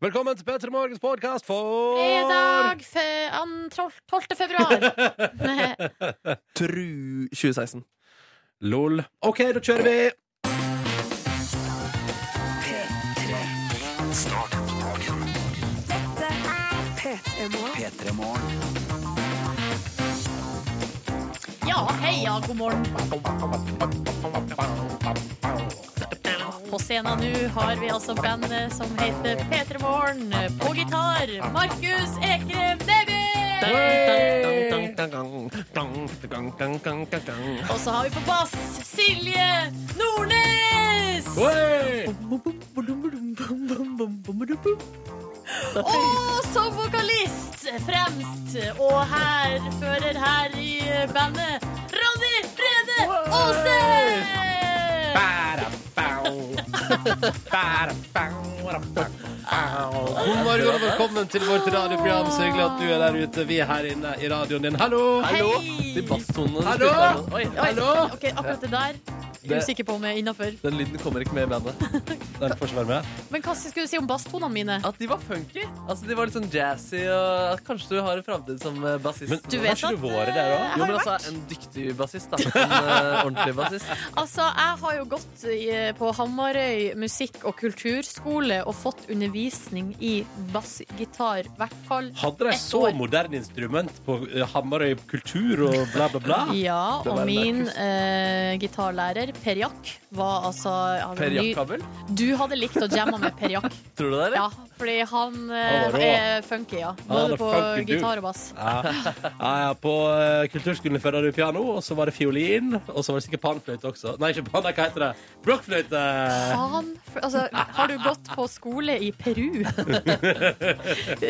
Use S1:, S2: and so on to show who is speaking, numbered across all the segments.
S1: Velkommen til P3 Morgens podkast for
S2: Fredag fe- an- tol- 12. februar.
S3: Tru 2016.
S1: LOL. OK, da kjører vi!
S2: Ja, heia, god morgen. På scenen nå har vi altså bandet som heter P3 Morgen. På gitar Markus Ekrem Neby. Og så har vi på bass Silje Nordnes.
S1: Hey!
S2: Og som vokalist fremst og her fører her i bandet Ronny Brede Aase!
S1: God morgen og velkommen til vårt radioprogram. Så hyggelig at du er der ute. Vi er her inne i radioen din. Hallo!
S2: Hallo!
S3: De basstonene du
S1: Hallo?
S3: spilte her nå. Oi,
S1: Hallo!
S2: Ok, akkurat det der.
S3: Det-
S2: Usikker på om jeg er innafor.
S3: Den lyden kommer ikke med i bandet.
S1: Den får ikke være med.
S2: Men hva skulle du si om basstonene mine?
S3: At de var funky. Altså, de var litt sånn jazzy. Og at kanskje du har en framtid som eh, bassist.
S1: Men
S2: Du
S1: har
S2: vet
S1: ikke
S2: at
S1: du vært der
S2: eh,
S1: òg?
S3: jo,
S2: jeg har
S3: men
S2: jo
S3: altså,
S2: vært
S3: En dyktig bassist, da. En eh, ordentlig bassist.
S2: Altså, jeg har jo gått i, på Hamarøy musikk- og kulturskole og fått undervisning i bassgitar, i hvert fall.
S1: Hadde de
S2: Ett
S1: så
S2: år.
S1: moderne instrument på eh, Hamarøy kultur og bla, bla, bla?
S2: Ja,
S3: Det var
S2: og
S3: en
S2: min
S3: Markus.
S2: eh, gitarlærer, Per Jack, var altså han-
S3: Per Jakkabel.
S2: Du hadde likt å jamme med Per Jack.
S3: Tror du det, eller?
S2: Ja, fordi han
S1: Han var
S2: eh,
S1: rå.
S2: er funky, ja.
S1: Han
S2: Både
S1: var
S2: på
S1: funky dude.
S2: gitar og bass.
S1: Ja. Ja, ja, på eh, kulturskolen fører du piano, og så var det fiolin, og så var det sikkert panfløyte også. Nei, ikke pan, nei, hva heter det? Blokkfløyte!
S2: Faen! for- Altså, har du gått på skole i Peru?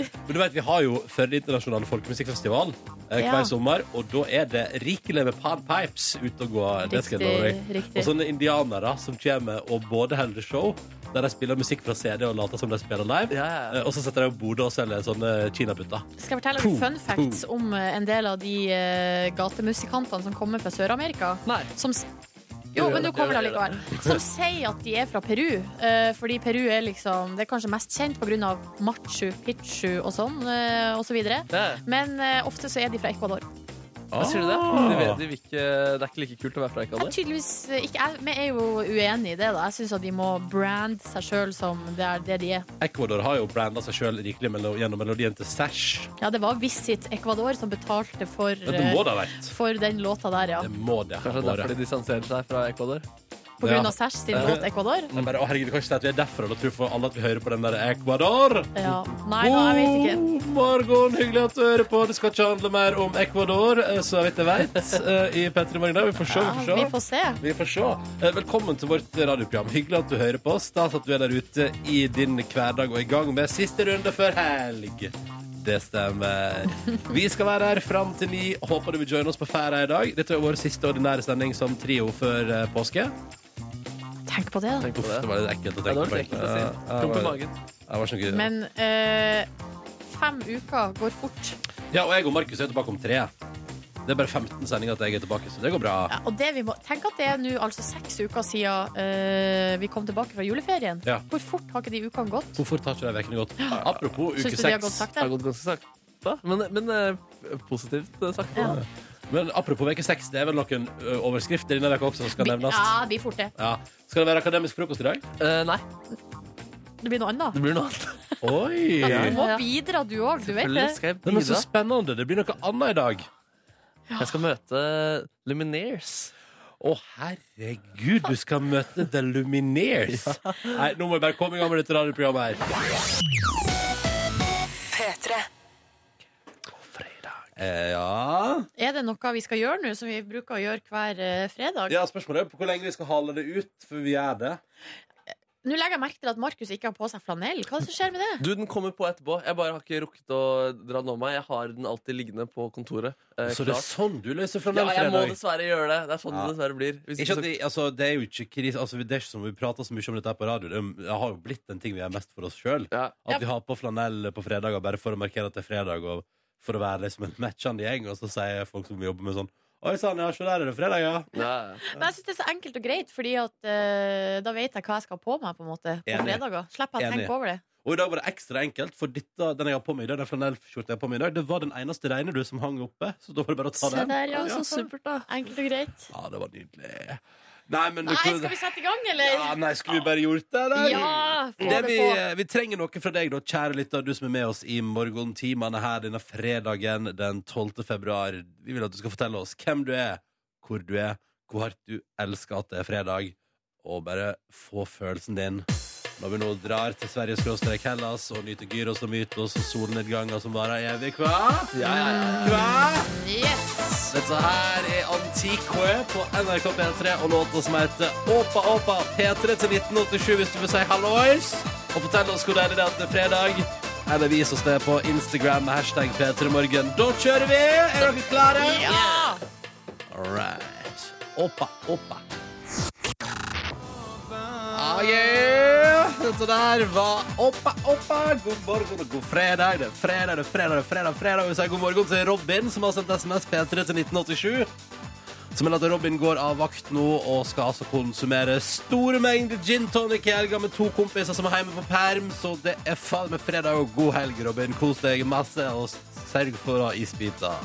S1: Men du vet, vi har jo Førde internasjonale folkemusikkfestival eh,
S2: Ja.
S1: hver sommer, og da er det rikelig med panpipes ute og går. Det skal jeg love deg.
S2: riktig.
S1: Og sånne indianere som kommer og både holder show, der de spiller musikk fra CD og later som de spiller live,
S3: Ja, ja, ja.
S1: eh, og så setter de opp bordet og selger sånne kinaputter.
S2: Skal jeg fortelle deg
S1: Puh,
S2: fun facts om eh, en del av de eh, gatemusikantene som kommer fra Sør-Amerika?
S3: Nei.
S2: Som s- jo,
S3: gjør
S2: men
S3: det,
S2: nå kommer det
S3: du gjør
S2: likevel. Som sier at de er fra Peru. eh, fordi Peru er liksom Det er kanskje mest kjent pga. Machu Picchu og sånn, eh, og så videre.
S3: Ja.
S2: Men eh, ofte så er de fra Ecuador.
S3: Hva sier du det?
S1: Ah.
S3: Du vet, du vil ikke, det er ikke like kult å være fra
S2: Jeg,
S3: Ecuador?
S2: tydeligvis eh, ikke, jeg, vi er jo uenige i det. da Jeg syns at de må brande seg sjøl som det er det de er.
S1: Ecuador har jo branda seg sjøl rikelig melo gjennom melodien til Sash.
S2: Ja, det var Visit Ecuador som betalte for,
S1: Ja, det må
S2: eh,
S1: det ha vært.
S2: for den låta der, ja.
S1: Det må det ha
S3: Kanskje det er derfor
S1: vært.
S3: de distanserer seg fra Ecuador?
S2: På grunn av Sash sin
S3: Ja.
S2: låt Ecuador.
S1: Men bare, å herregud, vi kan ikke si at vi er derfra. Da tror for alle at vi hører på den der Ecuador.
S2: Ja. Nei da, jeg vet ikke.
S1: God morgen, hyggelig at du hører på. Det skal ikke handle mer om Ecuador, eh, så vidt jeg vet, eh, i P3 Morgen. i dag. Vi får se,
S2: Ja,
S1: vi får se.
S2: vi får se.
S1: Vi får se. Eh, Velkommen til vårt radioprogram. Hyggelig at du hører på oss. Stas at du er der ute i din hverdag og i gang med siste runde før helg. Det stemmer. Vi skal være her fram til ni. Håper du vil joine oss på ferda i dag. Dette er vår siste ordinære sending som trio før eh, påske.
S2: Tenk på det, da.
S3: Tenk på
S1: Uff,
S3: det.
S1: det var litt ekkelt å
S3: Ja, det
S1: tenke
S3: var
S1: på.
S3: litt ekkelt å si.
S1: Ja,
S3: Klump i
S1: ja,
S3: magen.
S1: det var så gøy.
S2: Men eh, fem uker går fort.
S1: Ja, og jeg og Markus er tilbake om tre. Det er bare 15 sendinger at jeg er tilbake, så det går bra.
S2: Ja, og det vi må, tenk at det er nå altså seks uker siden eh, vi kom tilbake fra juleferien.
S1: Ja.
S2: Hvor fort har ikke de ukene gått?
S1: Hvor fort har ikke de ukene gått? Apropos uke
S2: Syns du de har gått
S1: seks.
S3: Det har
S2: sakte?
S3: gått ganske sakte, men, men eh, positivt eh, sakte.
S2: Ja.
S1: Men apropos uke seks, det er vel noen ø, overskrifter denne uka også som skal
S2: Vi-
S1: nevnes?
S2: Ja, vi er forte.
S1: Ja. Skal det være akademisk frokost i dag?
S3: Eh, nei,
S2: Det blir noe annet.
S3: det blir noe annet.
S1: Oi!
S2: Du
S1: Nei,
S2: må bidra, du òg. Du vet
S3: Selvfølgelig
S2: det.
S3: skal jeg
S1: men så
S3: bidra.
S1: spennende. Det blir noe annet i dag.
S3: Jeg skal møte Lumineers.
S1: Å, herregud, du skal møte The Lumineers. Nei, nå må jeg bare komme i gang med dette radioprogrammet her. Fredag. Eh, ja
S2: Er det noe vi skal gjøre nå, som vi bruker å gjøre hver eh, fredag?
S1: Ja, spørsmålet er på hvor lenge vi skal hale det ut før vi gjør det.
S2: Nå legger jeg merke til at Markus ikke har på seg flanell. Hva er det som skjer med det?
S3: Du, den kommer på etterpå. Jeg bare har ikke rukket å dra den om meg. Jeg har den alltid liggende på kontoret. eh,
S1: Så det er
S3: klar.
S1: sånn du løser fra
S3: ja, jeg må
S1: fredag?
S3: dessverre gjøre det. Det er sånn
S1: Ja.
S3: det dessverre blir. Hvis
S1: Ikke
S3: ikke så,
S1: at vi, altså, det er jo ikke kris, altså, det er ikke som vi prater så mye om dette her på radio. Det, er- det har jo blitt en ting vi gjør mest for oss sjøl.
S3: ja.
S1: At vi har på flanell på fredager bare for å markere at det er fredag, og for å være liksom en matchende gjeng. Og så sier folk som jobber med sånn Oi sann, ja, se der er det fredag, ja.
S3: Ja, ja.
S2: Men jeg synes det er så enkelt og greit, Fordi at eh, da vet jeg hva jeg skal ha på meg på en måte På
S1: Enig.
S2: fredager. Slipper jeg å
S1: Enig.
S2: tenke over det.
S1: Og i dag var det ekstra enkelt, for dette, den jeg har på meg i dag, den flanellskjorta jeg har på meg i dag, det var den eneste reine du som hang oppe, så da var det bare å ta
S2: Se
S1: den.
S2: der, ja.
S1: Ja.
S2: Så supert, da. Enkelt og greit.
S1: Ja, det var nydelig. Nei, men du
S2: Nei,
S1: kunne-
S2: skal vi sette i gang,
S1: Ja,
S2: eller?
S1: nei, skulle vi bare gjort det, eller?
S2: Ja! Få
S1: Det
S2: det
S1: vi,
S2: på.
S1: vi trenger noe fra deg, da, kjære lytter, du som er med oss i morgentimene her denne fredagen den 12. februar. Vi vil at du skal fortelle oss hvem du er, hvor du er, hvor hardt du elsker at det er fredag, og bare få følelsen din. Når vi nå drar til Sverige, skråstrek Hellas, og nyter Gyros og Mytos og solnedganger som varer evig, hva?
S3: Ja, ja, ja.
S1: Hva?
S2: Yes!
S1: Dette her er Antiquø på NRK P3 og låta som heter Åpa Åpa P3 til 1987 hvis du vil si hallois. Og fortell oss hvor deilig det er at det er fredag. Eller vis oss det på Instagram med hashtag P3morgen. Da kjører vi! Er dere klare?
S2: Ja!
S1: All right. Åpa Åpa. Ah, yeah. Dette der var Oppa, oppa. God morgen og god fredag. Det er fredag, det er fredag, det er fredag. fredag. Vi sier god morgen til Robin, som har sendt SMS P3 til 1987. Som melder at Robin går av vakt nå og skal altså konsumere store mengder gin tonic i helga med to kompiser som er hjemme på perm. Så det er faen meg fredag og god helg, Robin. Kos deg masse og sørg for å ha isbiter.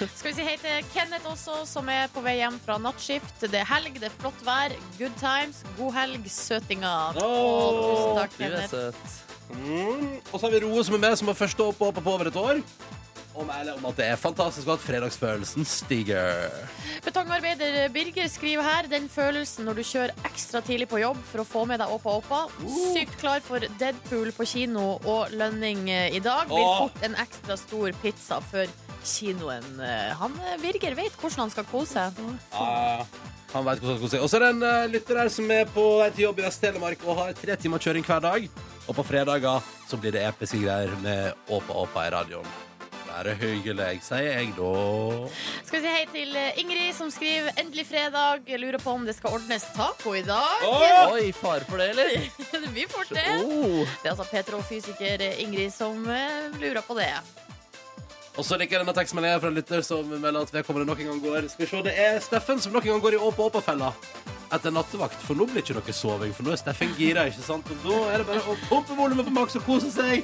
S2: Skal vi si hei til Kenneth også, som er på vei hjem fra nattskift. Det er helg, det er flott vær. Good times, god helg, søtinga.
S1: Åh,
S2: Å, tusen takk,
S3: Du er
S2: Kenneth.
S3: søt.
S1: Mm. Og så har vi Roe som er med, som har første håp og håper på over et år. Om, eller, om at det er fantastisk og at fredagsfølelsen stiger.
S2: Betongarbeider Birger skriver her den følelsen når du kjører ekstra tidlig på jobb for å få med deg Åpa Åpa.
S1: Uh.
S2: Sykt klar for Deadpool på kino og lønning eh, i dag. Blir
S1: Åh.
S2: fort en ekstra stor pizza før kinoen. Eh, Han eh, Birger vet hvordan han skal kose seg.
S1: Han vet hvordan han skal si. Og så er det en eh, lytter her som er på vei til jobb i Vest-Telemark og har tre timer kjøring hver dag. Og på fredager så blir det episke greier med Åpa Åpa i radioen. Bare hyggelig, sier jeg da.
S2: Skal vi si hei til eh, Ingrid, som skriver 'Endelig fredag'. Jeg Lurer på om det skal ordnes taco i dag.
S3: Oi, fare for det, eller?
S2: Det blir fort det.
S3: Oh.
S2: Det er altså petrofysiker Ingrid som eh, lurer på det.
S1: Og så liker jeg denne tekstmeldingen fra en lytter som melder at vedkommende nok en gang går Skal vi se, det er Steffen som nok en gang går i Åpa Åpa-fella. Etter nattevakt, for nå blir ikke noe soving, for nå er Steffen gira, ikke sant? Og da er det bare å pumpe volumet på maks og kose seg.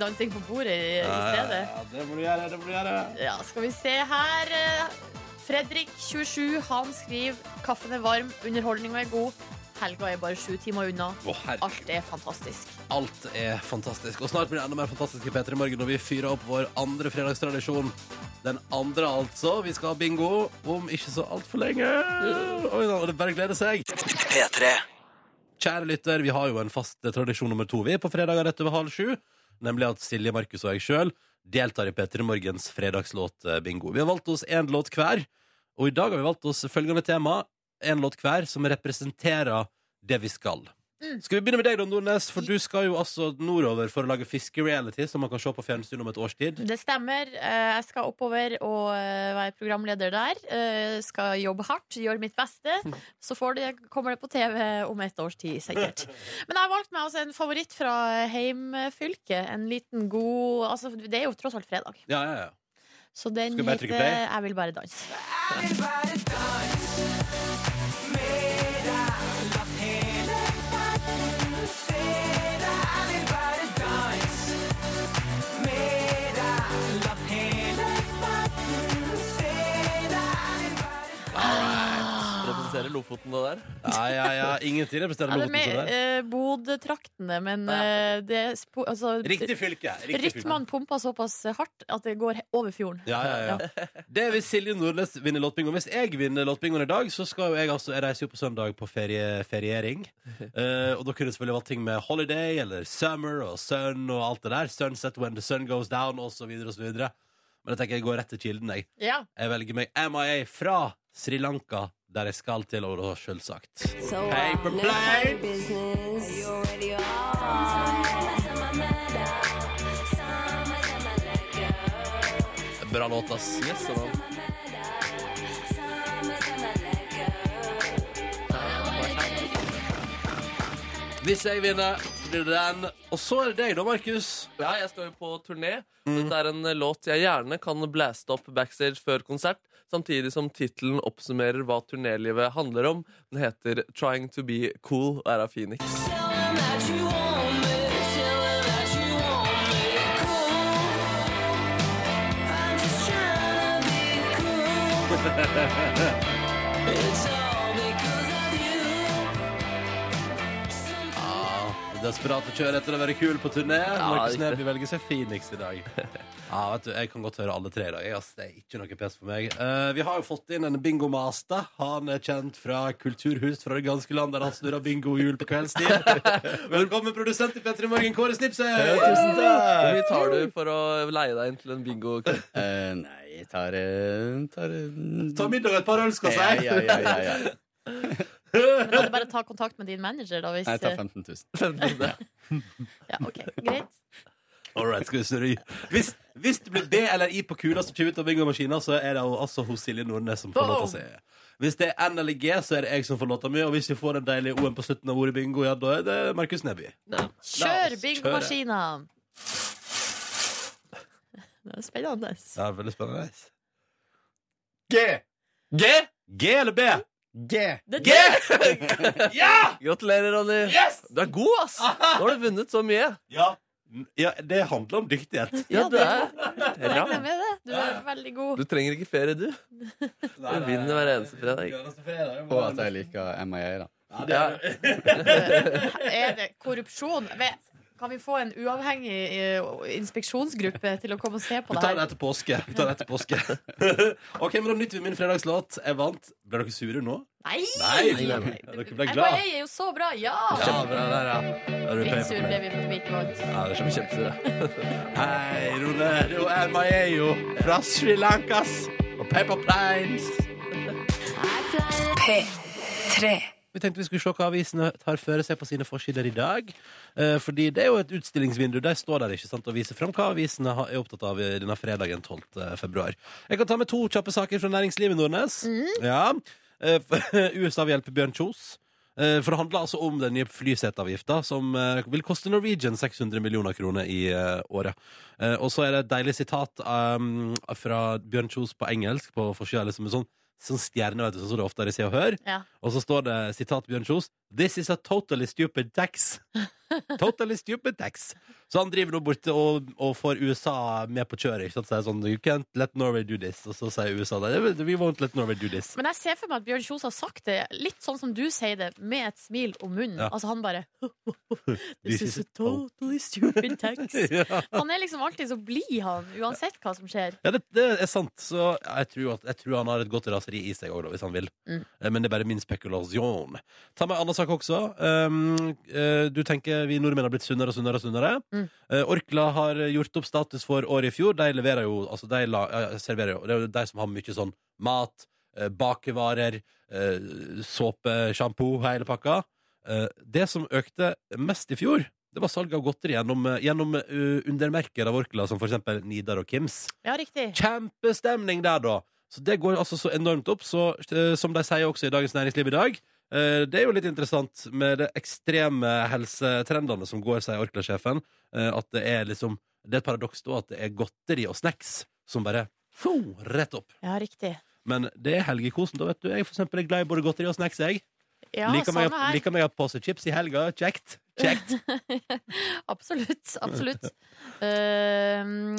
S2: Dansing på bordet i, i stedet.
S1: Ja, det må du gjøre, det må du gjøre.
S2: Ja, skal vi se her. eh, Fredrik, 27, han skriver Kaffen er varm, underholdninga er god. Helga er bare sju timer unna.
S1: Å, herregud.
S2: Alt er fantastisk.
S1: Alt er fantastisk. Og snart blir det enda mer fantastisk i P3 Morgen når vi fyrer opp vår andre fredagstradisjon. Den andre, altså. Vi skal ha bingo om ikke så altfor lenge. Oi da, det er bare å glede seg. Kjære lytter, vi har jo en fast tradisjon nummer to, vi, på fredager rett over halv sju. Nemlig at Silje, Markus og jeg sjøl deltar i P3 Morgens fredagslåtbingo. Vi har valgt oss én låt hver, og i dag har vi valgt oss følgende tema. Én låt hver som representerer det vi skal. Skal vi begynne med deg, da, Nordnes? For du skal jo altså nordover for å lage fiskereality, som man kan se på fjernsyn om et års tid.
S2: Det stemmer. Eh, Jeg skal oppover og eh, være programleder der. Eh, Skal jobbe hardt, gjøre mitt beste. Så får det, kommer det på TV om et års tid, sikkert. Men jeg har valgt meg altså en favoritt fra heimfylket. En liten god Altså, det er jo tross alt fredag.
S1: Ja, ja, ja.
S2: Så den
S1: Skal vi bare
S2: heter
S1: trykke play?
S2: 'Jeg vil bare danse'.
S3: Representerer Lofoten, det der.
S1: ja, ja, ja. Ingenting representerer
S2: Ja, det er
S1: Lofoten.
S2: med
S1: sånn her.
S2: eh, Bodø-traktene, men eh, det er spo- altså,
S1: Riktig fylke. Riktig fylke.
S2: Rytmen pumper såpass hardt at det går he- over fjorden.
S1: Ja, ja, ja. Det er hvis Silje Nordnes vinner låtbingoen. Hvis jeg vinner låtbingoen i dag, så skal jo jeg altså Jeg reiser jo på søndag på ferie, feriering. Eh, og da kunne det selvfølgelig vært ting med holiday eller summer og sun og alt det der. Sunset when the sun goes down, og så videre og så videre. Men jeg tenker jeg går rett til kilden, jeg.
S2: Ja.
S1: Jeg velger meg MIA fra Sri Lanka, der jeg skal til, og da selvsagt.
S4: eh,
S1: Paper plane! Bra låt, ass.
S3: Yes, sånn.
S1: Hvis jeg vinner, så blir det den. Og så er det deg, da, Markus. Mm.
S3: Ja, jeg skal jo på turné. Dette er en eh, låt jeg gjerne kan blaste opp backstage før konsert, samtidig som tittelen oppsummerer hva turnélivet handler om. Den heter 'Trying to be cool' og er av Phoenix.
S4: Tell 'em that you want me. Tell
S1: Ja, Desperate kjører etter å være kul på turné.
S3: Ja,
S1: Markus
S3: riktig.
S1: Neby velger seg Phoenix i dag. Ja, vet du, Jeg kan godt høre alle tre i dag. Jeg, ass, det er ikke noe pes for meg. Eh, vi har jo fått inn en bingomaster. Han er kjent fra kulturhus fra det ganske land, der han snurrer bingohjul på kveldstid. Velkommen, produsent i P3 Morgen, Kåre Snipsøy!
S4: Tusen
S3: Hvor
S4: takk!
S3: mye tar du for å leie deg inn til en bingo?
S4: Eh, nei, jeg tar eh, tar, eh,
S1: Ta middag og et par øl, skal
S4: ja,
S1: jeg si.
S4: ja, ja, ja, ja.
S2: Du kan bare ta kontakt med din manager, da, hvis
S4: Nei, jeg tar
S2: eh,
S4: 15 000.
S2: ja, ok, Greit.
S1: All right, skal vi snurre i. Hvis, hvis det blir B eller I på kula som kommer ut av bingomaskina, så er det jo altså hos Silje Nordnes som får
S2: Boom!
S1: låta si. Hvis det er N eller G, så er det jeg som får låta mi. Og hvis vi får den deilige O-en på slutten av ordet bingo, ja, da er det Markus Neby.
S2: Kjør
S1: kjøre.
S2: bingomaskina! Det er spennende.
S1: Det er veldig spennende.
S4: G!
S3: G!
S1: G eller B?
S4: G!
S2: Det,
S1: G!
S3: Gratulerer, Ronny.
S1: Yes!
S3: Du er god, ass! Nå har du vunnet så mye.
S1: Ja. ja, det handler om dyktighet.
S3: Ja,
S2: Ja,
S3: du
S2: det-
S3: er
S2: Jeg regner
S3: ram.
S2: med det. Du er veldig god.
S3: Du trenger ikke ferie, du. Du vinner hver eneste fredag.
S4: Og at jeg liker MIA, da.
S3: Ja.
S2: Er det korrupsjon? Vet- Kan vi få en uavhengig eh, inspeksjonsgruppe til å komme og se på
S1: Vi
S2: det
S1: tar det
S2: her?
S1: etter påske. Vi tar det etter påske. ok, men da nyter vi min fredagslåt. Jeg vant. Ble dere sure nå?
S2: Nei!
S1: Nei, nei, nei. Dere ble glad.
S2: MIA er jo så bra! Ja!
S1: Ja, bra, der, ja. Da er du
S2: Litt
S1: pay
S2: sur
S1: for
S2: ble
S1: meg.
S2: vi for at vi ikke vant.
S1: Ja, det er kjempe-
S3: Kjempesur.
S1: Hei, Ronero er Maeyo fra Sri Lankas og Paper Planes. Vi tenkte vi skulle se hva avisene tar føre seg på sine forsider i dag. Eh, fordi det er jo et utstillingsvindu. De står der ikke sant, og viser fram hva avisene har- er opptatt av i denne fredagen 12. februar. Jeg kan ta med to kjappe saker fra næringslivet, Nordnes. Ja. Eh, USA vil hjelpe Bjørn Kjos. Eh, For det handler altså om den nye flyseteavgifta, som eh, vil koste Norwegian 600 millioner kroner i eh, året. Eh, Og så er det et deilig sitat um, fra Bjørn Kjos på engelsk, på forsida, liksom en sånn, sånn stjerne, vet du, sånn som det ofte er i Se og Hør.
S2: Ja.
S1: Og så står det sitat Bjørn Kjos This is a totally stupid tax Totally stupid tax Så han driver nå borte og, og får USA med på kjøret Ikke sant? Så det er sånn You can't let Norway do this Og så sier USA det We won't let Norway do this
S2: Men jeg ser for meg at Bjørn Kjos har sagt det litt sånn som du sier det, med et smil om munnen.
S1: Ja.
S2: Altså han bare
S1: This is
S2: This is
S1: a
S2: a totally stupid tax.
S1: ja.
S2: Han er liksom alltid så blid, han, uansett hva som skjer.
S1: Ja, det, det er sant Så jeg tror, at, jeg tror han har et godt raseri i seg også, da, Hvis han vil
S2: Mm.
S1: Eh, Men det er bare min spekulasjon Ta med en annen sak også um, eh, Du tenker vi nordmenn har blitt sunnere og sunnere og sunnere
S2: Mm.
S1: Eh, Orkla har gjort opp status for året i fjor De leverer jo, altså de la, eh, serverer jo Det er jo de som har mye sånn mat eh, Bakevarer eh, Såpe, shampoo, hele pakka Eh, Det som økte mest i fjor Det var salg av godteri gjennom, eh, gjennom eh, Undermerker av Orkla Som for eksempel Nidar og Kims
S2: Ja, riktig.
S1: Kjempestemning der, da. Så det går altså så enormt opp. Så, eh, som de sier også i Dagens Næringsliv i dag, eh, det er jo litt interessant med de ekstreme helsetrendene som går, sier Orkla-sjefen. eh, At det er liksom Det er et paradoks da at det er godteri og snacks som bare fo, rett opp.
S2: Ja, riktig.
S1: Men det er helgekosen, da, vet du. Jeg for eksempel, er glad i både godteri og snacks, jeg.
S2: Ja, sånn
S1: liker, meg,
S2: samme
S1: at-
S2: her.
S1: liker meg å ha pose chips i helga. Kjekt. Kjekt.
S2: Absolutt. Absolutt. Eh,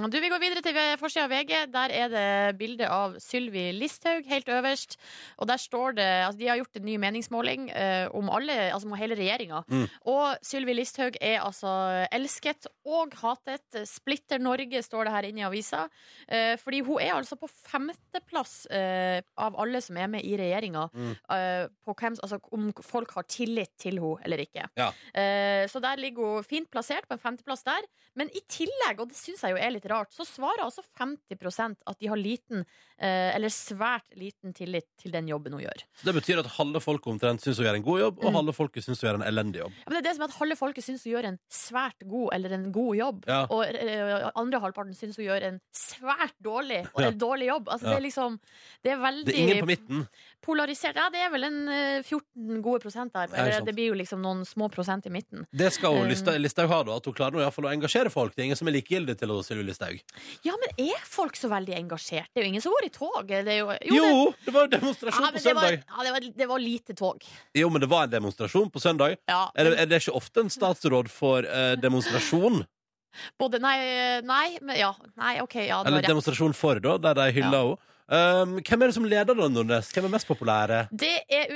S2: du, vi går videre til forsida av VG. Der er det bilde av Sylvi Listhaug helt øverst. Og der står det altså De har gjort en ny meningsmåling eh, om alle, altså om hele regjeringa.
S1: Mm.
S2: Og Sylvi Listhaug er altså elsket og hatet. Splitter Norge, står det her inne i avisa. Eh, fordi hun er altså på femteplass eh, av alle som er med i regjeringa,
S1: Mm.
S2: eh, på hvem, altså om folk har tillit til henne eller ikke.
S1: Ja.
S2: Eh, så der ligger hun fint plassert, på en femteplass der. Men i tillegg, og det syns jeg jo er litt rart, så svarer altså 50 at de har liten, eh, eller svært liten tillit til den jobben hun gjør.
S1: Så det betyr at halve folket omtrent syns hun gjør en god jobb, og
S2: Mm.
S1: halve folket syns hun gjør en elendig jobb.
S2: Ja, men det er det som er at halve folket syns hun gjør en svært god eller en god jobb.
S1: Ja.
S2: Og eh, andre halvparten syns hun gjør en svært dårlig
S1: Ja.
S2: eller dårlig jobb. Altså,
S1: Ja.
S2: Det er liksom Det er veldig
S1: Det er ingen på midten.
S2: polarisert. Ja, det er vel en eh, 14 gode prosent der.
S1: Ja, ikke
S2: Eller,
S1: sant.
S2: det blir jo liksom noen små prosent i midten.
S1: Det skal hun
S2: Eh.
S1: Lista- Listhaug ha, da. At hun klarer nå i hvert fall å engasjere folk. Det er ingen som er likegyldig til å Sylvi Listhaug.
S2: Ja, men er folk så veldig engasjert? Det er jo ingen som går i tog. Det er jo,
S1: Jo,
S2: det-
S1: det var jo
S2: Ja,
S1: demonstrasjon
S2: men
S1: på
S2: det, var,
S1: søndag!
S2: ja, det, var, det var lite tog.
S1: Jo, men det var en demonstrasjon på søndag.
S2: Ja,
S1: Er det, er det ikke ofte en statsråd for eh, demonstrasjon?
S2: både Nei, nei, men ja, nei OK. Ja, du har
S1: Eller
S2: rett.
S1: demonstrasjon for, da, der de hyller henne? Um, hvem er det som leder da, Nordnes? Hvem er mest populære?
S2: Det er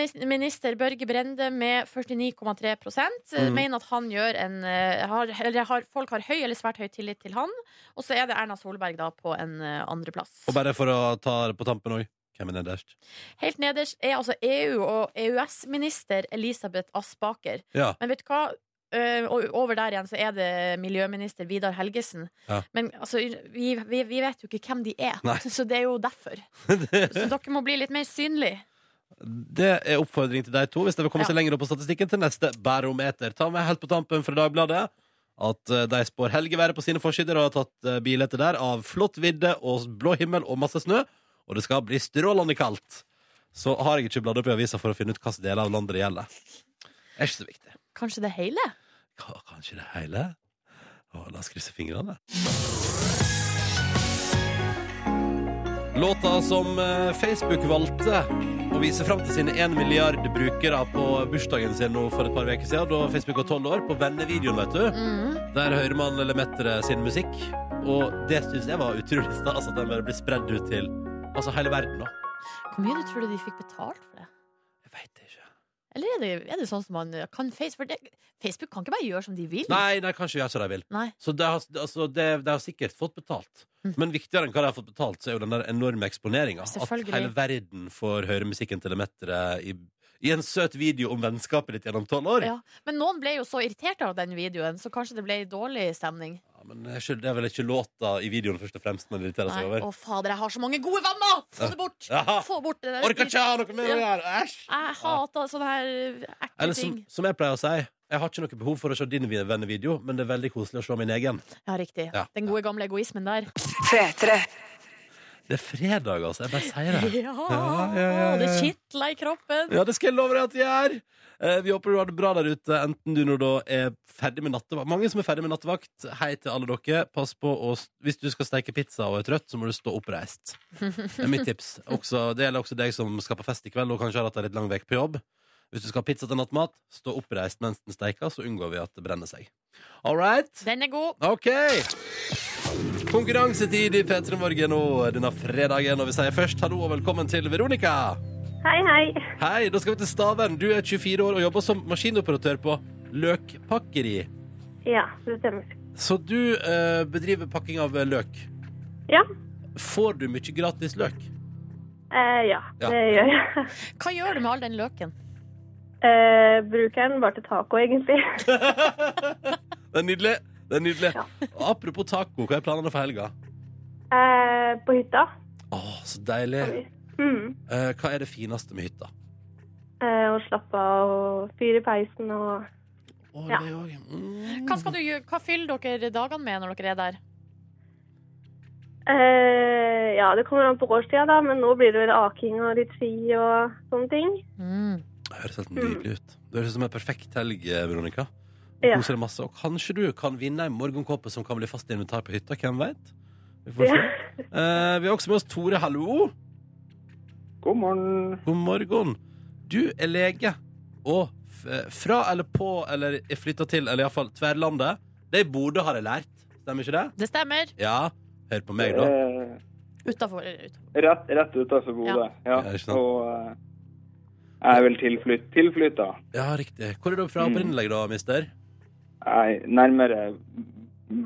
S2: utenriksminister Børge Brende med 49,3
S1: Mhm.
S2: eh, Mener at han gjør en eh, har, eller har, Folk har høy eller svært høy tillit til han. Og så er det Erna Solberg da på en eh, andreplass.
S1: Og bare for å ta det på tampen òg, hvem er nederst?
S2: Helt nederst er altså EU- og EØS-minister Elisabeth Aspaker.
S1: Ja.
S2: Men vet du hva? Eh, og over der igjen så er det miljøminister Vidar Helgesen.
S1: Ja.
S2: Men altså, vi, vi, vi vet jo ikke hvem de er,
S1: Nei.
S2: så det er jo derfor. Så dere må bli litt mer synlige.
S1: Det er oppfordring til de to. Hvis dere vil komme seg lenger opp på statistikken til neste barometer. Ta med helt på tampen fra Dagbladet at eh, de spår helgeværet på sine forsider og har tatt eh, bilder der av flott vidde og blå himmel og masse snø. Og det skal bli strålende kaldt. Så har jeg ikke bladd opp i avisa for å finne ut hvilke deler av landet det gjelder. Det er ikke så viktig.
S2: Kanskje det hele?
S1: K kanskje det hele? Å, la oss krysse fingrene. Låta som eh, Facebook valgte å vise fram til sine 1 milliard brukere på bursdagen sin nå for et par uker siden, da Facebook var 12 år, på vennevideoen, vet du.
S5: Mm.
S1: Der hører man Lemettere sin musikk, og det syns jeg var utrolig stas at den bare ble spredd ut til altså hele verden, da.
S2: Hvor mye du tror du de fikk betalt for det?
S1: Jeg vet ikke.
S2: Eller er det, er det sånn som man kan face, for det, Facebook kan ikke bare gjøre som de vil.
S1: Nei, nei, kanskje gjør som de vil.
S2: Nei.
S1: Så de har, altså, de, de har sikkert fått betalt.
S2: Mm.
S1: Men viktigere enn hva de har fått betalt, så er jo den der enorme eksponeringa. At
S2: Selvfølgelig.
S1: hele verden får høre musikken til Lemettere i, i en søt video om vennskapet ditt gjennom tolv år. Ja.
S2: Ja. Men noen ble jo så irritert av den videoen, så kanskje det ble dårlig stemning.
S1: men det er ikke- det er vel ikke låta i videoen først og fremst man irriterer seg
S2: Nei.
S1: over.
S2: Å fader, jeg har så mange gode venner! Få det bort!
S1: Ja.
S2: Få bort det der.
S1: Orker ikke ha noe med å gjøre! Æsj!
S2: Jeg hater sånne her eh, ekle
S1: Eller som,
S2: ting.
S1: som jeg pleier å si, jeg har ikke noe behov for å se din vennevideo, men det er veldig koselig å se min egen.
S2: Ja, riktig.
S1: Ja.
S2: Den gode gamle egoismen der.
S1: Det er fredag, altså. Jeg bare sier det.
S2: Ja,
S1: ja, ja, ja.
S2: Det kitler i kroppen.
S1: Ja, det skal jeg love deg at jeg gjør. Eh, vi håper du har det bra der ute, enten du når da er ferdig med nattevakt. Mange som er ferdig med nattevakt, hei til alle dere. Pass på å Hvis du skal steke pizza og er trøtt, så må du stå oppreist. Det er mitt tips. Også, det gjelder også deg som skal på fest i kveld og kanskje har hatt en litt lang vek på jobb. Hvis du skal ha pizza til nattmat, stå oppreist mens den steiker, så unngår vi at det brenner seg. All right?
S2: Den er god.
S1: OK. Konkurransetid i P3 Morgen nå denne fredagen, og vi sier først hallo og velkommen til Veronica.
S6: Hei, hei.
S1: Hei, da skal vi til Stavern. Du er 24 år og jobber som maskinoperatør på løkpakkeri.
S6: Ja, det stemmer.
S1: Så du eh, bedriver pakking av eh, løk.
S6: Ja,
S1: Får du mye gratis løk?
S6: eh, ja,
S1: Ja.
S6: det gjør jeg.
S2: Hva gjør du med all den løken?
S6: Eh, bruker den bare til taco, egentlig.
S1: Det er nydelig. Det er nydelig.
S6: Ja.
S1: Og Apropos taco, hva er planene for helga?
S6: Eh, på hytta.
S1: Å, så deilig.
S6: Mm.
S1: Eh, hva er det fineste med hytta?
S6: Eh, og slappe av og fyre i peisen og
S1: Å,
S6: Ja.
S1: det òg. Mm.
S2: Hva, skal du, gjø- hva fyller dere dagene med når dere er der?
S6: eh, Ja, det kommer an på årstida, da, men nå blir det vel aking og litt ski og sånne ting.
S2: Mm.
S1: Det høres helt nydelig ut. Det høres ut som en perfekt helg, eh, Veronica.
S6: Ja.
S1: Koser deg masse. Og kanskje du kan vinne en morgenkåpe som kan bli fast invitar på hytta. Hvem veit? Vi får se. Eh, vi har også med oss Tore. Hallo.
S7: God morgen.
S1: God morgen. Du er lege, og f- eh, fra eller på eller er flytta til, eller iallfall tverrlandet. Det er i Bodø, har jeg lært. Stemmer ikke det?
S2: Det stemmer.
S1: Ja. Hør på meg, da.
S7: Eh,
S2: Utafor.
S7: Rett, rett utenfor Bodø. Ja.
S1: Ja, ikke sant.
S7: Og eh, jeg er vel tilflytt, tilflytta.
S1: Ja, riktig. Hvor er du fra opprinnelig, da, mister?
S7: Jeg er nærmere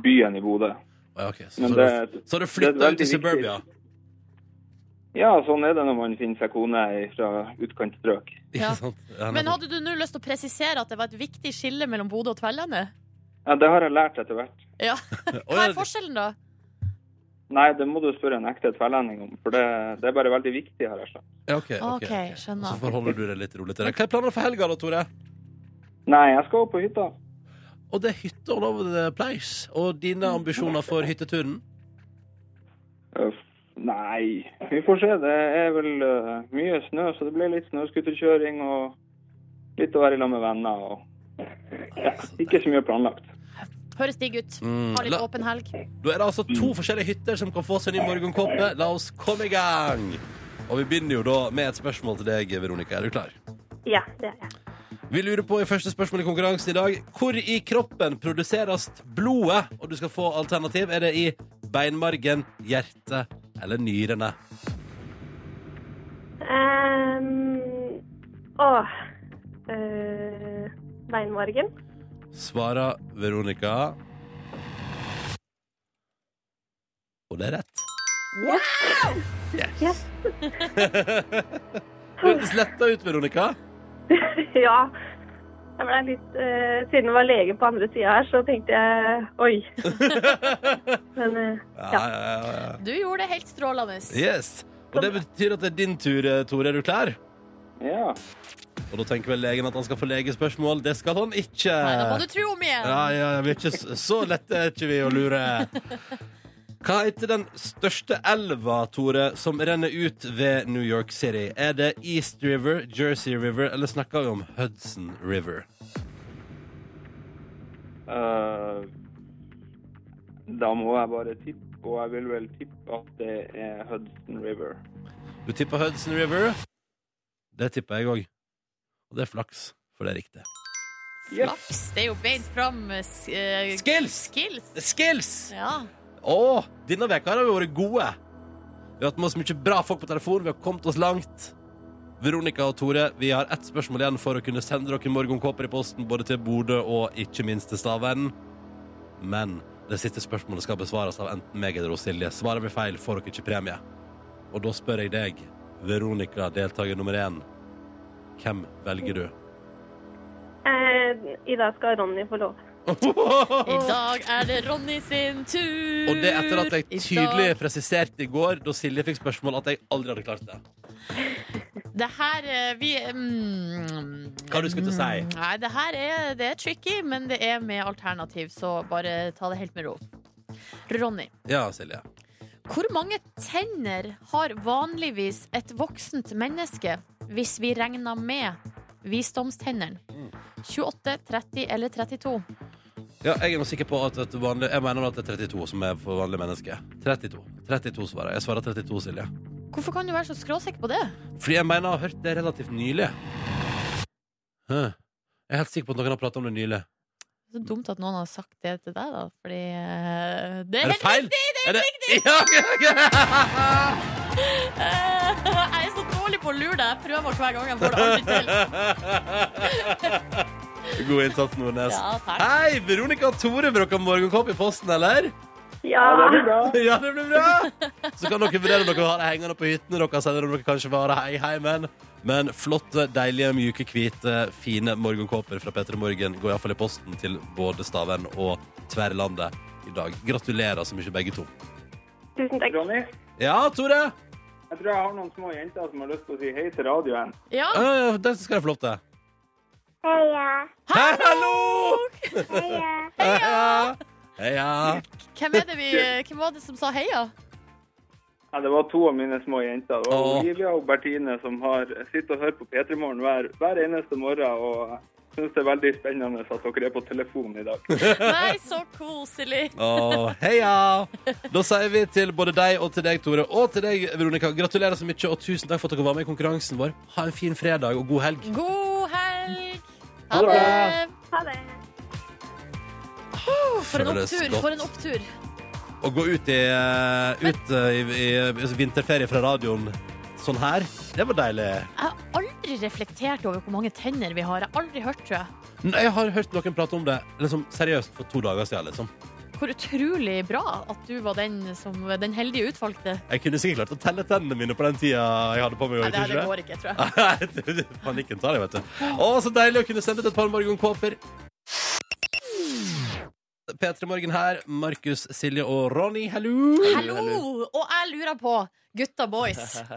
S7: byen i Bodø.
S1: Å, ja, ok. Så,
S7: Men
S1: så,
S7: det,
S1: du- så du
S7: det er
S1: flytta
S7: veldig
S1: ut i suburbia?
S7: ja, sånn er det når man finner seg kone fra utkantstrøk.
S2: Ja.
S1: Ikke sant? Ja,
S2: Men
S1: nettopp.
S2: hadde du nå lyst til å presisere at det var et viktig skille mellom Bodø og Tverlandet?
S7: Ja, det har jeg lært etter hvert.
S2: Ja.
S1: Å,
S2: Hva
S1: ja,
S2: er forskjellen, da?
S7: Nei, det må du spørre en ekte tverrlending om, for det, det er bare veldig viktig, altså. har jeg sagt.
S1: ja, ok, ok,
S2: Ok,
S1: ok.
S2: skjønner.
S1: Så forholder du deg litt rolig til det. Hva er planene for helga, da, Tore?
S7: Nei, jeg skal opp på hytta.
S1: Og det er hytte all over the place. Og dine ambisjoner for hytteturen?
S7: Øff, nei, vi får se. Det er vel eh, mye snø, så det blir litt snøskuterkjøring og litt å være i lag med venner. og ja, Ikke så mye planlagt.
S2: Høres digg ut.
S1: Mm,
S2: Ha litt
S1: la-
S2: åpen helg.
S1: Da er det altså to forskjellige hytter som kan få seg ny morgenkåpe. La oss komme i gang! Og vi begynner jo da med et spørsmål til deg, Veronica. Er du klar?
S6: Ja, det er jeg.
S1: Vi lurer på i første spørsmål i konkurransen i dag hvor i kroppen produseres blodet? Og du skal få alternativ. Er det i beinmargen, hjertet eller nyrene?
S6: Eh, eh, Bergen.
S1: Svarer Veronica. Og det er rett. Yes! Hørtes letta ut, Veronica.
S6: ja. Jeg ble litt, eh, siden det var lege på andre sida her, så tenkte jeg oi. Men eh,
S1: Ja, ja, ja, ja.
S2: Du gjorde det helt strålende.
S1: Yes. Og det betyr at det er din tur, eh, Tore. Er du klar?
S7: Ja.
S1: Og da tenker vel legen at han skal få legespørsmål. Det skal han ikke.
S2: Nei, da må du tro om igjen.
S1: Ja, ja, ja, vi er ikke s- så lette er ikke vi å lure. Hva heter den største elva, Tore, som renner ut ved New York City? Er det East River, Jersey River, eller snakker vi om Hudson River?
S7: Eh, da må jeg bare tippe, og jeg vil vel tippe at det er Hudson River.
S1: Du tipper Hudson River. Det tipper jeg òg. Og det er flaks, for det er riktig.
S7: Yes.
S2: Flaks. Det er jo beint fram eh, s- eh,
S1: Skills!
S2: skills.
S1: Skills!
S2: Ja.
S1: Å, denne veka har vi vært gode. Vi har hatt med oss mye bra folk på telefon. Vi har kommet oss langt. Veronica og Tore, vi har ett spørsmål igjen for å kunne sende dere morgenkåper i posten både til Bodø og ikke minst til Stavern. Men det siste spørsmålet skal besvares av enten meg eller Silje. Svarer vi feil, får dere ikke premie. Og da spør jeg deg, Veronica, deltaker nummer én, hvem velger du?
S6: eh, i dag skal Ronny få lov.
S2: I dag er det Ronny sin tur.
S1: Og det etter at jeg
S2: I dag-
S1: tydelig presiserte i går, da Silje fikk spørsmål, at jeg aldri hadde klart det.
S2: Det her eh, vi mm,
S1: Hva du skulle til å si?
S2: mm, Nei, det her er, det er tricky, men det er med alternativ, så bare ta det helt med ro. Ronny,
S1: Ja, Silje.
S2: hvor mange tenner har vanligvis et voksent menneske hvis vi regner med visdomstennene? 28, 30 eller 32?
S1: Ja, jeg er nå sikker på at et vanlig Jeg mener at det er 32 som er for vanlige mennesker. 32. 32 svarer jeg. Jeg svarer 32, Silje.
S2: Hvorfor kan du være så skråsikker på det?
S1: Fordi jeg mener jeg har hørt det relativt nylig. Hæ. Jeg er helt sikker på at noen har pratet om det nylig.
S2: Så dumt at noen har sagt det til deg, da. Fordi eh, det
S1: Er
S2: er
S1: det
S2: helt
S1: feil?
S2: riktig! Det
S1: Er
S2: er
S1: det-
S2: helt riktig!
S1: Ja, ja,
S2: Eh, Jeg er så dårlig på å lure deg. Jeg prøver hver gang jeg får det aldri til.
S1: ja. God innsats, Nordnes.
S2: Ja, takk.
S1: Hei, Veronica og Tore, vil dere ha morgenkopp i posten, eller?
S6: Ja!
S7: Ja, det blir bra.
S1: Ja, det blir bra! Så kan dere vurdere om dere har det hengende på hyttene deres, eller om dere kanskje vil ha det i heimen. Men flotte, deilige, mjuke, hvite, fine morgenkåper fra P3 Morgen går iallfall i posten til både Stavern og Tverrlandet i dag. Gratulerer så mye, begge to.
S6: Tusen takk.
S7: Ronny,
S1: Ja, Tore?
S7: jeg tror jeg har noen små jenter som har lyst til å si hei til radioen.
S6: Ah.
S2: Ja,
S1: Øh, den skal jeg få lov til.
S8: Heia,
S1: Hei, hallo!
S8: heia.
S1: Heia! Heia.
S2: hvem, er det vi, hvem var det som sa heia?
S7: Ja, det var to av mine små jenter. Det var
S1: Åh.
S7: Olivia og Bertine som har sitter og hører på P3 Morgen hver, hver eneste morgen. og jeg synes det er veldig spennende at dere er på telefonen i dag.
S2: Nei, så koselig.
S1: Åh, heia! Da sier vi til både deg og til deg, Tore, og til deg, Veronica, gratulerer så mye, og tusen takk for at dere var med i konkurransen vår. Ha en fin fredag og god helg.
S2: God helg.
S1: Ha
S2: Ha
S1: det bra.
S2: det.
S6: Ha det.
S2: For
S1: Føles
S2: en opptur.
S1: godt.
S2: For en opptur.
S1: Å gå ut, i, eh, ut eh, i, i, i vinterferie fra radioen sånn her, det var deilig.
S2: Jeg har aldri reflektert over hvor mange tenner vi har. Jeg har aldri hørt, tror jeg.
S1: N- Jeg har hørt noen prate om det liksom, seriøst for to dager siden. Liksom.
S2: Hvor utrolig bra at du var den, som, den heldige utvalgte.
S1: Jeg kunne sikkert klart å telle tennene mine på den tida jeg hadde på meg.
S2: Nei,
S1: tror
S2: det her det
S1: ikke
S2: går ikke, tror jeg.
S1: det? Panikken tar det, vet du. Å, så deilig å kunne sende ut et par morgenkåper. P3 Morgen her. Markus, Silje og Ronny, hallo!
S2: Hallo! Og jeg lurer på, gutta boys,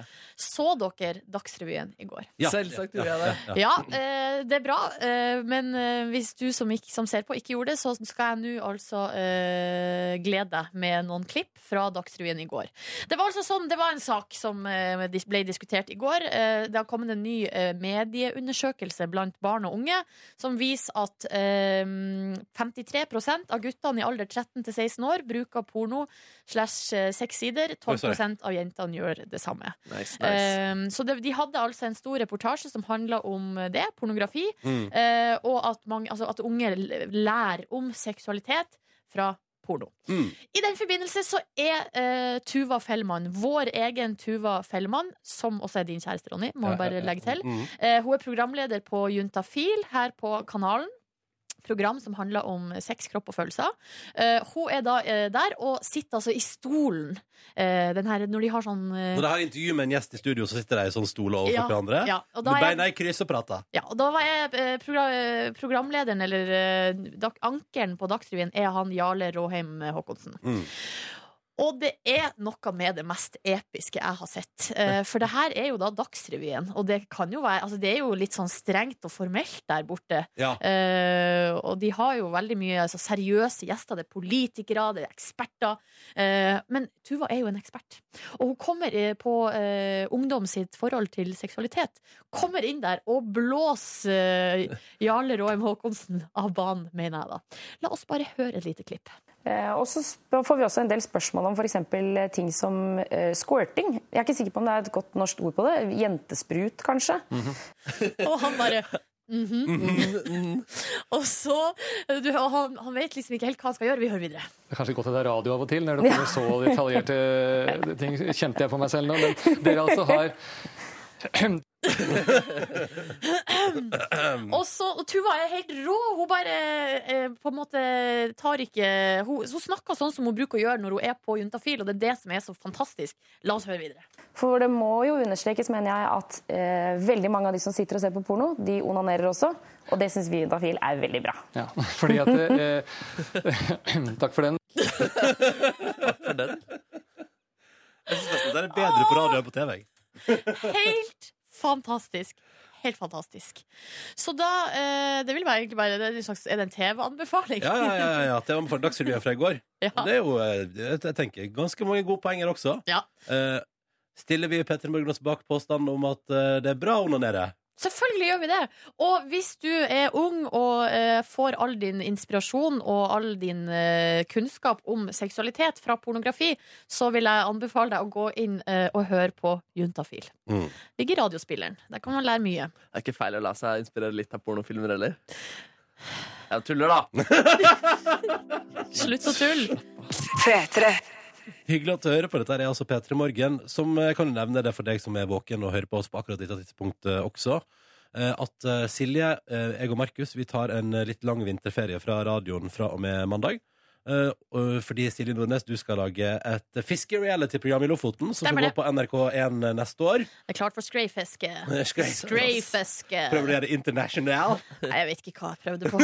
S2: så dere Dagsrevyen i går?
S1: Ja.
S3: Selvsagt gjorde jeg det.
S1: Ja.
S2: Ja, eh, det er bra, eh, men eh, hvis du som, ikke, som ser på ikke gjorde det, så skal jeg nå altså eh, glede deg med noen klipp fra Dagsrevyen i går. Det var altså sånn, det var en sak som eh, dis- ble diskutert i går. Eh, det har kommet en ny eh, medieundersøkelse blant barn og unge som viser at eh, 53 av guttene i alder 13 til 16 år bruker porno slash eh, sexsider.
S1: Oi, sorry.
S2: 12 av jentene gjør det samme.
S3: Nice, nice.
S2: Eh, Så det, de hadde altså en stor reportasje som handla om det, pornografi,
S1: Mm.
S2: eh, og at, mange, altså at unge l- lærer om seksualitet fra porno.
S1: Mm.
S2: I den forbindelse så er eh, Tuva Fellmann, vår egen Tuva Fellmann, som også er din kjæreste, Ronny,
S1: Ja,
S2: må jeg
S1: ja,
S2: bare
S1: ja.
S2: legge til.
S1: Mm.
S2: Eh, hun er programleder på Juntafil her på kanalen. program som handler om sex, kropp og følelser. Eh, hun er da eh, der og sitter altså i stolen eh, den her, når de har sånn eh,
S1: Når de har intervju med en gjest i studio, så sitter de i sånn stoler overfor
S2: ja,
S1: hverandre.
S2: Ja, og da
S1: Med
S2: er jeg-
S1: beina i kryss og prater.
S2: ja, og da var jeg eh, progra eh, programlederen, eller eh, dak ankeren på Dagsrevyen, er han Jarle Råheim Håkonsen.
S1: Mm.
S2: Og det er noe med det mest episke jeg har sett. Eh, for det her er jo da Dagsrevyen, og det kan jo være Altså, det er jo litt sånn strengt og formelt der borte.
S1: Ja.
S2: Eh, og de har jo veldig mye altså, seriøse gjester. Det er politikere, det er eksperter. Eh, men Tuva er jo en ekspert. Og hun kommer eh, på eh, ungdom sitt forhold til seksualitet. Kommer inn der og blåser eh, Jarle Råheim Haakonsen av banen, mener jeg da. La oss bare høre et lite klipp.
S9: Eh, Og så sp- får vi også en del spørsmål om f.eks. ting som eh, squirting. Jeg er ikke sikker på om det er et godt norsk ord på det. Jentesprut, kanskje.
S2: Og han bare mhm.
S3: Mm,
S2: Og så du, og han, han vet liksom ikke helt hva han skal gjøre. Vi hører videre.
S10: Det er kanskje godt at det er radio av og til, når det kommer så detaljerte ting, kjente jeg på meg selv nå. Men dere altså har
S2: Og, så, og Tuva er helt rå. Hun bare eh, på en måte tar ikke Hun, hun snakker sånn som hun bruker å gjøre når hun er på Juntafil, og det er det som er så fantastisk. La oss høre videre.
S9: For det må jo understrekes, mener jeg, at eh, veldig mange av de som sitter og ser på porno, de onanerer også. Og det syns vi i Dafil er veldig bra.
S10: Ja, fordi at eh, Takk for den.
S3: For den.
S1: Det er bedre på radio enn på TV. jeg.
S2: Helt fantastisk. Helt fantastisk. Så da eh, Det vil være egentlig bare det er en slags, Er det en TV-anbefaling?
S1: Ja, ja, ja, ja. Det var for Dagsrevyen fra i går.
S2: Ja.
S1: Det er jo, eh, jeg jeg tenker, ganske mange gode poenger også.
S2: Ja.
S1: Eh, stiller vi Petter Morgen oss bak påstanden om at eh, det er bra å onanere?
S2: Selvfølgelig gjør vi det. Og hvis du er ung og eh, får all din inspirasjon og all din eh, kunnskap om seksualitet fra pornografi, så vil jeg anbefale deg å gå inn eh, og høre på Juntafil.
S1: Mm.
S2: Ligger i radiospilleren. Der kan man lære mye.
S3: Det er ikke feil å la seg inspirere litt av pornofilmer heller. Jeg tuller, da.
S2: Slutt å tulle.
S1: Hyggelig at du hører på. Dette er altså P3 Morgen, som eh, kan jo nevne det for deg som er våken og hører på oss på akkurat dette tidspunktet også. eh, At eh, Silje, eh, jeg og Markus, vi tar en eh, litt lang vinterferie fra radioen fra og med mandag. Eh, og Fordi Silje Nordnes, du skal lage et fiskereality-program i Lofoten som skal
S2: Stemmer
S1: gå på NRK1 neste år.
S2: Det er klart for skreifiske.
S1: Prøver
S2: Skreifiske.
S1: å gjøre altså. det international.
S2: Nei, jeg vet ikke hva jeg prøvde på.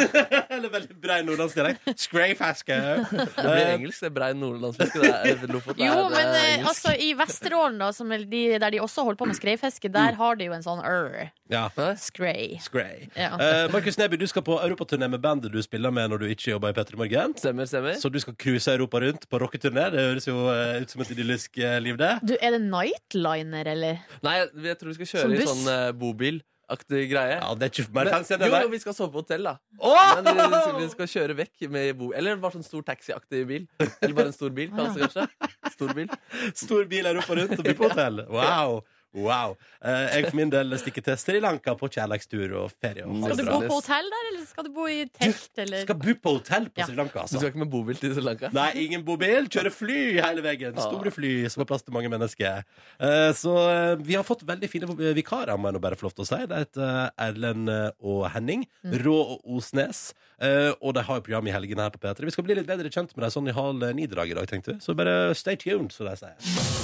S1: Eller veldig brei nordlandsk dialekt. Skreifiske.
S3: Det blir engelsk. Det er brei nordlandsfiske. Det er Lofoten.
S2: Jo,
S3: er,
S2: men
S3: eh,
S2: eh,
S3: engelsk.
S2: altså, i Vesterålen, da, som er de, der de også holder på med skreifiske,
S1: Mm.
S2: der har de jo en sånn rr,
S1: Ja.
S2: skrei.
S1: Skrei.
S2: Ja.
S1: Eh, Markus Neby, du skal på europaturné med bandet du spiller med når du ikke jobber i Petter Morgen.
S3: Stemmer, stemmer.
S1: Så du skal cruise Europa rundt på rocketurné. Det høres jo eh, ut som et idyllisk eh, liv, det.
S2: Du, er det nightliner, eller?
S3: Nei, jeg tror vi skal
S2: Som
S3: kjøre i
S2: buss?
S3: sånn eh, bobilaktig greie.
S1: Ja, det er ikke mer
S3: Men-
S1: fancy enn det
S3: jo, jo,
S1: der.
S3: vi skal sove på hotell, da.
S1: Åh!
S3: Men eh, vi, vi, skal, vi skal kjøre vekk med bo... Eller bare sånn stor taxiaktig bil. Eller bare en stor bil, kanskje. kanskje. Stor bil.
S1: Stor bil Europa rundt og bli på hotell. Wow. Wow. Eh, jeg for min del stikker til Sri Lanka på kjærlighetstur og ferie. Og
S2: Skal du
S1: alt
S2: bo
S1: bra.
S2: på hotell der, eller skal du bo i telt? Eller?
S1: skal bo på hotell på
S2: Ja.
S1: Sri Lanka,
S3: Du
S1: altså.
S3: skal ikke med bobil til Sri Lanka? Ah.
S1: Nei, ingen bobil. Kjøre fly hele veien. Store fly som har plass til mange mennesker. Eh, Så eh, vi har fått veldig fine eh, vikarer, må jeg nå bare få lov til å si. Det heter Erlend eh, og Henning. Rå og Osnes. Eh, Og de har jo program i helgene her på P3. Vi skal bli litt bedre kjent med dem sånn i halv ni-draget i dag, tenkte vi. Så bare stay tuned, som de sier.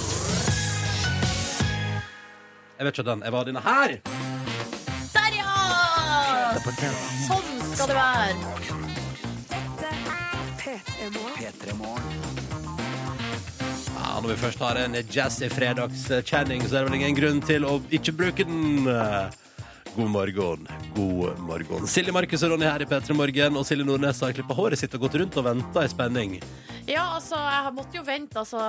S1: Jeg vet ikke den. Jeg var denne her.
S2: Der, ja! Sånn skal det være.
S1: Ja, når vi først har en jazzy fredagskjenning, så er det vel ingen grunn til å ikke bruke den. God morgen. God morgen. Silje Markus og Ronny her i P3 Morgen, og Silje Nordnes har klippa håret sitt og gått rundt og venta i spenning.
S2: Ja, altså, jeg måtte jo vente. Altså,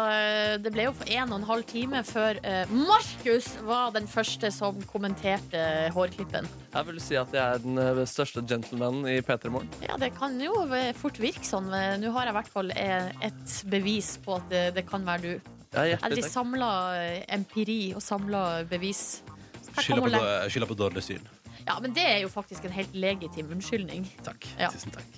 S2: det ble jo for en og en halv time før eh, Markus var den første som kommenterte hårklippen.
S3: Jeg vil si at jeg er den eh, største gentlemanen i P3 Morgen.
S2: Ja, det kan jo eh, fort virke sånn. men Nå har jeg i hvert fall eh, et bevis på at det, det kan være du.
S3: Ja,
S2: Eller
S3: hjertelig
S2: de
S3: takk.
S2: samla empiri og samla bevis. Her
S1: Skylder
S2: kommer
S1: på,
S2: le-
S1: dår- skylder på dårlig syn.
S2: Ja, men det er jo faktisk en helt legitim unnskyldning.
S1: Takk.
S2: Ja.
S1: Tusen takk.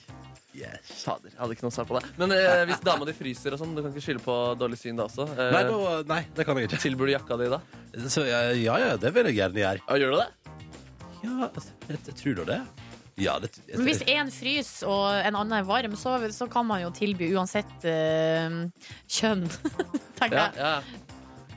S1: Yes.
S3: Fader, jeg hadde ikke noe svar på det. Men eh, hvis dama di fryser og sånn, du kan ikke skylde på dårlig syn da også. Eh,
S1: Nei, da, nei, det kan jeg ikke.
S3: Tilbyr du jakka di da?
S1: Så ja, ja, ja, det vil jeg gjerne gjøre.
S3: Ja, gjør du det?
S1: Ja, jeg, jeg tror nå det. Ja, det, jeg,
S2: Men hvis én fryser og en annen er varm, så, så kan man jo tilby uansett eh, kjønn, tenker
S3: Ja,
S2: jeg.
S3: ja.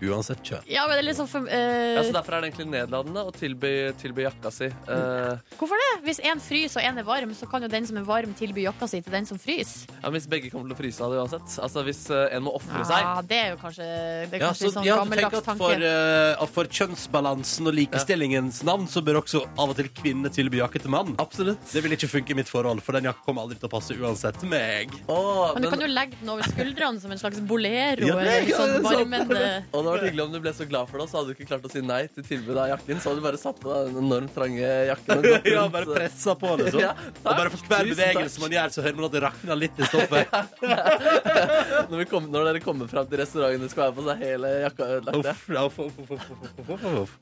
S1: uansett kjønn.
S2: Ja, men det er liksom for, eh,
S3: Ja, så Derfor er det egentlig nedladende å tilby, tilby jakka si. Eh,
S2: Hvorfor det? Hvis én fryser og én er varm, så kan jo den som er varm, tilby jakka si til den som fryser.
S3: ja, men hvis begge kommer til å fryse av det uansett. Altså Hvis eh, en må ofre seg.
S2: Ja, Ah, det er jo kanskje, det er
S1: Ja,
S2: kanskje
S1: så,
S2: litt sånn
S1: ja, du tenker
S2: gammeldags
S1: at
S2: tanke.
S1: for, eh, at for kjønnsbalansen og likestillingens navn, så bør også av og til kvinne tilby jakke til mann.
S3: Absolutt.
S1: Det vil ikke funke i mitt forhold, for den jakka kommer aldri til å passe uansett meg.
S3: Åh,
S2: Men du kan
S3: men-
S2: jo legge den over skuldrene som en slags bolero.
S1: Ja, det-
S2: eller
S1: ja, det
S2: sånn
S1: er sant.
S2: varmende
S3: Og det hadde vært hyggelig om du ble så glad for det, så hadde du ikke klart å si nei til tilbudet av jakken. Så hadde du bare satt på deg den enormt trange jakken. og gått
S1: Ja,
S3: rundt.
S1: bare pressa på, liksom.
S3: Ja,
S1: og bare for hver
S3: Tusen
S1: bevegelse
S3: takk.
S1: man gjør, så hører man at det rakner litt i stoffet.
S3: Når, vi kom, når dere kommer fram til restauranten, det skal være på seg hele jakka ødelagt.
S1: Uff, ja, uff, uff, uff, uff, uff, uff, uff.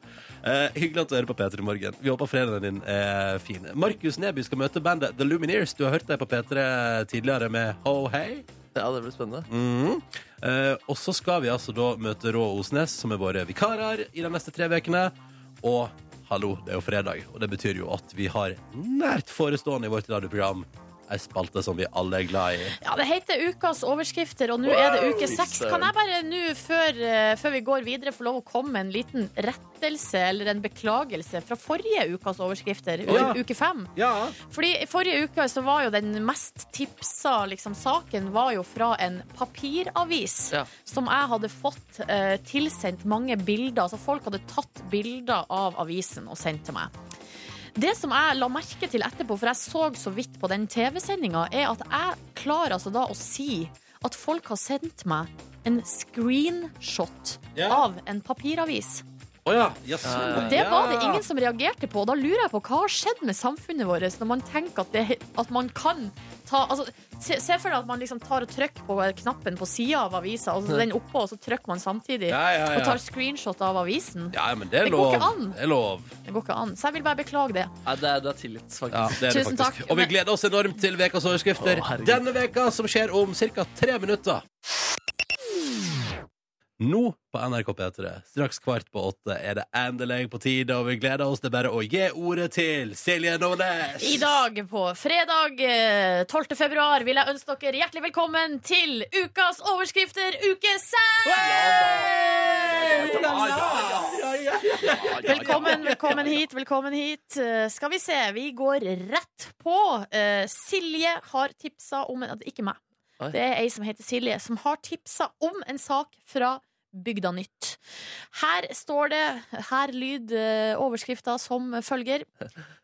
S1: Eh, hyggelig at du hører på P3 Morgen. Vi håper fredagen din er fin. Markus Neby skal møte bandet The Lumineers. Du har hørt dem på P3 tidligere med Ho Hey.
S3: Ja, det blir spennende.
S1: Mhm. Eh, og så skal vi altså da møte Rå Osnes, som er våre vikarer i de neste tre ukene. Og hallo, det er jo fredag, og det betyr jo at vi har nært forestående i vårt radioprogram ei spalte som vi alle er glad i.
S2: Ja, det heter Ukas overskrifter, og nå er det uke seks. Kan jeg bare nå, før, eh, før vi går videre, få lov å komme med en liten rettelse eller en beklagelse fra forrige ukas overskrifter, u-
S1: Ja.
S2: uke fem?
S1: Ja.
S2: Fordi i forrige uke så var jo den mest tipsa liksom, saken var jo fra en papiravis
S3: Ja.
S2: som jeg hadde fått eh, tilsendt mange bilder. Altså folk hadde tatt bilder av avisen og sendt til meg. Det som jeg la merke til etterpå, for jeg så så vidt på den TV-sendinga, er at jeg klarer altså da å si at folk har sendt meg en screenshot
S1: Ja.
S2: av en papiravis.
S1: Å ja. ja sånn,
S2: Det var det
S1: ja.
S2: ingen som reagerte på. og Da lurer jeg på hva har skjedd med samfunnet vårt når man tenker at, det, at man kan ta altså, se, se for deg at man liksom tar og trykker på knappen på sida av avisa, altså den oppå, og så trykker man samtidig.
S1: Ja, ja, ja.
S2: Og tar screenshot av avisen.
S1: Ja, men det er
S2: Det går
S1: lov.
S2: ikke an.
S1: Det er lov.
S2: Det går ikke an. Så jeg vil bare beklage det.
S3: Nei, det, er, det er tillit, faktisk.
S1: Ja, det er det
S2: Tusen
S1: faktisk.
S2: takk.
S1: Og vi gleder oss enormt til ukas overskrifter
S3: Å, herregud.
S1: denne veka som skjer om ca. tre minutter. Nå på NRK P3, straks kvart på åtte, er det endelig på tide, og vi gleder oss til bare å gi ordet til Silje Nordnes.
S2: I dag, på fredag eh, 12. februar, vil jeg ønske dere hjertelig velkommen til ukas overskrifter uke 6! Velkommen, velkommen hit, velkommen hit. Eh, skal vi se, vi går rett på. Eh, Silje har tipsa om en Ikke meg.
S3: Oi.
S2: Det er ei som heter Silje, som har tipsa om en sak fra Bygda Nytt. Her står det Her lyd eh, overskrifta som følger.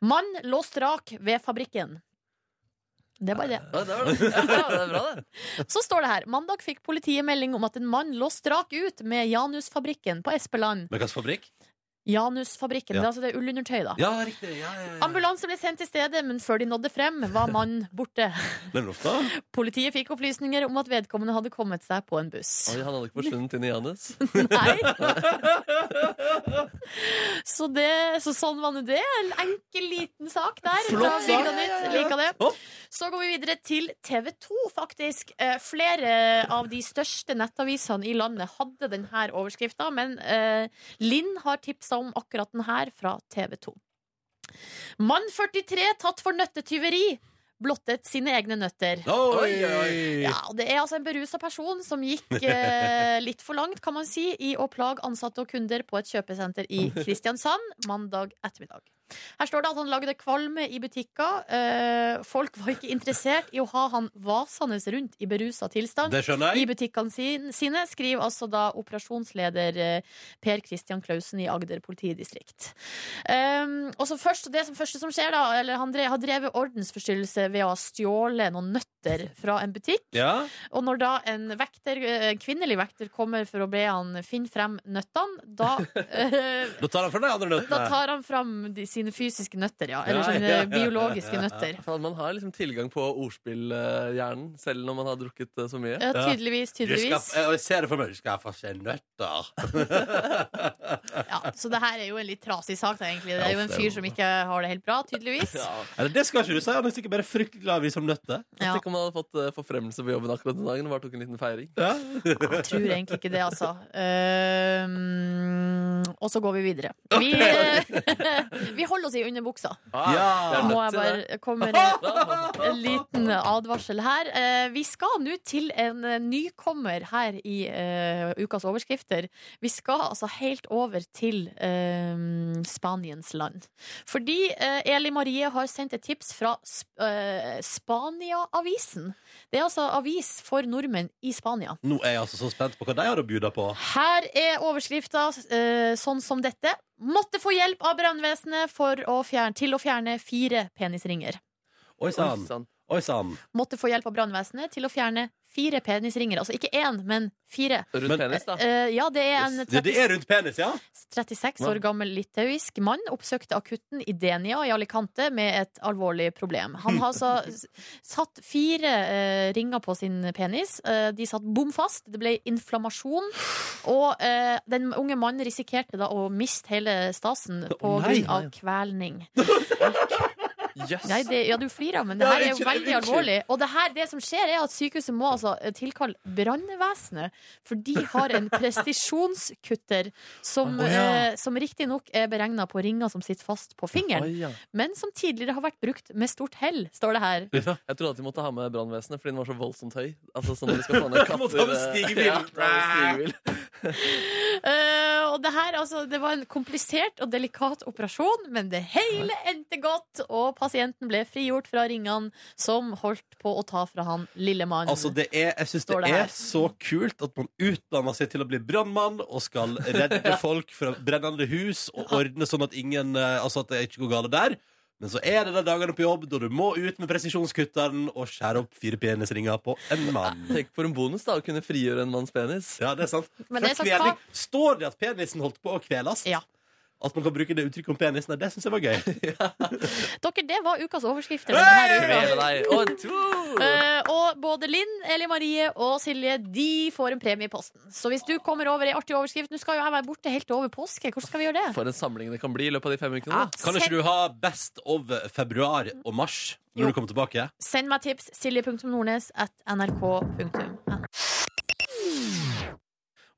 S2: Mann låst rak ved fabrikken. Det er bare det.
S3: Ja, det, var det. Ja, det er bra, det.
S2: Så står det her. Mandag fikk politiet melding om at en mann låst rak ut med Janusfabrikken på Espeland.
S1: Men hvilken fabrikk?
S2: Janusfabrikken, det er altså det ullundertøy, da.
S1: Ja, riktig. Ja, ja, ja.
S2: Ambulanse ble sendt til stedet, men før de nådde frem, var mannen borte.
S1: Men ofte.
S2: Politiet fikk opplysninger om at vedkommende hadde kommet seg på en buss.
S3: Oi, han hadde ikke forsvunnet inn i Janus.
S2: Nei. Så, det, så sånn var nå det. En enkel, liten sak der. fra
S1: Flott sak.
S2: Bygda Nytt. Liker det.
S1: Å.
S2: Så går vi videre til TV 2, faktisk. Eh, Flere av de største nettavisene i landet hadde denne overskrifta, men eh, Linn har tipsa om akkurat den her fra TV 2. Mann 43 tatt for nøttetyveri. Blottet sine egne nøtter.
S1: Oi, oi.
S2: Ja, og Det er altså en berusa person som gikk eh, litt for langt kan man si, i å plage ansatte og kunder på et kjøpesenter i Kristiansand mandag ettermiddag. Her står det at han lagde kvalme i butikker. Eh, folk var ikke interessert i å ha han vasende rundt i berusa tilstand.
S1: Det skjønner
S2: I
S1: jeg.
S2: butikkene sin- sine, skriver altså da operasjonsleder eh, Per Christian Klausen i Agder politidistrikt. Um, og så først, det som første som skjer, da eller Han drev, har drevet ordensforstyrrelse ved å ha stjålet noen nøtter fra en butikk.
S1: Ja.
S2: Og når da en, vekter, eh, en kvinnelig vekter kommer for å be han finne frem nøttene, da, eh,
S1: Da tar han fra de andre
S2: da
S1: nøttene.
S2: tar han fram de, sine fysiske nøtter, ja. Eller
S1: Ja,
S2: sine
S1: ja, ja, ja, ja.
S2: biologiske nøtter.
S3: Faen, man har liksom tilgang på ordspillhjernen, selv når man har drukket eh, så mye.
S2: Ja, tydeligvis,
S1: Du skal,
S2: tydeligvis.
S1: jeg ser det for meg. Du skal få seg nøtter.
S2: Ja, så det her er jo en litt trasig sak, da, egentlig. Det er jo en fyr som ikke har det helt bra, tydeligvis.
S1: Eller det skal ikke du si. Han er sikkert bare fryktelig glad i som nøtter.
S2: Ja.
S3: Tenk om man hadde fått eh, forfremmelse på jobben akkurat den dagen og bare tok en liten feiring.
S1: Ja.
S2: Jeg tror egentlig ikke det, altså. Ehm, og så går eh, vi videre. Vi, vi holder oss i underbuksa.
S3: Ah,
S1: Ja.
S3: det er
S2: Må
S3: nødt
S2: jeg
S3: til det.
S2: bare komme med en- en liten advarsel her. Eh, Vi skal nå til en eh, nykommer her i eh, ukas overskrifter. Vi skal altså helt over til eh, Spaniens land. Fordi eh, Eli Marie har sendt et tips fra Sp- eh, Spania-avisen. Det er altså avis for nordmenn i Spania.
S1: Nå er jeg altså så spent på hva de har å bjuda på.
S2: Her er overskrifta eh, sånn som dette. Måtte få hjelp av brannvesenet for å fjerne, til å fjerne fire penisringer.
S1: Oi sann.
S3: Oi, sann.
S1: Oi sann.
S2: måtte få hjelp av brannvesenet til å fjerne fire penisringer. Altså ikke én, men fire.
S3: Rundt
S1: Men-
S3: penis, da.
S2: Eh, ja, det er en
S1: Det, det
S2: 30,
S1: er rundt penis, ja?
S2: 36 år gammel litauisk mann oppsøkte akutten i Denia i Alicante med et alvorlig problem. Han har altså s- satt fire eh, ringer på sin penis. Eh, de satt bom fast. Det ble inflammasjon. Og eh, den unge mannen risikerte da å miste hele stasen på
S1: Å, nei.
S2: grunn av kvelning.
S3: Jøss.
S2: Nei, det, ja, du flirer, men det
S1: Ja,
S2: her er jo
S1: unnskyld,
S2: veldig
S1: unnskyld.
S2: alvorlig. Og det, her, det som skjer, er at sykehuset må altså eh, tilkalle brannvesenet, for de har en presisjonskutter som,
S1: Å, ja.
S2: eh, som riktignok er beregna på ringer som sitter fast på fingeren,
S3: Oi, ja.
S2: men som tidligere har vært brukt med stort hell, står det her.
S3: Jeg trodde at de måtte ha med brannvesenet fordi den var så voldsomt høy. Altså sånn at de skal få ned
S1: De måtte
S3: katter
S1: ha med stigebil.
S3: ja, det var stigebil.
S2: Eh, og det her, altså, det var en komplisert og delikat operasjon, men det hele endte godt, og pasienten ble frigjort fra ringene som holdt på å ta fra han lille mann.
S1: Altså, det er, jeg syns det,
S2: Står det her.
S1: er så kult at man utdanner seg til å bli brannmann og skal redde folk fra brennende hus og ordne sånn at, ingen, eh, altså at det ikke går galt der. Men så er det de dagene på jobb da du må ut med presisjonskutteren og skjære opp fire penisringer på en mann.
S3: Tenk for en bonus da, å kunne frigjøre en manns penis.
S1: Ja, det er sant.
S2: Men det er
S1: Fra
S2: så
S1: kveling- Står det at penisen holdt på å kveles?
S2: Ja.
S1: At man kan bruke det uttrykket om penisen? Nei, det syns jeg var gøy.
S2: Dere, det var ukas overskrifter. denne uka.
S3: Kvele deg. Og en to!
S2: Eh, og både Linn, Eli Marie og Silje De får en premie i posten. Så hvis du kommer over ei artig overskrift Nå skal jo jeg være borte helt over påske. Hvordan skal vi gjøre det?
S3: For en samling det kan bli i løpet av de fem ukene. da.
S2: Ja,
S1: Ah, Kan ikke
S2: send,
S1: du ha Best of februar og mars når
S2: Jo.
S1: du kommer tilbake?
S2: send meg tips. Silje.nordnes at nrk.no.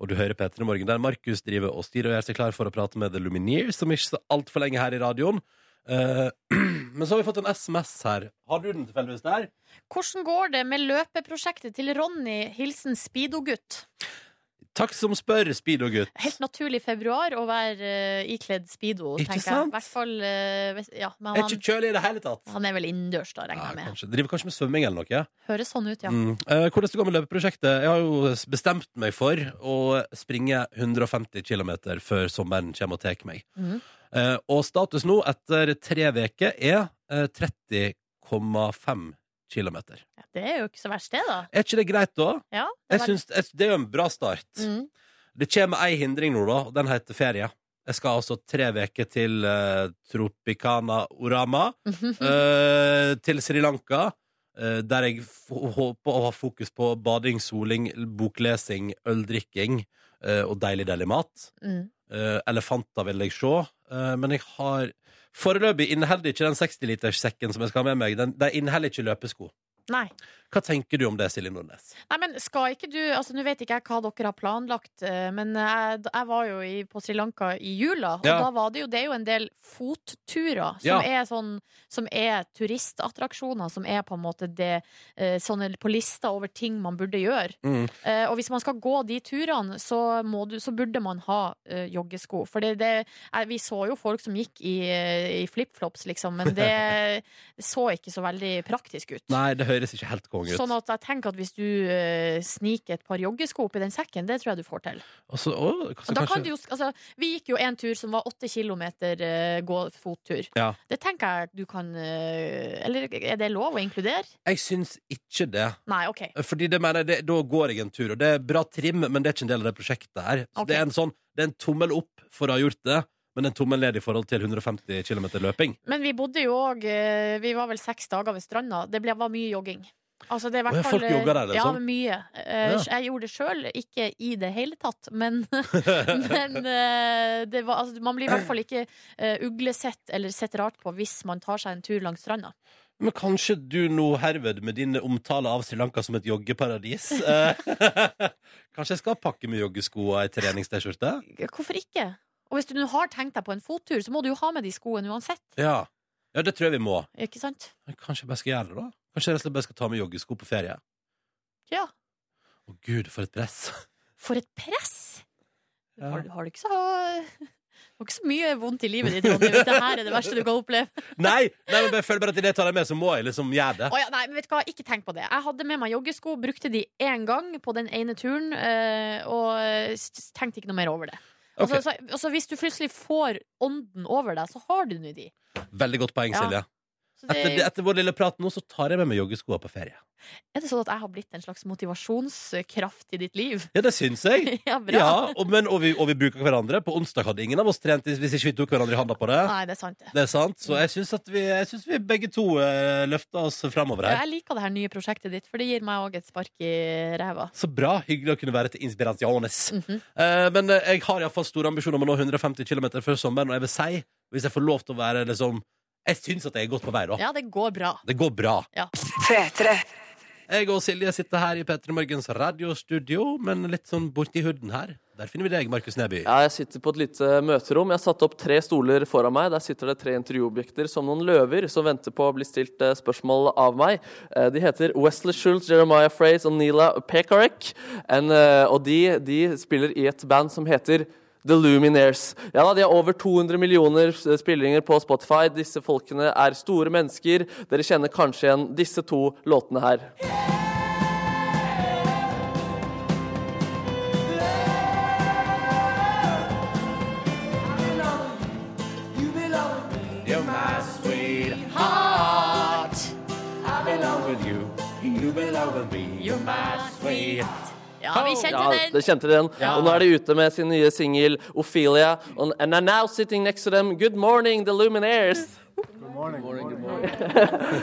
S1: Og du hører Petter i morgen, der Markus driver og styrer og gjør seg klar for å prate med The Lumineers, som ikke så altfor lenge her i radioen. Eh, men så har vi fått en SMS her. Har du den tilfeldigvis der?
S2: Hvordan går det med løpeprosjektet til Ronny? Hilsen Speedo-gutt.
S1: Takk som spør, Speedo-gutt.
S2: Helt naturlig i februar å være eh, ikledd Speedo,
S1: Ikke
S2: tenker jeg.
S1: sant?
S2: I hvert fall eh, hvis- Ja, men
S1: Er ikke
S2: han,
S1: kjølig i det hele tatt.
S2: han er vel innendørs, da,
S1: Ja,
S2: regner jeg med.
S1: kanskje. Driver kanskje med svømming eller noe.
S2: Høres sånn ut, ja.
S1: Mm. Eh, hvordan det går med løpeprosjektet? Jeg har jo bestemt meg for å springe 150 km før sommeren kommer og tar meg.
S2: Mhm.
S1: Eh, og status nå, etter tre uker, er eh, 30,5 km.
S2: Det er jo ikke så verst, det, da.
S1: Er ikke det greit, da?
S2: Ja, det
S1: Jeg
S2: var-
S1: syns, jeg, det er jo en bra start.
S2: Mm.
S1: Det kommer ei hindring nå, da, og den heter ferie. Jeg skal altså tre uker til eh, Tropicana Orama,
S2: Mhm.
S1: eh, til Sri Lanka, eh, der jeg f- håper å ha fokus på bading, soling, boklesing, øldrikking eh, og deilig, deilig mat.
S2: Mm.
S1: Eh, elefanter vil jeg se, eh, men jeg har Foreløpig inneholder ikke den 60-literssekken som jeg skal ha med meg, den, de inneholder ikke løpesko.
S2: Nei.
S1: Hva tenker du om det, Silje Nordnes?
S2: Nei, men skal ikke du Altså, nå vet ikke jeg hva dere har planlagt, eh, men jeg, jeg var jo i, på Sri Lanka i jula, og
S1: Ja.
S2: da var det jo Det er jo en del fotturer
S1: Ja.
S2: som er sånn Som er turistattraksjoner, som er på en måte det eh, Sånne på lista over ting man burde gjøre.
S1: Mm.
S2: Eh, og hvis man skal gå de turene, så, må du, så burde man ha eh, joggesko. For det, det, eh, vi så jo folk som gikk i, eh, i flipflops, liksom, men det så ikke så veldig praktisk ut.
S1: Nei, det høres ikke helt konge ut.
S2: Sånn at jeg tenker at hvis du eh, sniker et par joggesko oppi den sekken, det tror jeg du får til.
S1: Og så- å, så
S2: da
S1: kanskje-
S2: kan du jo, altså, vi gikk jo en tur som var åtte kilometer eh, gå fottur.
S1: Ja.
S2: Det tenker jeg du kan eh, Eller er det lov å inkludere?
S1: Jeg syns ikke det.
S2: Nei, OK.
S1: Fordi det mener jeg, det, Da går jeg en tur, og det er bra trim, men det er ikke en del av det prosjektet her. Så
S2: Ok.
S1: det, er en sånn, det er en tommel opp for å ha gjort det, men en tommel ned i forhold til 150 km løping.
S2: Men vi bodde jo òg eh, Vi var vel seks dager ved stranda. Det ble, var mye jogging. Altså, det er i hvert
S1: Å, ja,
S2: fall,
S1: folk jogger der,
S2: eh, Ja,
S1: liksom?
S2: mye. Eh,
S1: Ja.
S2: Jeg gjorde det sjøl, ikke i det hele tatt, men, men eh, det var, altså, man blir i hvert fall ikke eh, uglesett eller sett rart på hvis man tar seg en tur langs stranda.
S1: Men kanskje du nå herved, med din omtale av Sri Lanka som et joggeparadis eh, Kanskje jeg skal pakke med joggesko og ei treningst-T-skjorte?
S2: Hvorfor ikke? Og hvis du nå har tenkt deg på en fottur, så må du jo ha med de skoene uansett.
S1: Ja. ja, det tror jeg vi må.
S2: Ikke sant?
S1: Men kanskje jeg bare skal gjøre det, da? Kanskje jeg rett og slett bare skal ta med joggesko på ferie?
S2: Ja.
S1: Å gud, for et press.
S2: For et press!
S1: Ja.
S2: Har, har du ikke så du har ikke så mye vondt i livet ditt, Ronny, hvis det her er det verste du kan oppleve.
S1: Nei, nei men jeg føler bare at idet jeg tar deg med, så må jeg liksom gjøre det.
S2: Å ja, nei, men vet du hva, ikke tenk på det. Jeg hadde med meg joggesko, brukte de én gang på den ene turen, eh, og s- tenkte ikke noe mer over det. Og
S1: Ok,
S2: så- så, og så hvis du plutselig får ånden over deg, så har du nå de.
S1: Veldig godt poeng,
S2: Ja.
S1: Silje.
S2: Så
S1: Etter, det- etter vår lille prat nå, så tar jeg med meg joggeskoa på ferie.
S2: er det sånn at jeg har blitt en slags motivasjonskraft i ditt liv?
S1: Ja, det syns jeg.
S2: ja, bra.
S1: Ja, og, men, og, vi, og vi bruker hverandre. På onsdag hadde ingen av oss trent hvis ikke vi tok hverandre i handa på det.
S2: Nei, det er sant, det.
S1: Det er sant, Så jeg syns at vi, jeg synes vi begge to eh, løfta oss framover
S2: Ja,
S1: her.
S2: Jeg liker det her nye prosjektet ditt, for det gir meg òg et spark i ræva.
S1: Så bra. Hyggelig å kunne være til inspirasjones.
S2: Mhm.
S1: Eh, men eh, jeg har iallfall store ambisjoner om å nå 150 km før sommeren, og jeg vil si, hvis jeg får lov til å være liksom Jeg syns at jeg er godt på vei, da.
S2: Ja, det går bra.
S1: Det går bra.
S2: Ja.
S1: Jeg og Silje sitter her i P3 Morgens radiostudio, men litt sånn borti huden her. Der finner vi deg, Markus Neby.
S3: Ja, jeg sitter på et lite møterom. Jeg har satt opp tre stoler foran meg. Der sitter det tre intervjuobjekter som noen løver som venter på å bli stilt eh, spørsmål av meg. Eh, De heter Wesley Schultz, Jeremiah Fraze og Nila Pekarek. En, eh, Og de, de spiller i et band som heter The Lumineers. Ja da, De har over 200 millioner eh, spillinger på Spotify. Disse folkene er store mennesker. Dere kjenner kanskje igjen disse to låtene her.
S2: Ja,
S11: Oh.
S2: vi
S3: Ja,
S2: kjente
S3: det
S2: den.
S3: kjente den. Og nå er de ute med sin nye singel 'Ophelia'. On- And I'm now sitting next to them. Good morning, the Luminaires.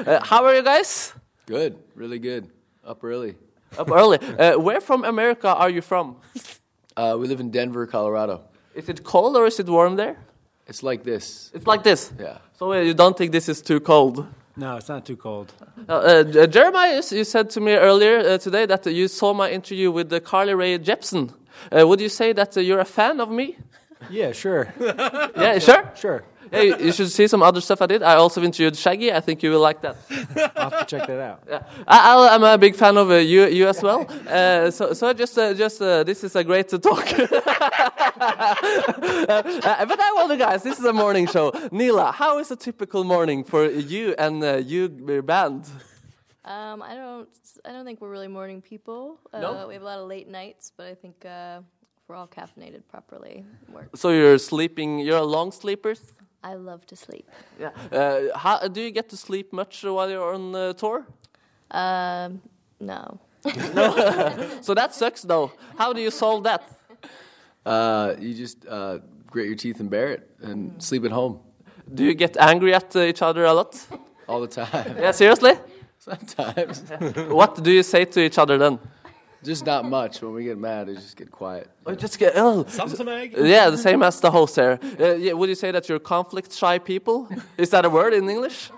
S3: Uh, how are you guys?
S12: Good, really good. Up early.
S3: Up early. Uh, where from America are you from?
S12: Uh, we live in Denver, Colorado.
S3: Is it cold or is it warm there?
S12: It's like this.
S3: It's like this.
S12: Yeah.
S3: So uh, you don't think this is too cold?
S11: No, it's not too cold.
S3: Uh, uh, J- Jeremiah, you, s- you said to me earlier uh, today that you saw my interview with uh, Carly Rae Jepsen. Uh, would you say that uh, you're a fan of me?
S11: Yeah, sure,
S3: Yeah, sure.
S11: sure.
S3: Yeah, you, you should see some other stuff I did. I also interviewed Shaggy. I think you will like that.
S11: I'll have to check that out.
S3: I, I'll- I'm a big fan of uh, you, you as well. Uh, so, so just, uh, just uh, this is a great uh, talk. Uh, but I wonder, guys, this is a morning show. Nila, how is a typical morning for you and uh, you your band?
S13: Um, I don't. I don't think we're really morning people. Uh,
S3: No?
S13: We have a lot of late nights, but I think uh, we're all caffeinated properly. Work.
S3: So you're sleeping. You're a long sleepers.
S13: I love to sleep.
S3: Yeah. Uh, how, do you get to sleep much while you're on uh, tour?
S13: Um, no.
S3: So that sucks, though. How do you solve that?
S12: Uh, you just uh, grit your teeth and bear it and sleep at home
S3: Do you get angry at uh, each other a lot?
S12: all the time.
S3: Yeah, seriously.
S12: Sometimes.
S3: What do you say to each other then?
S12: just not much. When we get mad, we just get quiet.
S3: Oh, just get oh.
S1: Samme som meg.
S3: Yeah, the same as the host here. Uh, yeah, would you say that you're conflict shy people? Is that a word in English?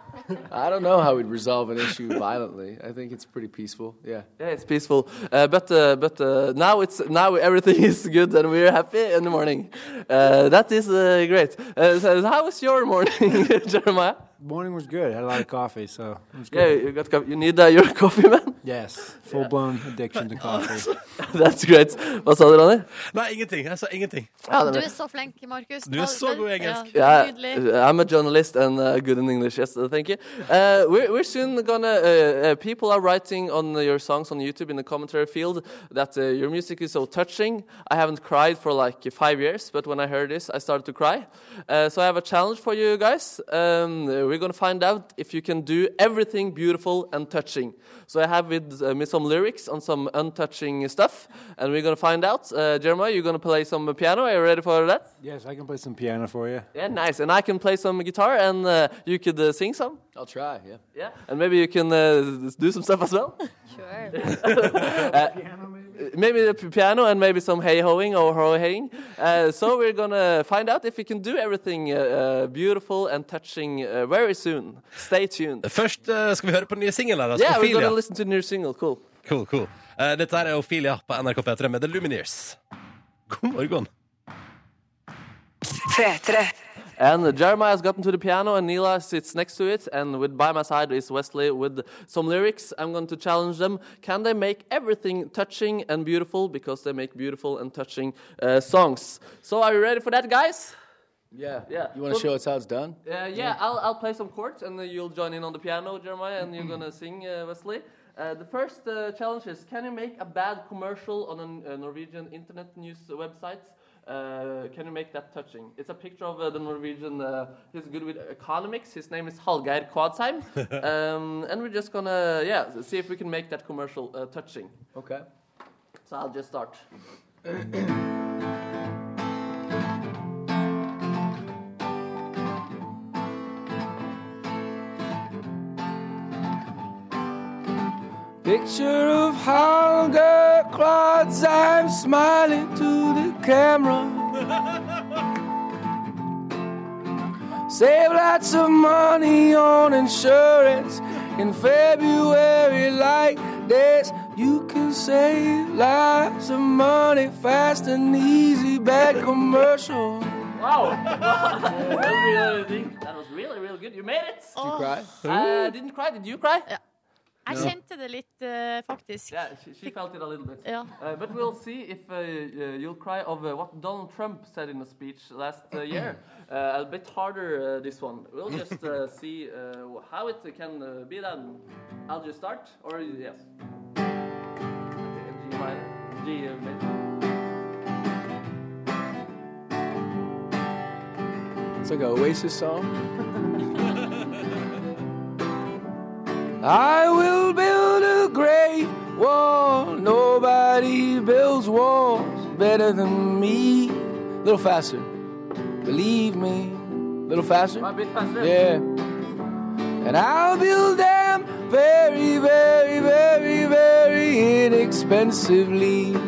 S12: I don't know how we'd resolve an issue violently. I think it's pretty peaceful. Yeah.
S3: Yeah, it's peaceful. Uh, but uh, but uh, now it's now everything is good and we're happy in the morning. Uh, that is uh, great. Uh, so how was your morning, Jeremiah?
S11: Morning was good. Had a lot of coffee, so it was
S3: Yeah,
S11: good.
S3: you got co- you need uh, your coffee, man.
S11: Yes, full blown addiction to coffee.
S3: That's great. Hva sa du, Ronny?
S1: Nei, ingenting. Jeg sa ingenting.
S3: Ja,
S2: Du
S3: det-
S2: er så flink, Markus.
S1: Du er så god i engelsk.
S2: Ja,
S3: Yeah,
S2: nydelig.
S3: er- I'm a journalist and uh, good in English. Yes, uh, thank you. Uh, we're, we're soon gonna. Uh, uh, people are writing on your songs on YouTube in the commentary field that uh, your music is so touching. I haven't cried for like five years, but when I heard this, I started to cry. Uh, so I have a challenge for you guys. Um, uh, we're gonna find out if you can do everything beautiful and touching. So I have with uh, me some lyrics on some untouching stuff, and we're gonna find out. Uh, Jeremiah, you're gonna play some piano. Are you ready for that?
S11: yes, I can play some piano for you.
S3: Yeah, nice. And I can play some guitar, and uh, you could uh, sing some.
S12: I'll try. Yeah.
S3: Yeah. And maybe you can uh, do some stuff as well. Uh,
S13: Sure.
S3: Maybe the p- piano and maybe some hey hoing or ho heying. Uh, so we're gonna find out if we can do everything uh, uh, beautiful and touching uh, very soon. Stay tuned.
S1: Først eh, skal vi høre på den nye singelen
S3: Yeah,
S1: her. altså.
S3: we're
S1: Ophelia.
S3: gonna listen to the new single. Cool.
S1: Cool, cool. Eh, dette her er Ophelia på NRK P3 med The Lumineers. God morgen.
S3: And Jeremiah has gotten to the piano, and Neela sits next to it. And with by my side is Wesley with some lyrics. I'm going to challenge them. Can they make everything touching and beautiful? Because they make beautiful and touching uh, songs. So are you ready for that, guys?
S12: Yeah.
S3: Yeah.
S12: You want to show us how it's done?
S3: Uh, yeah, I'll, I'll play some chords, and then you'll join in on the piano, Jeremiah, and you're gonna sing, uh, Wesley. Uh, the first uh, challenge is: Can you make a bad commercial on a N- a Norwegian internet news website? Uh, can you make that touching? It's a picture of uh, the Norwegian. Uh, he's good with economics. His name is Hallgeir Kvadsheim, um, and we're just gonna yeah s- see if we can make that commercial uh, touching.
S12: Okay.
S3: So I'll just start.
S5: Picture of hunger clouds, I'm smiling to the camera. Save lots of money on insurance in February, like this. You can save lots of money fast and easy. Bad commercial.
S3: Wow! that was really amazing. That was really, really good. You made it. Did
S12: you cry?
S3: I uh, didn't cry. Did you cry? Yeah.
S2: Jeg
S3: No.
S2: kjente det litt, eh, faktisk.
S3: she, she felt it a little bit.
S2: Yeah.
S3: Uh, but we'll see if uh, uh, you'll cry of uh, what Donald Trump said in a speech last uh, year. Uh, a bit harder, uh, this one. We'll just uh, see uh, how it can uh, be done. I'll just start, or yes.
S2: Mm.
S3: Okay, G minor. G uh, major.
S12: It's like an Oasis song.
S5: I will build a great wall. Nobody builds walls better than me. A little faster. Believe me. A little faster.
S3: A bit faster.
S5: Yeah. And I'll build them very, very, very, very inexpensively.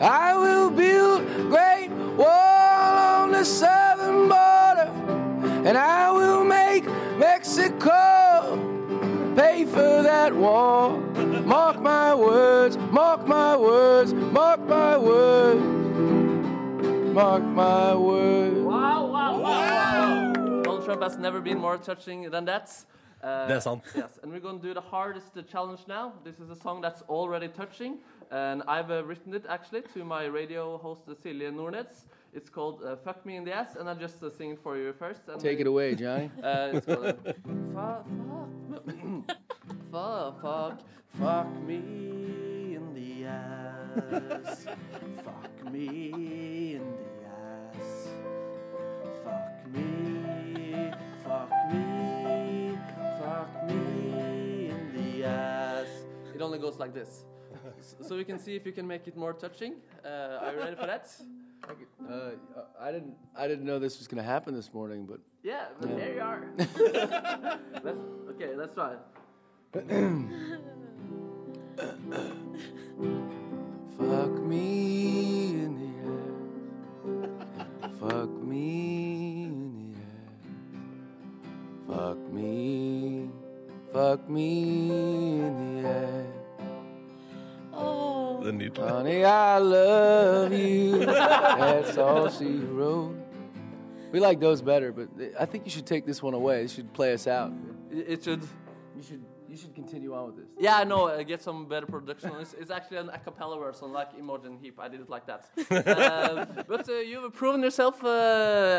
S5: I will build great wall on the southern border and I will make Mexico pay for that wall. Mark my words, mark my words, mark my words, mark my words.
S3: Wow, wow, wow! Donald Trump has never been more touching than that. Uh,
S1: Det er sant.
S3: Yes, and we're going to do the hardest uh, challenge now. This is a song that's already touching, and I've uh, written it actually to my radio host uh, Silje Nornets. It's called uh, "Fuck Me in the Ass," and I'll just uh, sing it for you first. And
S12: Take it away, Johnny.
S3: Uh, it's called uh, "Fuck, fuck, fuck, fuck, fuck me in the ass, fuck me in the ass, fuck me, fuck me, fuck me in the ass." It only goes like this. S- So we can see if you can make it more touching. Uh, are you ready for that?
S12: Uh, I didn't. I didn't know this was gonna happen this morning, but
S3: Yeah, but
S12: Yeah.
S3: there you are. let's, okay, let's try.
S5: Fuck me in the ass. Fuck me in the ass. Fuck me. Fuck me in the ass.
S2: Oh.
S5: Honey, I love you. That's all she wrote.
S12: we like those better. But I think you should take this one away. It should play us out.
S3: It should.
S12: You should. You should continue on with this.
S3: Yeah, no, uh, get some better production. It's, it's actually an a cappella version, like Imogen Heap. I did it like that. Uh, but uh, you've proven yourself, uh,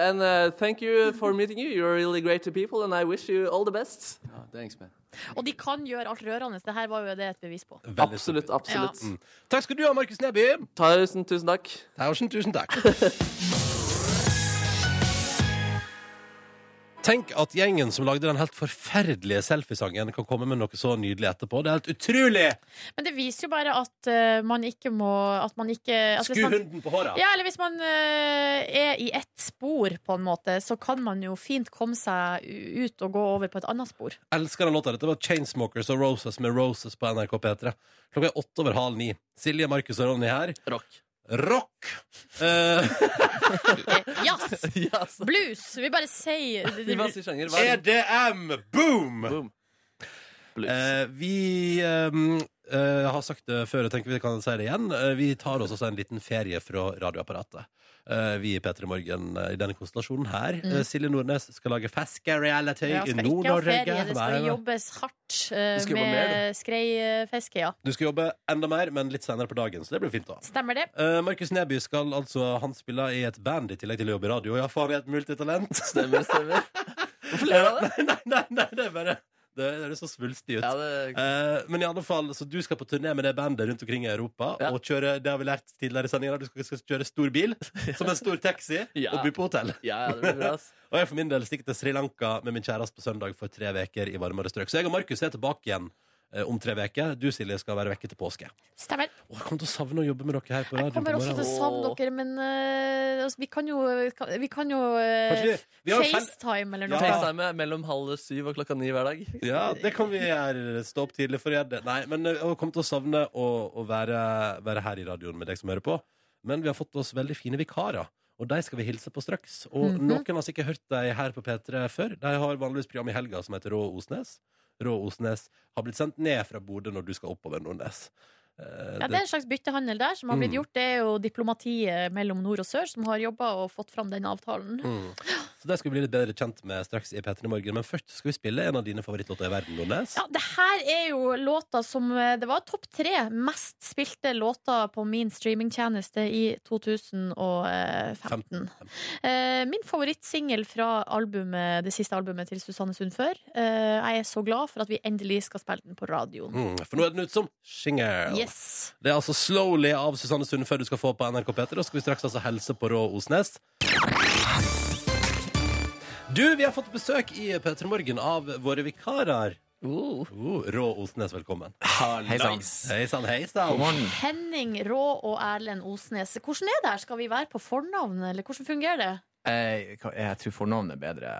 S3: and uh, thank you for meeting you. You're really great to people, and I wish you all the best.
S12: Oh, thanks, man.
S2: Og de kan gjøre alt rørende. Dette var jo det et bevis på.
S3: Absolutt. absolutt.
S2: Ja. Mm.
S1: Takk skal du ha, Markus Neby.
S3: Tusen, tusen takk.
S1: Tusen, tusen takk. Tenk at gjengen som lagde den helt forferdelige selfiesangen, kan komme med noe så nydelig etterpå. Det er helt utrolig!
S2: Men det viser jo bare at eh, man ikke må At man ikke at hvis
S1: Sku
S2: man-
S1: hunden på håret.
S2: Ja, eller hvis man eh, er i ett spor, på en måte, så kan man jo fint komme seg u- ut og gå over på et annet spor.
S1: Elsker den låta. Dette var Chainsmokers og Roses med Roses på NRK P3. Klokka er åtte over halv ni. Silje, Markus og Ronny her.
S3: Rock.
S1: Rock! Eh,
S2: Eh, Jazz! Blues! Vi bare sier
S1: Vi bare sier sjanger. EDM! Boom! Eh, vi eh, eh, jeg har sagt det før, jeg tenker vi kan si det igjen. Eh, Vi tar oss også en liten ferie fra radioapparatet. Eh, Vi i P3 Morgen eh, i denne konstellasjonen her.
S2: Mm.
S1: Eh, Silje Nordnes skal lage Feske-reality
S2: Ja,
S1: i
S2: skal ikke ha
S1: Nord-Norge.
S2: ferie, det
S1: Nei,
S2: skal
S1: nei.
S2: jobbes hardt eh,
S1: Du skal jobbe mer,
S2: med skreifiske, ja.
S1: Du skal jobbe enda mer, men litt senere på dagen, så det blir fint. da
S2: Stemmer det?
S1: Eh, Markus Neby skal altså Han spiller i et band i tillegg til å jobbe i radio. Ja, faen, jeg er et multitalent.
S3: Stemmer, stemmer.
S1: Hvorfor ler du av det? Nei, nei, nei, det er bare det høres så svulstig ut.
S3: Ja, det-
S1: Eh, men i alle fall, så du skal på turné med det bandet rundt omkring i Europa. Og kjøre, det har vi lært tidligere i sendinga, du skal, skal kjøre stor bil som en stor taxi
S3: Ja.
S1: og bo på hotell.
S3: Ja, ja, det blir bra, ass.
S1: og jeg for min del stikker til Sri Lanka med min kjæreste på søndag for tre uker i varmere strøk. Så jeg og Markus er tilbake igjen eh, om tre uker. Du, Silje, skal være vekke til påske.
S2: Stemmer.
S1: Å, jeg kommer til å savne å jobbe med dere her på radioen.
S2: Kommer
S1: på
S2: også til å
S1: morgenen.
S2: savne dere, men eh, altså, vi kan jo, vi kan jo
S1: Kanskje
S2: eh,
S1: vi- vi har jo fell-
S2: FaceTime
S1: Ja.
S2: eller noe.
S3: FaceTime mellom halv syv og klokka ni hver dag.
S1: Ja, det kan vi gjøre. Stå opp tidlig for å gjøre det. Nei, men jeg kommer til å savne å, å være, være her i radioen med deg som hører på. Men vi har fått oss veldig fine vikarer, og de skal vi hilse på straks. Og
S3: Mhm.
S1: noen har sikkert hørt deg her på P3 før. De har vanligvis program i helga som heter Rå Osnes. Rå Osnes har blitt sendt ned fra Bodø når du skal oppover Nordnes. Eh,
S2: Ja, det er en slags byttehandel der som har blitt
S1: Mm.
S2: gjort. Det er jo diplomatiet mellom nord og sør som har jobba og fått fram den avtalen.
S1: Mm. Så det skal vi bli litt bedre kjent med straks i P3 Morgen. Men først skal vi spille en av dine favorittlåter i verden, Nordnes.
S2: Ja, det her er jo låta som eh, Det var topp tre mest spilte låter på min streamingtjeneste i 2015. Eh, Min favorittsingel fra albumet, det siste albumet til Susanne Sundfør. Eh, Jeg er så glad for at vi endelig skal spille den på radioen.
S1: Mm, for nå er den ute som Shingirl.
S2: Yes.
S1: Det er altså Slowly av Susanne Sund før du skal få på NRK P3. Da skal vi straks altså helse på Rå Osnes. Du, vi har fått besøk i P3 Morgen av våre vikarer. Oh, Rå Osnes, velkommen.
S14: Uh. Hei sann.
S1: Hei sann, hei sann.
S14: God morgen.
S2: Henning Rå og Erlend Osnes. Hvordan er det her? Skal vi være på fornavn, eller hvordan fungerer det?
S14: Eh, hva- jeg tror fornavnet er bedre,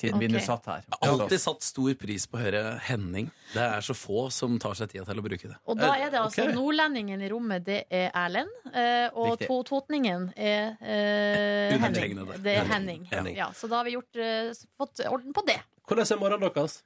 S14: siden vi
S2: Ok.
S14: nå satt her.
S15: Jeg har alltid satt stor pris på å høre Henning. Det er så få som tar seg tida til å bruke det. Eh,
S2: Og da
S14: Eh,
S2: er det altså nordlendingen i rommet, det er Erlend. eh, Og
S15: Riktig.
S2: to totningen er eh, Henning.
S15: Undertegnede.
S2: Det er Henning.
S15: Henning.
S2: Ja, så da har vi gjort, eh, fått orden på det.
S1: Hvordan er morgenen deres?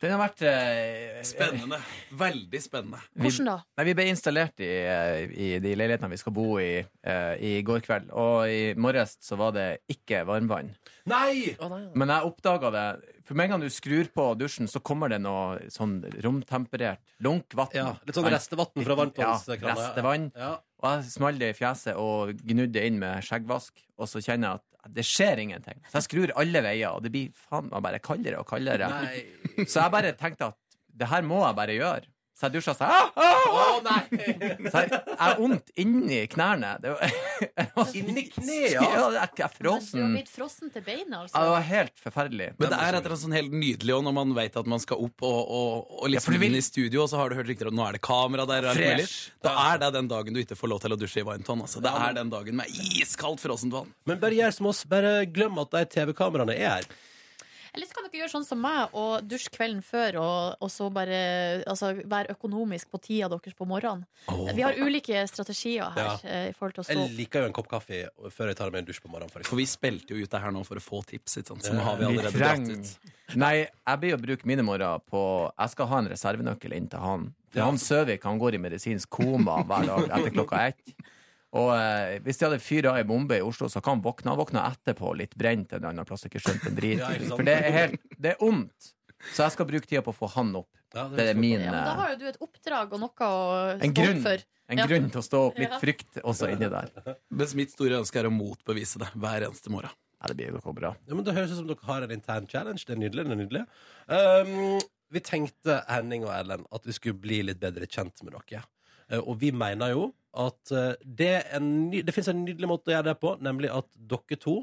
S14: Den har vært eh,
S15: Spennende. Veldig spennende.
S14: Vi-
S2: Hvordan da?
S14: Nei, vi ble installert i, eh, i de leilighetene vi skal bo i eh, i går kveld. Og i morges så var det ikke varmvann.
S1: Nei!
S14: Men jeg oppdaga det. For med en gang du skrur på dusjen, så kommer det noe sånn romtemperert, lunk vann.
S1: litt sånn restevann fra varmtvannskrana.
S14: Ja, restevann. Og jeg smalt det i fjeset og gnudde inn med skjeggvask, og så kjenner jeg at det skjer ingenting. Så jeg skrur alle veier, og det blir faen meg bare kaldere og kaldere.
S1: Nei.
S14: Så jeg bare tenkte at det her må jeg bare gjøre. Så jeg dusja sånn. Ah, ah, ah! Så jeg jeg har vondt inni knærne. Det var, inni
S1: kneet,
S14: ja? Jeg jeg er
S2: Du har
S14: frossen.
S2: blitt frossen til beina,
S14: Ja, Det
S2: altså.
S14: var helt forferdelig.
S15: Men det er et eller annet sånn helt nydelig og når man vet at man skal opp og, og, og liksom
S14: Ja, for du vil-
S15: inn i studio, og så har du hørt rykter om nå er det kamera der, og alt
S14: Fresh.
S15: mulig. Da er det den dagen du ikke får lov til å dusje i varmt vann. Altså. Det er den dagen med iskaldt frossent vann.
S1: Men bare gjør som oss. Bare glem at de TV-kameraene er her.
S2: Eller så kan dere gjøre sånn som meg og dusje kvelden før, og, og så bare altså, være økonomisk på tida deres på morgenen. Vi har ulike strategier her
S1: Ja.
S2: eh, i forhold til å stå
S1: Jeg liker jo en kopp kaffe før jeg tar meg en dusj på morgenen. For,
S15: vi spilte jo ut det her nå for å få tips, ikke sant? så nå har vi allerede dratt
S14: Eh, trenger-
S15: ut.
S14: Nei, jeg blir å bruke mine morgener på Jeg skal ha en reservenøkkel inn til han. For han Søvik han går i medisinsk koma hver dag etter klokka ett. Og eh, hvis de hadde fyra ei bombe i Oslo, så kan han våkne. Han våkner etterpå litt brent en eller annen plass. Ikke skjønt en drit.
S1: Ja, ikke sant?
S14: For det er helt Det er ondt. Så jeg skal bruke tida på å få han opp.
S1: Ja,
S14: det, er min
S2: Ja, men da
S14: eh,
S2: har jo du et oppdrag og noe å
S14: en
S2: stå
S14: grunn,
S2: opp for.
S14: en
S2: Ja.
S14: grunn til å stå opp. Litt
S2: Ja.
S14: frykt også inni der.
S15: Mens mitt store ønske er å motbevise det hver eneste morgen.
S14: Ja, det blir jo bra.
S1: Ja, men Det høres ut som dere har en intern challenge. Det er nydelig. det er nydelig um, Vi tenkte Henning og Ellen at vi skulle bli litt bedre kjent med dere. Eh, Og vi mener jo at eh, det, er en ny, det finnes en nydelig måte å gjøre det på, nemlig at dere to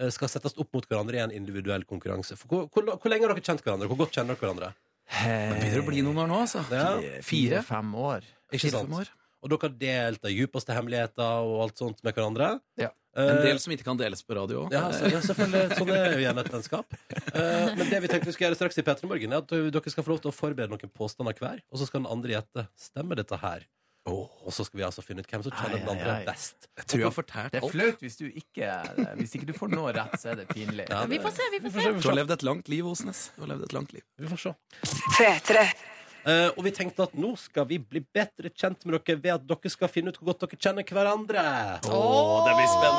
S1: eh, skal settes opp mot hverandre i en individuell konkurranse. For hvor, hvor, hvor lenge har dere kjent hverandre? Hvor godt kjenner dere hverandre?
S14: Det
S15: begynner å bli noen år nå, altså.
S1: Ja.
S14: Fire-fem år.
S1: Ikke sant? Og dere har delt de djupeste hemmeligheter og alt sånt med hverandre.
S14: Ja.
S15: En del som ikke kan deles på radio òg.
S1: Eh, Ja, så, ja, selvfølgelig. Sånn er jo gjerne et vennskap. Eh, men det vi tenkte vi skulle gjøre straks i P3 Morgen, er at dere skal få lov til å forberede noen påstander hver, og så skal den andre gjette stemmer dette her. Og så skal vi altså finne ut hvem som kjenner den andre best.
S15: Jeg tror jeg har fortært
S14: eh, Det er flaut hvis du ikke eh, Hvis ikke du får noe rett, så er det pinlig.
S15: Ja, det-
S2: Vi får se, vi får se.
S15: Du har levd et langt liv, Osnes. Du har levd et langt liv.
S1: Vi får se. Eh, og vi tenkte at nå skal vi bli bedre kjent med dere ved at dere skal finne ut hvor godt dere kjenner hverandre.
S2: Åh,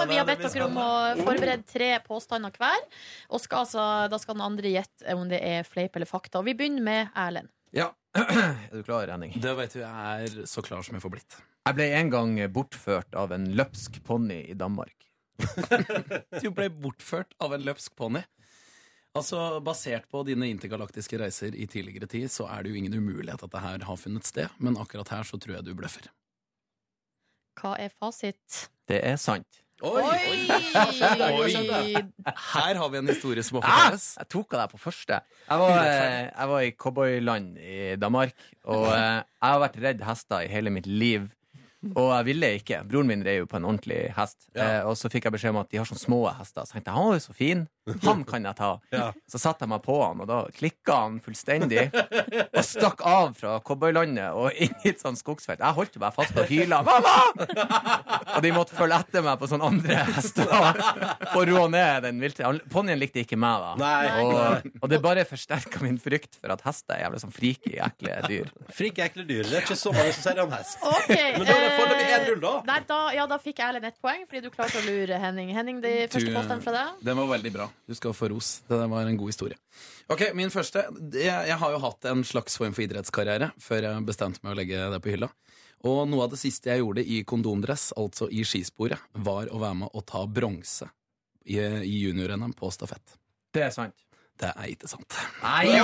S2: vi har bedt dere om å forberede tre påstander hver. Og skal altså, da skal den andre gjette om det er fleip eller fakta. Og vi begynner med Erlend.
S14: Ja. Er du klar, Henning?
S15: Det vet du, jeg er så klar som jeg får blitt.
S14: Jeg ble en gang bortført av en løpsk ponni i Danmark.
S15: Du ble bortført av en løpsk ponni. Altså, Basert på dine intergalaktiske reiser i tidligere tid, så er det jo ingen umulighet at det her har funnet sted, men akkurat her så tror jeg du bløffer.
S2: Hva er fasit?
S14: Det er sant.
S2: Oi!
S15: Oi! Her har vi en historie som må fortelles.
S14: Ah! Jeg tok av deg på første. Jeg var, eh, jeg var i cowboyland i Danmark, og eh, jeg har vært redd hester i hele mitt liv. Og jeg ville ikke. Broren min rei jo på en ordentlig hest. Eh, og så fikk jeg beskjed om at de har sånne små hester. Så tenkte jeg han var jo så fin. Han kan jeg ta. Så satte jeg meg på han, og da klikka han fullstendig. Og stakk av fra cowboylandet og inn i et sånt skogsfelt. Jeg holdt jo bare fast og hyla. Mamma! Og de måtte følge etter meg på sånne andre hester for å rå ned den vilte. Han- Ponnien likte ikke meg, da.
S1: Nei.
S14: Og, og det bare forsterka min frykt for at hester er jævlig sånn friki, ekle dyr.
S1: Friki, ekle dyr. Det er ikke så mange som sier det om hest.
S2: Ok,
S1: Men da er det foreløpig
S2: eh,
S1: én rull, da.
S2: Nei, da. Ja, da fikk Erlend ett poeng, fordi du klarte å lure Henning. Henning, det er Eh, første
S15: Du-
S2: påstand fra deg.
S15: Den var veldig bra. Du skal få ros. Det der var en god historie. Ok, Min første jeg, jeg har jo hatt en slags form for idrettskarriere før jeg bestemte meg å legge det på hylla. Og noe av det siste jeg gjorde i kondomdress, altså i skisporet, var å være med å ta bronse i, i junior-NM på stafett.
S14: Det er sant.
S15: Det er ikke sant.
S14: Nei,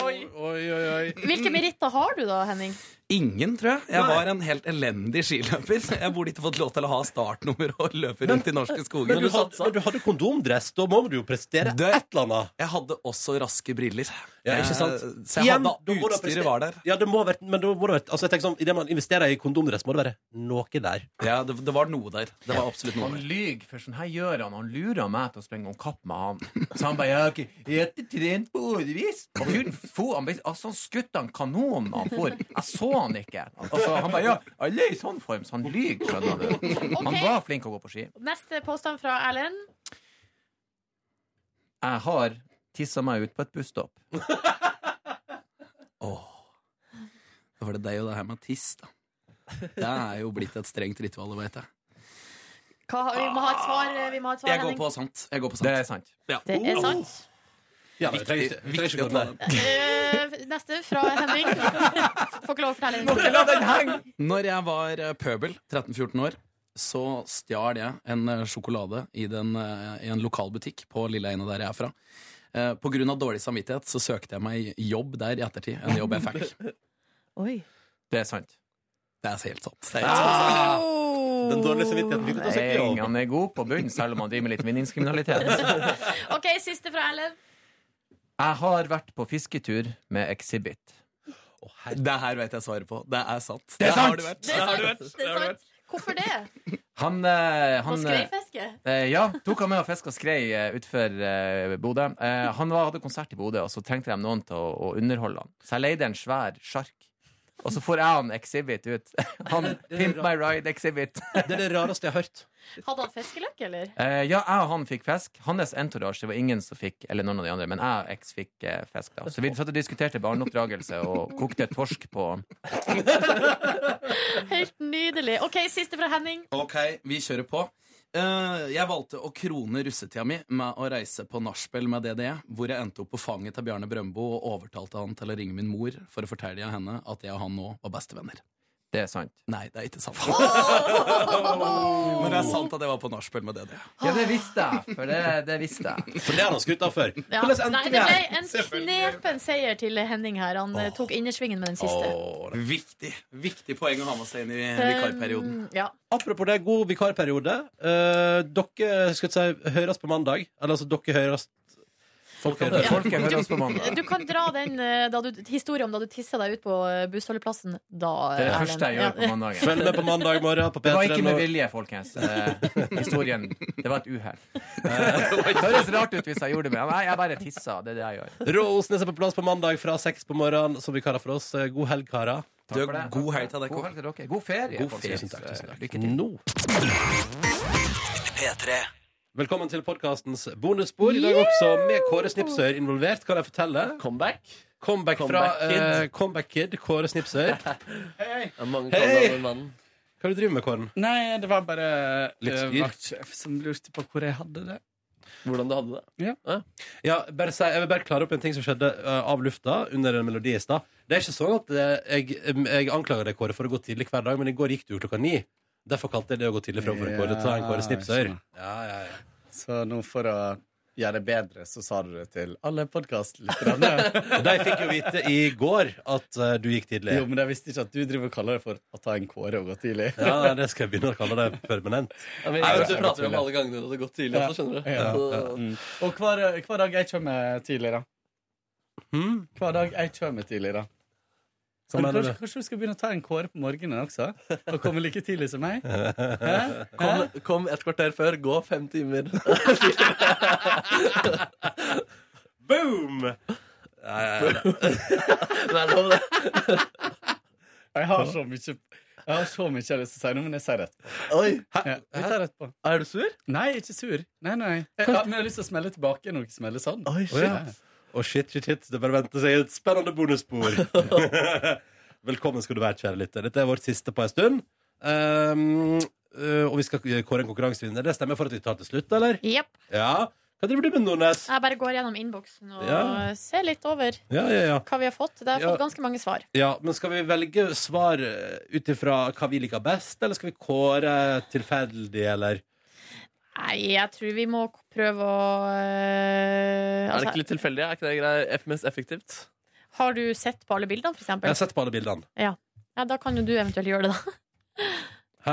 S1: Oi, oi, oi.
S2: Hvilke meritter har du da, Henning?
S15: Ingen, tror jeg. Jeg var en helt elendig skiløper. Jeg burde ikke fått lov til å ha startnummer og løpe rundt i norske skoger.
S1: Men du, hadde, men du hadde kondomdress. Da må du jo prestere et eller annet.
S15: Jeg hadde også raske briller.
S1: Ja, ikke sant?
S15: Eh, Så jeg
S1: Igjen,
S15: hadde,
S1: da må det
S15: utstyret
S1: prestere-
S15: var der.
S1: Ja, det må ha vært, men da må det ha vært altså jeg tenker sånn, Idet man investerer i kondomdress, må det være noe der.
S15: Ja, det, det var noe der. Det var absolutt noe
S14: Han lyver, for sånn her gjør han. Han lurer meg til å springe om kapp med han. Så han bare ja, ok, jeg har ikke trent på årevis. Og fyren for, han, ble- altså, han skutt en kanon han for. Jeg så han ikke. Altså, han bare ja, alle er i sånn form, så han lyver, skjønner du. Han
S2: Ok.
S14: var flink å gå på ski.
S2: Neste påstand fra Erlend.
S14: Jeg har tissa meg ut på et busstopp.
S15: Da var det deg og det her med tiss, da. Det er jo blitt et strengt ritual, det vet jeg.
S2: Hva, har- vi må ha et svar, eh, vi må ha et svar
S15: Jeg går
S2: Henning.
S15: på sant. Jeg går på sant.
S14: Det er sant.
S15: Ja.
S2: Det
S14: Oh.
S2: er sant.
S1: Ja, men,
S15: Viktig- viktig å ta den.
S2: Eh, neste fra Henning. Får ikke lov å fortelle.
S15: Når jeg var eh, pøbel, 13-14 år, så stjal jeg en eh, sjokolade i, den, eh, i en lokal butikk på lille Eina der jeg er fra. Eh, På grunn av dårlig samvittighet så søkte jeg meg jobb der i ettertid. En jobb jeg fikk.
S2: Oi.
S14: Det er sant.
S15: Det er helt sant. Det er helt sant.
S2: Ah!
S1: Den dårlige samvittigheten fikk du til å søke
S14: Nei,
S1: jobb.
S14: han er god på bunnen, selv om han driver med litt vinningskriminalitet.
S2: OK, siste fra Erlend.
S14: Jeg har vært på fisketur med Exhibit.
S15: Det her vet jeg svaret på. Det er sant.
S14: Det er
S15: har
S14: sant!
S15: du vært.
S2: Det er
S15: har du
S2: sant.
S15: vært.
S2: Det er sant. Hvorfor det?
S14: Han, eh,
S2: På
S14: han eh,
S2: skreifiske?
S14: Eh, ja, tok han med og fiska skrei eh, utfor eh, Bodø. Eh, han var, hadde konsert i Bodø, og så trengte de noen til å, å underholde han. Så jeg leide en svær sjark. Og så får jeg han Exhibit ut. Han Pimp My Ride Exhibit.
S1: Det er det rareste jeg har hørt.
S2: Hadde han fiskeløk, eller?
S14: Eh, ja, jeg og han fikk fisk. Hans entourage det var ingen som fikk Eller noen av de andre, men jeg og X fikk eh, fisk. da Så vi satt og diskuterte barneoppdragelse og kokte torsk på
S2: Helt nydelig. OK, siste fra Henning.
S15: Ok, vi kjører på. Eh, jeg valgte å krone russetida mi med å reise på nachspiel med DDE, hvor jeg endte opp på fanget til Bjarne Brøndbo og overtalte han til å ringe min mor for å fortelle henne at jeg og han nå var bestevenner.
S14: Det er sant.
S15: Nei, det er ikke sant. Men det er sant at jeg var på nachspiel med E. DDE.
S14: Ja, det visste jeg, for det, det visste jeg.
S1: For det har han skrytt av før.
S2: Ja.
S1: Hvordan endte
S2: Nei,
S1: vi
S2: det
S1: her?
S2: ble en knepen seier til Henning her. Han eh, tok innersvingen med den siste.
S15: Viktig viktig poeng å ha med seg inn i vikarperioden.
S2: Um, ja.
S1: Apropos det, god vikarperiode. Eh, dere skal jeg si, høres på mandag. Eller altså, dere høres Folk
S14: hører- folk hører oss på mandag.
S2: Du kan dra den eh, da du, historien om da du tissa deg ut på eh, bussholdeplassen. Da,
S14: Det er det
S2: Erlend.
S14: første jeg gjør på mandagen.
S1: Følg med på mandag morgen på
S14: Det var
S1: P3
S14: ikke
S1: nå.
S14: med vilje, folkens. Eh, historien. Det var et uhell. Eh, det høres rart ut hvis jeg gjorde det, men nei, jeg bare tissa. Det er det jeg gjør.
S1: Rå Osnes er på plass på mandag fra seks på morgenen som vikarer for oss. Eh, God helg, karer.
S14: Takk for det.
S15: God helg til deg,
S14: God helg til dere. God ferie.
S1: God ferie.
S14: folkens.
S1: Tusen takk, tusen
S14: Eh,
S1: takk.
S14: Lykke
S1: Nå. Velkommen til podkastens bonusspor. I dag også med Kåre Snipsøyr involvert, kan jeg fortelle.
S16: Comeback.
S1: Comeback fra
S3: Comeback Kid.
S1: eh, Comeback Kid, Kåre Snipsøy.
S3: Mange
S1: Hei!
S3: kallenavn, mannen.
S1: Hva er det du driver med, Kåren?
S4: Nei, det var bare
S1: Litt
S4: eh,
S1: spyr.
S4: vaktsjef som lurte på hvor jeg hadde det.
S3: Hvordan du hadde det?
S1: Ja. bare si, jeg vil bare klare opp en ting som skjedde eh, av lufta under en melodi i stad. Det er ikke sånn at eh, jeg, jeg anklager deg, Kåre, for å gå tidlig hver dag, men i går gikk du jo klokka ni. Derfor kalte jeg det å gå tidlig framfor Kåre. Ta en Kåre Snipsøy. Ja, ja, ja.
S4: sånn. Så nå for å gjøre det bedre, så sa du det til alle podkastlytterne.
S1: Og de fikk jo vite i går at eh, du gikk tidlig.
S4: jo, men jeg visste ikke at du driver og kaller det for å ta en kåre og gå tidlig.
S1: Ja, nei, det skal jeg begynne å kalle deg permanent.
S4: Ja, men
S1: Nei,
S4: jeg
S1: vet
S4: tror
S1: du,
S4: jeg prater om
S1: tidlig.
S4: alle
S3: gangene det har gått tidlig også, skjønner du.
S4: Ja,
S3: Så-
S4: ja. Mm. Og hver, hver dag jeg kommer tidlig, da.
S3: Hmm?
S4: Hver dag jeg kommer tidlig, da.
S1: Hva
S4: Men
S1: mener
S4: kanskje,
S1: du?
S4: kanskje du skal begynne å ta en kåre på morgenen også? Og komme like tidlig som meg? Hæ?
S3: Kom, kom et kvarter før, gå fem timer.
S1: Boom! Nei, nei, nei.
S3: Nei, det var det.
S4: Jeg har så mye Jeg har så mye jeg har lyst til å si nå, men jeg sier det.
S3: Oi.
S4: Ja, vi tar det etterpå.
S3: Er du sur?
S4: Nei, jeg er ikke sur. Nei, nei. Jeg, ja, men jeg har lyst til å smelle tilbake når jeg smeller sånn.
S3: Oi,
S1: Å, ja. Å, shit, shit, shit. Det bare venter seg et spennende bonusspor. Velkommen skal du være, kjære lytter. Dette er vårt siste på en stund. Um, uh, og vi skal kåre en konkurransevinner. Det stemmer for at vi tar til slutt, eller?
S2: Jepp.
S1: Ja. Hva driver du med, Nordnes?
S2: Jeg bare går gjennom innboksen og
S1: Ja.
S2: ser litt over
S1: Ja, ja, ja.
S2: hva vi har fått. Det har
S1: Ja.
S2: fått ganske mange svar.
S1: Ja, men Skal vi velge svar eh, ut ifra hva vi liker best, eller skal vi kåre tilfeldig, eller?
S2: Nei, jeg tror vi må k- prøve å øh,
S3: Er det
S2: altså,
S3: ikke litt tilfeldig? Er ikke det grei- eff- mest effektivt?
S2: Har du sett på alle bildene, for eksempel?
S3: Jeg har sett
S1: på alle bildene.
S2: Ja. ja, da kan jo du eventuelt gjøre det, da. Eh,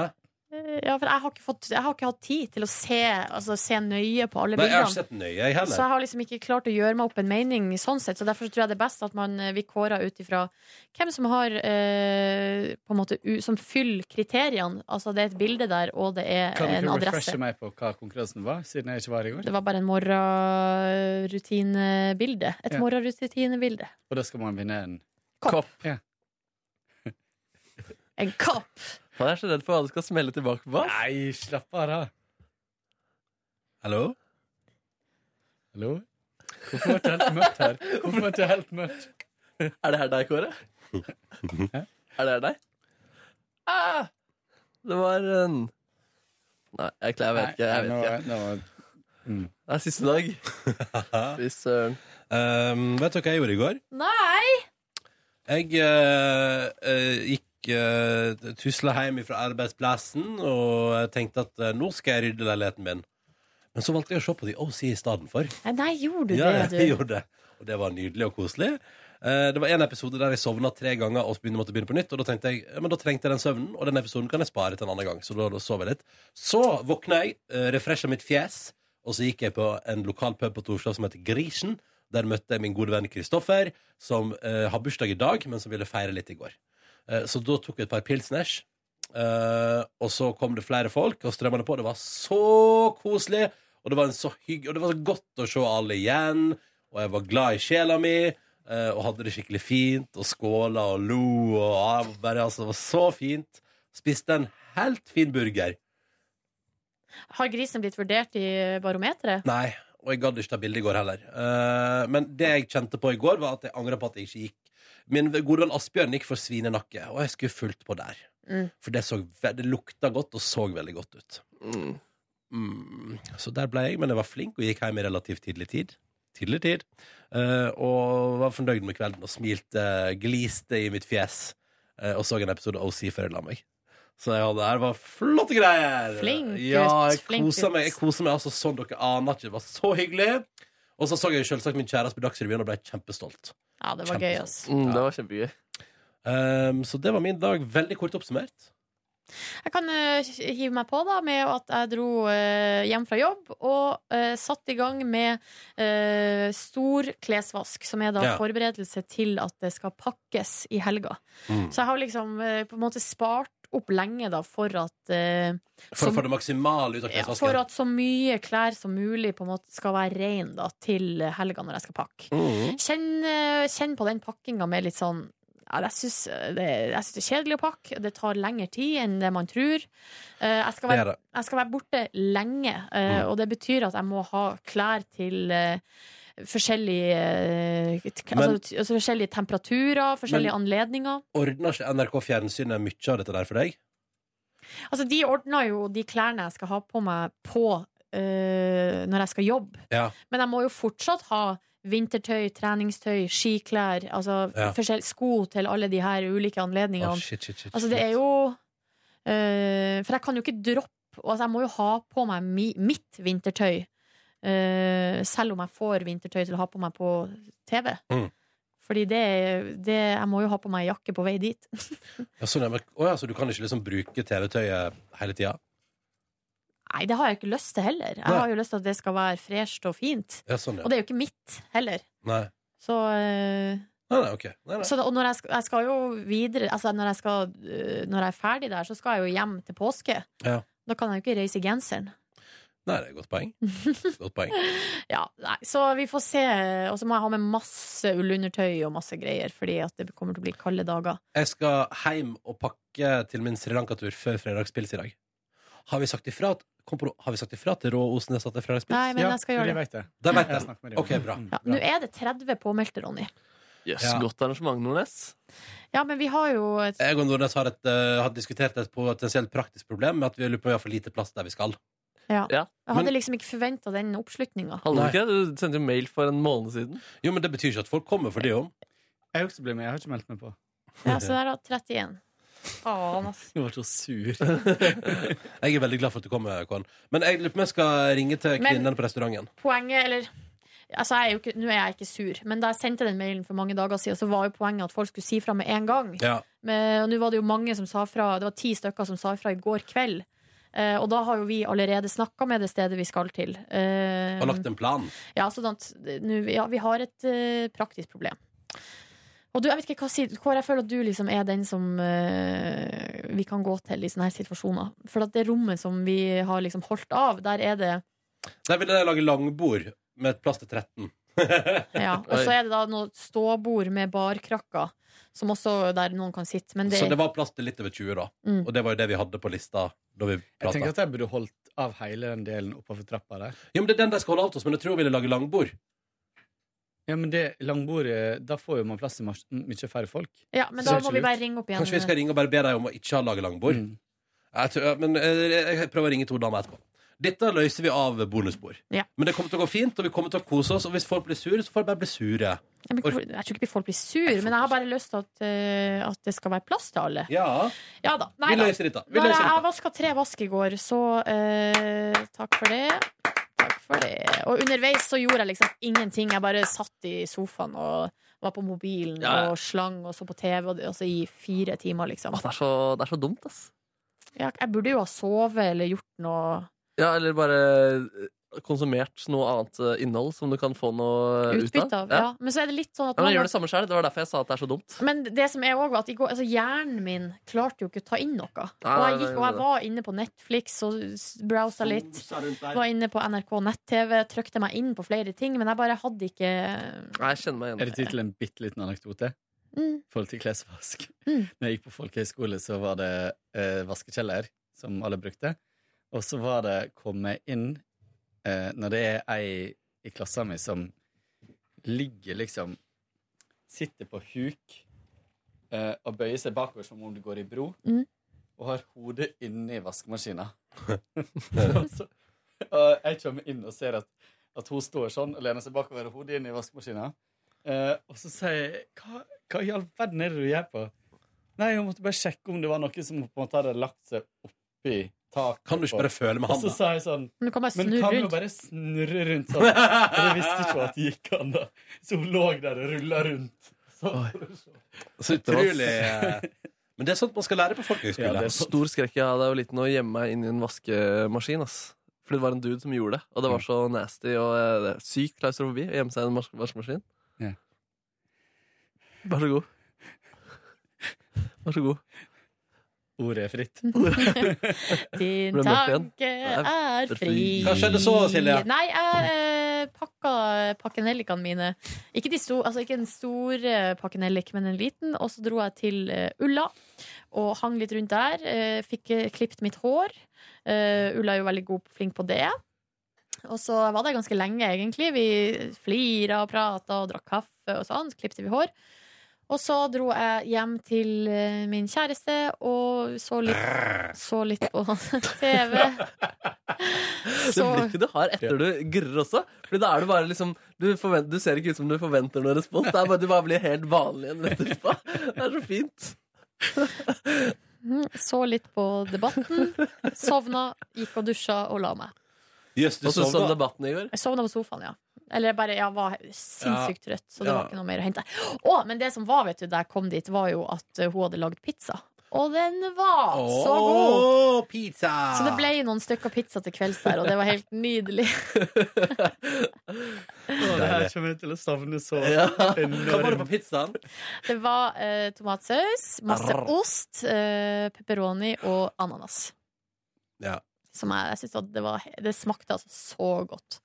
S1: Hæ?
S2: Ja, for jeg har ikke, fått, jeg har ikke hatt tid til å se, altså, se nøye på alle
S1: Nei, jeg
S2: bildene.
S1: har ikke sett nøye, jeg heller.
S2: Så jeg har liksom ikke klart å gjøre meg opp en mening sånn sett. Så derfor så tror jeg det er best at man eh, vi kårer ut ifra hvem som har eh, på en måte u, Som fyller kriteriene. Altså det er et bilde der, og det er
S4: Kan
S2: Eh, en
S4: du
S2: adresse.
S4: refreshe meg på hva konkurransen var, siden jeg ikke var her i går?
S2: Det var bare en morgenrutinebilde. Et
S4: Ja.
S2: morgenrutinebilde.
S4: Og da skal man vinne en
S3: Kopp.
S4: Ja.
S2: En kopp!
S3: Han er så redd for hva du skal smelle tilbake på. ass.
S4: Nei, slapp av, da.
S1: Hallo?
S4: Hallo? Hvorfor ble det helt mørkt her? Hvorfor ble det helt mørkt?
S3: Er det her deg, Kåre? Er det her deg? Ah! Det var en Nei, jeg, jeg vet ikke. Jeg
S4: Nei,
S3: vet
S4: nå- nå-
S3: ikke. Mm. Det er siste dag. Fy søren.
S1: Um, vet du hva jeg gjorde i går?
S2: Nei!
S1: Jeg eh, eh, gikk uh, tusla hjem fra arbeidsplassen og jeg tenkte at eh, nå skal jeg rydde leiligheten min. Men så valgte jeg å se på The OC i stedet for.
S2: Nei, Nei, gjorde du
S1: Ja,
S2: det, du?
S1: jeg gjorde det. Og det var nydelig og koselig. Eh, det var en episode der jeg sovna tre ganger og begynte måtte begynne på nytt. Og da tenkte jeg, ja, men da trengte jeg den søvnen, og den episoden kan jeg spare til en annen gang. Så da, da sov jeg litt. Så våkna jeg, uh, refresha mitt fjes, og så gikk jeg på en lokal pub på Torslav som heter Grisen. Der møtte jeg min gode venn Kristoffer, som eh, har bursdag i dag, men som ville feire litt i går. Eh, så da tok vi et par pilsners. Eh, og så kom det flere folk og strømmende på. Det var så koselig, og det var, en så hygg, og det var så godt å se alle igjen. Og jeg var glad i sjela mi, eh, og hadde det skikkelig fint. Og skåla og lo. Og ah, bare, altså, det var så fint. Spiste en helt fin burger.
S2: Har grisen blitt vurdert i barometeret?
S1: Nei, og jeg gadd ikke ta bilde i går heller. Eh, men det jeg kjente på i går, var at jeg angra på at jeg ikke gikk. Min gode venn Asbjørn gikk for svinenakke, og jeg skulle fulgt på der.
S2: Mm.
S1: For det, så, ve- det lukta godt og så veldig godt ut. Mm. Så der ble jeg, men jeg var flink og gikk hjem i relativt tidlig tid. Tidlig tid. Eh, og var fornøyd med kvelden og smilte, gliste i mitt fjes. eh, og så en episode av OC før jeg la meg. Så jeg hadde, det var flotte greier!
S2: Flink
S1: ja,
S2: gutt,
S1: jeg
S2: flink
S1: koset
S2: gutt.
S1: meg, jeg koset meg altså sånn dere aner ikke. Det var så hyggelig. Og så så jeg selvsagt min kjæreste på Dagsrevyen og ble kjempestolt.
S2: Ja, det var gøy, ass.
S3: Mm, det var kjempegøy.
S1: Ehm, så det var min dag. Veldig kort oppsummert.
S2: Jeg kan eh, hive meg på da med at jeg dro eh, hjem fra jobb og uh, satt i gang med eh, stor klesvask, som er da
S16: Ja.
S2: forberedelse til at det skal pakkes i helga.
S1: Mm.
S2: Så jeg har liksom eh, på en måte spart opp lenge da for at eh,
S1: For
S2: som-
S1: å få det maksimale ut av
S2: ja,
S1: klesvasken.
S2: for at så mye klær som mulig på en måte skal være ren da, til helga når jeg skal pakke.
S16: Mm.
S1: Mhm.
S2: Kjenn, eh, kjenn på den pakkinga med litt sånn ja, jeg syns det, jeg synes det er kjedelig å pakke. Det tar lengre tid enn det man tror. Eh, Jeg skal
S16: Det er
S2: være,
S16: det.
S2: jeg skal være borte lenge, eh,
S16: Mm.
S2: og det betyr at jeg må ha klær til eh, forskjellige, eh, t-
S1: Men-
S2: altså, t- altså, forskjellige temperaturer, forskjellige anledninger.
S1: Ordner ikke NRK Fjernsynet mye av dette der for deg?
S2: Altså, de ordna jo de klærne jeg skal ha på meg på eh, når jeg skal jobbe.
S1: Ja.
S2: Men jeg må jo fortsatt ha vintertøy, treningstøy, skiklær, altså
S1: Ja.
S2: forskjell- sko til alle de her ulike anledningene.
S1: Å, Oh, shit, shit, shit,
S2: altså, det er jo eh, For jeg kan jo ikke droppe altså, Jeg må jo ha på meg mi, mitt vintertøy. eh, selv om jeg får vintertøy til å ha på meg på TV.
S1: Mm.
S2: Fordi det, det Jeg må jo ha på meg jakke på vei dit.
S1: Ja, sånn, ja, men, å, ja, så du kan ikke liksom bruke TV-tøyet hele tida?
S2: Nei, det har jeg ikke lyst til heller. Jeg
S1: Nei.
S2: har jo lyst til at det skal være fresht og fint.
S1: Ja, sånn, ja.
S2: Og det er jo ikke mitt heller.
S1: Nei.
S2: Så, eh,
S1: Nei, nei, ok. Nei, nei.
S2: så da, og når jeg, skal, jeg skal jo videre altså når, jeg skal, eh, når jeg er ferdig der, så skal jeg jo hjem til påske.
S1: Ja.
S2: Da kan jeg jo ikke reise i genseren.
S1: nei, det er et godt poeng. Godt poeng.
S2: Ja, nei, så vi får se. Og så må jeg ha med masse ullundertøy og masse greier, fordi at det kommer til å bli kalde dager.
S1: Jeg skal hjem og pakke til min Sri Lanka-tur før fredagspils i dag. Har vi sagt ifra, at, kom på, nå, har vi sagt ifra til Rå Osnes at det er fredagspils?
S2: Nei, men Ja, jeg skal gjøre de det. vet
S1: De
S2: det.
S1: vet
S4: Jeg
S1: det.
S4: snakker med de om
S1: OK, bra.
S2: Nå er det 30 påmeldte, Ronny.
S3: Jøss, godt arrangement, Nordnes.
S2: Ja, men vi har jo et
S1: Jeg og Nordnes har, et, eh, har diskutert et potensielt praktisk problem med at vi lurer på om vi har for lite plass der vi skal.
S2: Ja.
S1: Ja.
S2: Jeg hadde
S1: Men-
S2: liksom ikke forventa den oppslutninga.
S1: Du sendte jo mail for en måned siden. Jo, men det betyr ikke at folk kommer for det om.
S4: Jeg har også blitt med, jeg har ikke meldt meg på.
S2: Ja, så der, da. 31. Faen, ass.
S1: Du var så sur. jeg er veldig glad for at du kommer, Kåren. Men jeg lurer på om jeg skal ringe til
S2: Men-
S1: kvinnene på restauranten.
S2: Poenget, eller Altså, jeg er jo ikke, Nå er jeg ikke sur, men da jeg sendte den mailen for mange dager siden, så var jo poenget at folk skulle si fra med en gang.
S1: Ja.
S2: Men, og nå var det jo mange som sa fra, det var ti stykker som sa fra i går kveld. Eh, og da har jo vi allerede snakka med det stedet vi skal til. Eh,
S1: Og lagt en plan.
S2: Ja, sånn at nå, ja, vi har et eh, praktisk problem. Og du, jeg vet ikke hva sier Kåre, jeg føler at du liksom er den som eh, vi kan gå til i sånne her situasjoner. For at det rommet som vi har liksom holdt av, der er det
S1: Der ville jeg lage langbord med plass til 13.
S2: ja. Og så er det da noe ståbord med barkrakker, som også der noen kan sitte. Men det,
S1: Så det var plass til litt over 20, da.
S2: Mm.
S1: Og det var jo det vi hadde på lista da vi
S4: Jeg tenker
S1: prata.
S4: at jeg burde holdt av hele den delen oppover trappa der.
S1: Ja, men det er den de skal holde av til oss, men jeg tror vi ville lage langbord.
S4: Ja, men det langbordet, da får jo man plass til mas- mye færre folk.
S2: Ja, men da må vi bare ringe opp igjen.
S1: Kanskje vi skal ringe og bare be dem om å ikke ha lage langbord?
S4: Mm.
S1: Jeg tror, men eh, jeg prøver å ringe to damer etterpå. Dette løser vi av bonusbord.
S2: Ja.
S1: Men det kommer til å gå fint, og vi kommer til å kose oss. Og hvis folk blir sure, så får de bare bli sure.
S2: Ja, men hvorfor- Jeg tror ikke folk blir sur, men jeg har bare lyst til at, eh, at det skal være plass til alle.
S1: Ja.
S2: Ja da.
S1: Vi
S2: da.
S1: løser dette. Vi
S2: Når
S1: løser
S2: jeg
S1: dette.
S2: jeg vaska tre vask i går, så eh, takk for det. Takk for det. Og underveis så gjorde jeg liksom ingenting. Jeg bare satt i sofaen og var på mobilen
S3: Ja, ja.
S2: og slang og så på TV og, altså, i fire timer, liksom.
S3: Det er så, det er så dumt, ass.
S2: Ja, jeg burde jo ha sovet eller gjort noe
S3: Ja, eller bare eh, konsumert noe annet eh, innhold som du kan få noe ut av.
S2: utbytte av. Ja. Men så er det litt sånn
S3: Ja,
S2: at
S3: men
S2: man
S3: jeg gjør det samme selv. Det var derfor jeg sa at det er så dumt.
S2: Men det som er også var at i går, altså hjernen min klarte jo ikke å ta inn noe.
S3: Nei,
S2: Og jeg,
S3: nei,
S2: gikk,
S3: nei,
S2: og jeg
S3: nei.
S2: var inne på Netflix og s- browsa litt. Var inne på NRK nett-TV, trykte meg inn på flere ting, men jeg bare hadde ikke
S3: Jeg kjenner meg igjen.
S4: Er det tid til en bitte liten anekdote?
S2: Mm.
S4: I forhold til klesvask.
S2: Mm.
S4: Når jeg gikk på folkehøyskole, så var det eh, vaskekjeller som alle brukte. Og så var det komme inn eh, Når det er ei i klassen min som ligger liksom Sitter på huk eh, og bøyer seg bakover som om du går i bro,
S2: Mm.
S4: og har hodet inni vaskemaskina. Og så- og jeg kommer inn og ser at, at hun står sånn og lener seg bakover og hodet inn i vaskemaskina. Eh, og så sier jeg hva, hva i all verden er det du gjør på? Nei, jeg måtte bare sjekke om det var noe som på en måte hadde lagt seg oppi taket.
S1: Kan du ikke bare føle med
S4: Og så
S1: handa?
S4: sa jeg sånn
S2: Men du kan bare
S4: Men
S2: snurre
S4: kan du
S2: rundt."
S4: bare snurre rundt sånn? Og det visste ikke hun at det gikk an, da. Så hun lå der og rulla rundt. Så,
S1: Så utrolig eh, Men det er sånt man skal lære på folkehøyskole.
S3: det er Stor skrekk jeg hadde da jeg var liten å gjemme meg inn i en vaskemaskin. ass. Fordi det var en dude som gjorde det, og det var så nasty og eh, det er syk klaustrofobi å gjemme seg i en mas- vaskemaskin.
S4: Ja.
S3: Vær så god. Vær så god.
S4: Ordet er fritt.
S2: Din
S3: Ble mørkt igjen.
S2: tanke er fri.
S1: Hva skjedde så, Silje?
S2: Nei, jeg eh, pakka pakkenellikene mine. Ikke, de sto, altså, ikke en stor eh, pakkenellik, men en liten. Og så dro jeg til eh, Ulla og hang litt rundt der. Eh, fikk eh, klipt mitt hår. Eh, Ulla er jo veldig god, flink på det. Og så var det ganske lenge, egentlig. Vi flira og prata og drakk kaffe og sånn. Så klippte vi hår. Og så dro jeg hjem til eh, min kjæreste og så litt, så litt på TV.
S16: Det blikket du har etter du grør også. Fordi da er du bare liksom du, forvent- du ser ikke ut som du forventer noen respons. Det er bare, du bare blir helt vanlig igjen rett etterpå. Det er så fint.
S2: Mm, Så litt på Debatten. Sovna, gikk og dusja og la meg.
S1: Jøss, du
S16: Og så
S1: sovna.
S16: sånn debatten i går.
S2: Jeg sovna på sofaen, ja. Eller bare, jeg var sinnssykt
S16: Ja.
S2: trøtt, så det
S16: Ja.
S2: var ikke noe mer å hente. Å, men det som var, vet du, da jeg kom dit, var jo at eh, hun hadde lagd pizza. Og den var så god!
S1: Åh, pizza!
S2: Så det ble noen stykker pizza til kvelds der, og det var helt nydelig.
S4: det her kommer jeg til å savne så
S1: Hva var det på
S4: enormt.
S1: pizzaen?
S2: Det var eh, tomatsaus, masse
S1: Arr.
S2: ost, eh, pepperoni og ananas.
S1: Ja.
S2: Som jeg, jeg synes at det, var, det smakte altså så godt.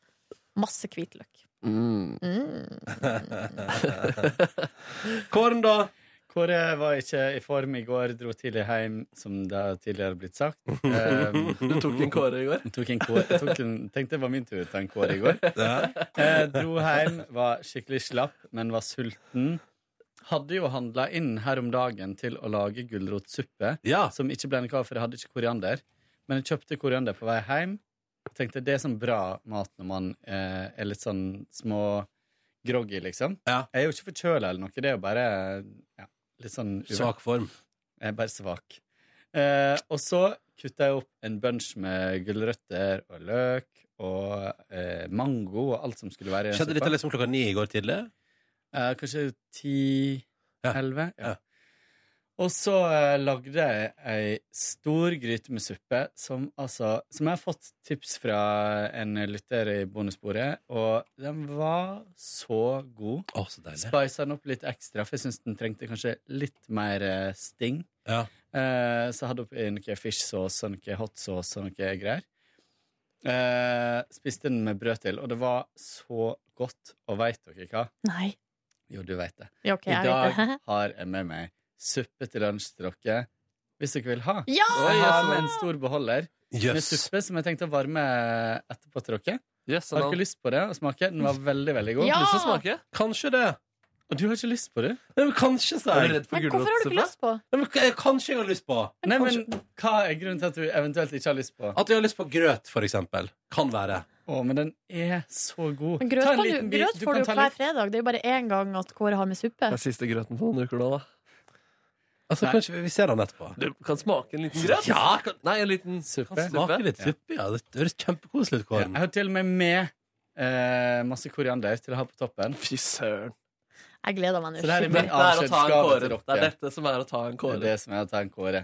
S2: Masse hvitløk. Mm.
S1: Kåren, da?
S4: Kåre var ikke i form i går, dro tidlig hjem, som det har tidligere blitt sagt. Um,
S16: Du tok en Kåre i går?
S4: Tok en kåre, tok en, tenkte det var min tur til en Kåre i går.
S1: Ja.
S4: Eh, dro hjem, var skikkelig slapp, men var sulten. Hadde jo handla inn her om dagen til å lage gulrotsuppe, som ikke ble noe av, for jeg hadde ikke koriander. Men jeg kjøpte koriander på vei hjem. Tenkte det er sånn bra mat når man eh, er litt sånn små groggy, liksom. Jeg er jo ikke forkjøla eller noe, det er jo bare ja, litt sånn uvær.
S1: Svak form.
S4: Jeg er bare svak. Eh, og så kutta jeg opp en bunch med gulrøtter og løk og eh, mango og alt som skulle være i den
S1: Skjedde dette
S4: suppa.
S1: liksom klokka ni i går tidlig?
S4: Eh, kanskje ti-elleve. Ja. Og så eh, lagde jeg ei stor gryte med suppe som, altså, som jeg har fått tips fra en lytter i bonusbordet, og den var så god.
S1: Oh, så deilig.
S4: Spisa den opp litt ekstra, for jeg syns den trengte kanskje litt mer eh, sting.
S1: Ja.
S4: Eh, så jeg hadde oppi noe fish sauce og noe hot sauce og noe greier. Eh, spiste den med brød til, og det var så godt. Og veit dere hva?
S2: Nei.
S4: Jo, du veit det.
S2: Ja, ok, jeg
S4: I dag
S2: vet det.
S4: har jeg med meg suppe til lunsj til dere, hvis dere vil ha.
S2: Ja!
S4: Og jeg har med en stor beholder med
S1: Jøss.
S4: suppe som jeg tenkte å varme etterpå til dere.
S16: Yes,
S4: har
S16: Anna.
S4: dere lyst på det å smake? Den var veldig, veldig god.
S16: Ja! Lyst til å smake?
S1: Kanskje det.
S4: Og du har ikke lyst på det?
S1: kanskje, sa
S4: jeg.
S1: jeg.
S2: Men hvorfor har du ikke lyst på?
S1: eh, Kanskje jeg har lyst på.
S4: Nei, men Hva er grunnen til at du eventuelt ikke har lyst på?
S1: At jeg har lyst på grøt, for eksempel. Kan være.
S4: Å, men den er så god.
S2: Men grøt,
S4: Ta en
S2: kan
S4: liten
S2: du,
S4: bit.
S2: grøt
S4: Du
S2: får du
S4: kan
S2: jo
S4: ta
S2: hver
S4: litt.
S2: fredag. Det er jo bare én gang at Kåre har med suppe.
S16: Det er siste grøten på noen uker nå, da.
S1: Altså,
S16: Nei.
S1: kanskje vi- vi ser den etterpå.
S16: Du kan smake en liten grøt.
S1: Ja, kan-
S16: Nei, en liten
S4: suppe.
S1: Kan smake litt suppe, ja. Det høres kjempekoselig ut,
S4: Ja,
S1: Kåren.
S4: jeg har til og med med eh, masse koriander til å ha på toppen.
S16: Fy søren.
S2: Jeg gleder meg nå.
S4: Så det her er
S16: Dette
S4: min
S16: er å ta en
S4: avskjedsgave
S16: Kåre.
S4: til dere.
S16: Det er dette som er å ta en Kåre.
S4: Det er det som er å ta en Kåre.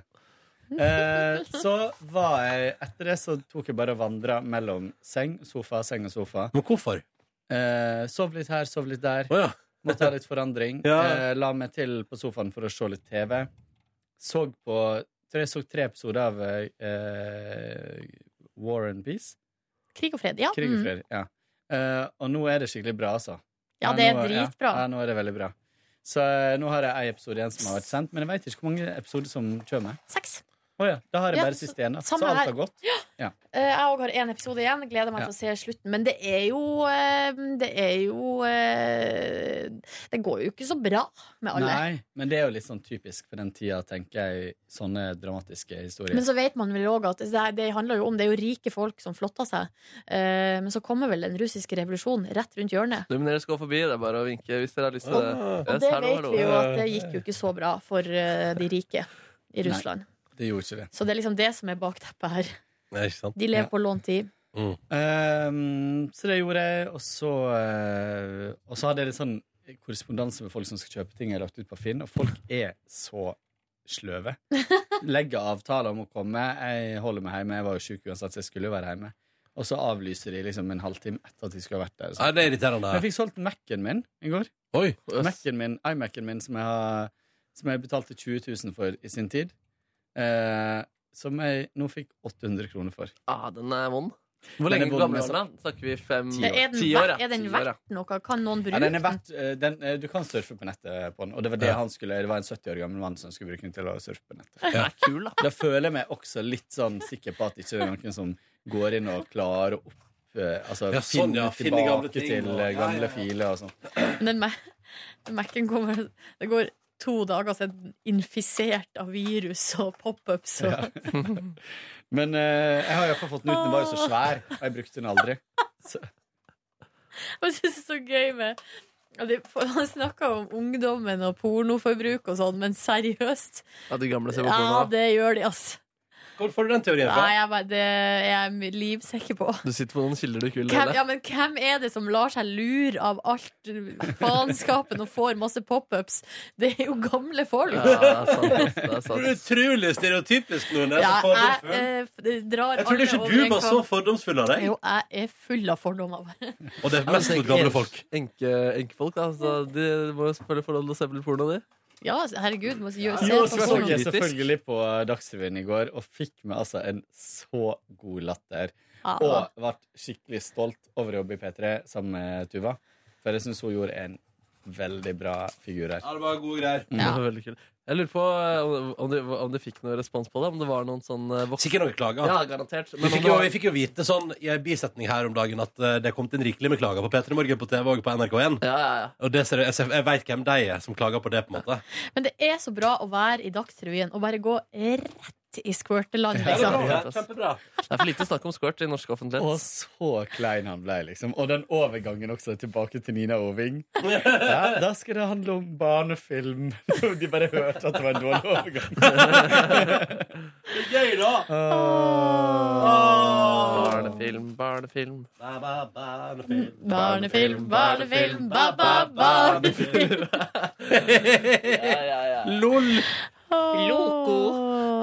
S4: Eh, så var jeg Etter det så tok jeg bare og vandra mellom seng, sofa, seng og sofa.
S1: Men hvorfor?
S4: Eh, sov litt her, sov litt der. Måtte ha litt forandring.
S1: Ja.
S4: Eh, la meg til på sofaen for å se litt TV. Så på tror Jeg så tre episoder av eh, War and Peace.
S2: Krig og fred, ja.
S4: Krig og
S2: Mm.
S4: fred, ja. Eh, og nå er det skikkelig bra, altså.
S2: Ja, det er
S4: nå-
S2: dritbra.
S4: Ja, ja, nå er det veldig bra. Så eh, nå har jeg ei episode igjen som har vært sendt, men jeg veit ikke hvor mange episoder som kommer.
S2: Seks.
S4: Å ja. Da har jeg
S2: Ja,
S4: bare
S2: så-
S4: siste igjen. da. Så
S2: samme
S4: alt
S2: her.
S4: har gått. Ja.
S2: Eh, Jeg òg har én episode igjen. Gleder meg
S4: Ja.
S2: til å se slutten. Men det er jo eh, Det er jo eh, Det går jo ikke så bra med alle.
S4: Nei, men det er jo litt sånn typisk for den tida, tenker jeg, sånne dramatiske historier.
S2: Men så vet man vel òg at det, det handler jo om Det er jo rike folk som flotter seg. Eh, Men så kommer vel den russiske revolusjonen rett rundt hjørnet.
S16: Men dere skal forbi. Det er bare å vinke hvis dere har lyst til det.
S1: Ah.
S2: Og det vet vi jo at det gikk jo ikke så bra for eh, de rike i
S4: Nei.
S2: Russland.
S4: Det gjorde ikke det.
S2: Så det er liksom det som er bakteppet her.
S1: Nei, ikke sant?
S2: De lever på lånt tid.
S1: Mm.
S4: Ehm, så det gjorde jeg, og så eh, Og så hadde jeg litt sånn korrespondanse med folk som skal kjøpe ting jeg har lagt ut på Finn, og folk er så sløve. Legger avtaler om å komme. Jeg holder meg hjemme. Jeg var jo sjuk uansett, så jeg skulle jo være hjemme. Og så avlyser de liksom en halvtime etter at de skulle ha vært der. sånn.
S1: Nei, det er irriterende.
S4: Jeg fikk solgt Mac-en min i går. Mac-en min, iMac-en min som jeg, har, som jeg betalte 20 000 for i sin tid. Eh, som jeg nå fikk 800 kroner for.
S16: Ah, den er vond. Hvor
S4: Den er
S16: lenge
S4: vond,
S16: gammel
S4: altså.
S16: er den? da? Snakker vi fem
S4: Ti år.
S2: Er den,
S4: Ti år,
S2: ver-
S4: ja.
S2: er den
S4: Ti år, ja.
S2: verdt noe? Kan noen bruke
S4: Ja, den er verdt, eh, den, eh, du kan surfe på nettet på den, og det var det
S1: Ja.
S4: han skulle Det var en 70 år gammel mann som skulle bruke den til å surfe på nettet.
S1: Ja. Det
S16: kul, da.
S4: føler jeg meg også litt sånn sikker på at ikke det er noen som går inn og klarer å opp, eh, altså,
S1: Ja, sånn, ja,
S4: finne
S1: finne gamle
S4: tilbake
S1: ting
S4: til
S1: og- ja,
S4: eh,
S1: ja,
S4: gamle
S1: ja.
S4: filer og sånn.
S2: Men den Mac- Mac-en kommer Det går to dager siden infisert av virus og pop-ups og
S4: Men eh, jeg har iallfall fått den ut. Den var jo så svær, og jeg brukte den aldri. Så,
S2: Jeg synes det er så gøy med og de, for Han snakker om ungdommen og pornoforbruk og sånn, men seriøst
S3: Ja, de gamle ser på
S2: Ja,
S3: porno.
S2: det gjør de, altså.
S1: Hvor får du den teorien
S2: Nei,
S3: fra?
S2: jeg, bare- det er jeg mi- livsikker på.
S3: Du sitter på noen kilder du ikke vil
S2: Hvem, ja,
S3: dele.
S2: men hvem er det som lar seg lure av alt faenskapen og får masse pop-ups? Det er jo gamle folk.
S3: Ja, det er sant, ass. Det er sant.
S1: Det er utrolig stereotypisk nå. Det er
S2: sånn, Ja,
S1: så fordomsfull.
S2: jeg eh, drar
S1: Jeg trodde
S2: alle
S1: ikke
S2: over
S1: du
S2: en
S1: var så
S2: kam.
S1: fordomsfull av deg.
S2: Jo, jeg er full av fordommer.
S1: Og
S3: Ja,
S1: det er
S3: men
S1: mest
S3: tenk
S1: mot gamle
S3: enke-
S1: folk.
S3: Enke, enkefolk, da. Så de må jo selvfølgelig få lov til å se på litt porno, de.
S2: Ja, altså, herregud. Må gjøre,
S4: jo,
S2: se på
S4: så så jeg
S2: porno.
S4: selvfølgelig på Dagsrevyen i går og fikk meg altså en så god latter.
S2: Ja.
S4: Og ble skikkelig stolt over å jobbe i P3 sammen med Tuva. For jeg syns hun gjorde en veldig bra figur her.
S1: Ja, det var gode greier.
S3: Det var veldig kult. Jeg lurer på eh, om- om de, om de fikk noe respons på det. Om det var noen sånn eh, voksne
S1: Sikkert noen klager.
S3: Ja, garantert.
S1: Vi fikk, jo, vi fikk jo vite sånn i en bisetning her om dagen at eh, det kom til en rikelig med klager på P3 Morgen på TV og på NRK1. Og det ser, jeg, jeg veit hvem de er som klager på det, på en måte.
S2: Men det er så bra å være i Dagsrevyen og bare gå rett i squirteland, liksom.
S3: Det er for lite snakk om squirt i norsk offentlighet.
S4: Og så klein han ble, liksom. Og den overgangen også tilbake til Nina Oving. Ja, da skal det handle om barnefilm. De bare hørte at det var en dårlig overgang.
S1: Gøy, da!
S3: Barnefilm, barnefilm.
S2: Barnefilm, barnefilm, ba, ba, barnefilm.
S1: LOL!
S2: Oh.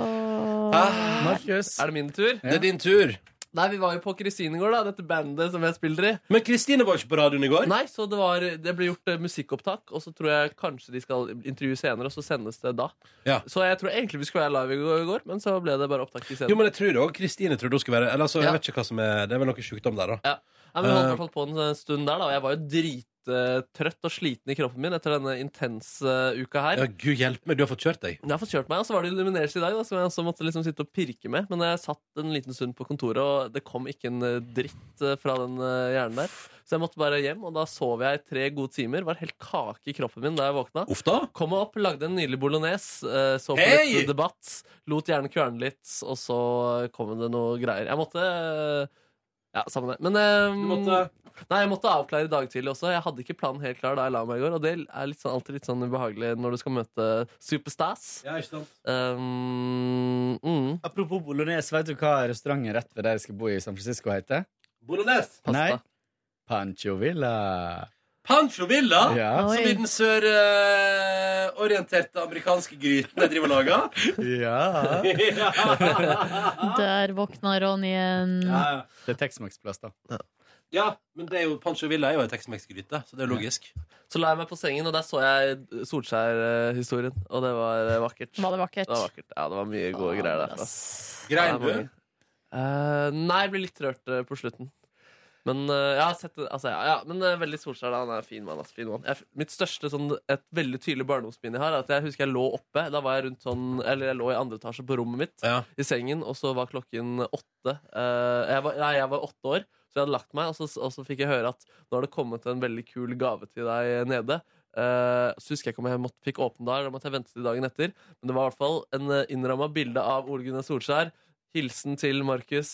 S3: Markus. Ah, Er det min tur?
S1: Det er din tur.
S3: Nei, Vi var jo på Kristine i går, da. Dette bandet som jeg spiller i.
S1: Men Kristine var ikke på radioen i går.
S3: Nei, så det, var, det ble gjort eh, musikkopptak, og så tror jeg kanskje de skal intervjue senere, og så sendes det da.
S1: Ja.
S3: Så jeg tror egentlig vi skulle være live i går- i går, men så ble det bare opptak i
S1: Jo,
S3: scenen.
S1: men jeg tror det også Kristine trodde hun skulle være Eller altså, jeg vet ikke hva som er Det er vel noe sjukdom der, da.
S3: Nei, men vi
S1: Eh.
S3: holdt i hvert fall på en sånn stund der, da, og jeg var jo drittrøtt og sliten i kroppen min etter denne intense eh, uka her.
S1: Ja, Gud hjelpe meg, du har fått kjørt deg.
S3: Jeg har fått kjørt meg, og så var det Lumineers i dag, da, som jeg også måtte liksom sitte og pirke med. Men jeg satt en liten stund på kontoret, og det kom ikke en eh, dritt eh, fra den eh, hjernen der. Så jeg måtte bare hjem, og da sov jeg i tre gode timer. Var helt kake i kroppen min da jeg våkna. Kom meg opp, lagde en nydelig bolognese, eh, så på
S1: Hei!
S3: litt debatt, lot hjernen kverne litt, og så kom det noe greier. Jeg måtte eh, ja, samme det. Men ehm, Nei, jeg måtte avklare i dag tidlig også. Jeg hadde ikke planen helt klar da jeg la meg i går. Og det er litt sånn, alltid litt sånn ubehagelig når du skal møte Ehm, superstars.
S1: Ja, ikke sant?
S4: Apropos bolognese, vet du hva restauranten rett ved der jeg skal bo i San Francisco heter?
S1: Bolognese!
S4: Nei. Pancho Villa.
S1: Pancho Villa,
S4: Ja.
S1: som
S4: Oi.
S1: i den sørorienterte amerikanske gryten jeg driver og lager.
S4: Ja.
S2: Der våkna Ronny igjen.
S4: Det er Texmax-plass, da.
S1: Ja, men det er jo, Pancho Villa er jo en Tex-Mex-gryte, så det er jo logisk.
S3: Så la jeg meg på sengen, og der så jeg Solskjær-historien. Og det var eh, vakkert.
S2: Var det vakkert?
S3: Ja, det var mye gode greier der. ass.
S1: Grein
S3: Ja, det var
S1: du?
S3: mye. Eh, nei, jeg ble litt rørt eh, på slutten. Men eh, jeg har sett det altså, ja, ja, Men eh, veldig Solskjær, da. Han er en fin mann. ass, fin mann. Jeg, mitt største sånn, et veldig tydelig barndomsminne jeg har, er at jeg husker jeg lå oppe. Da var jeg rundt sånn Eller jeg lå i andre etasje på rommet mitt i sengen, og så var klokken åtte. Eh, jeg var, nei, jeg var åtte år, så jeg hadde lagt meg, og så, og så fikk jeg høre at nå har det kommet en veldig kul gave til deg nede. Eh, så husker jeg ikke om jeg måtte, fikk åpne der, eller om at jeg ventet til dagen etter. Men det var i hvert fall en eh, innramma bilde av Ole Gunnar Solskjær. Hilsen til Markus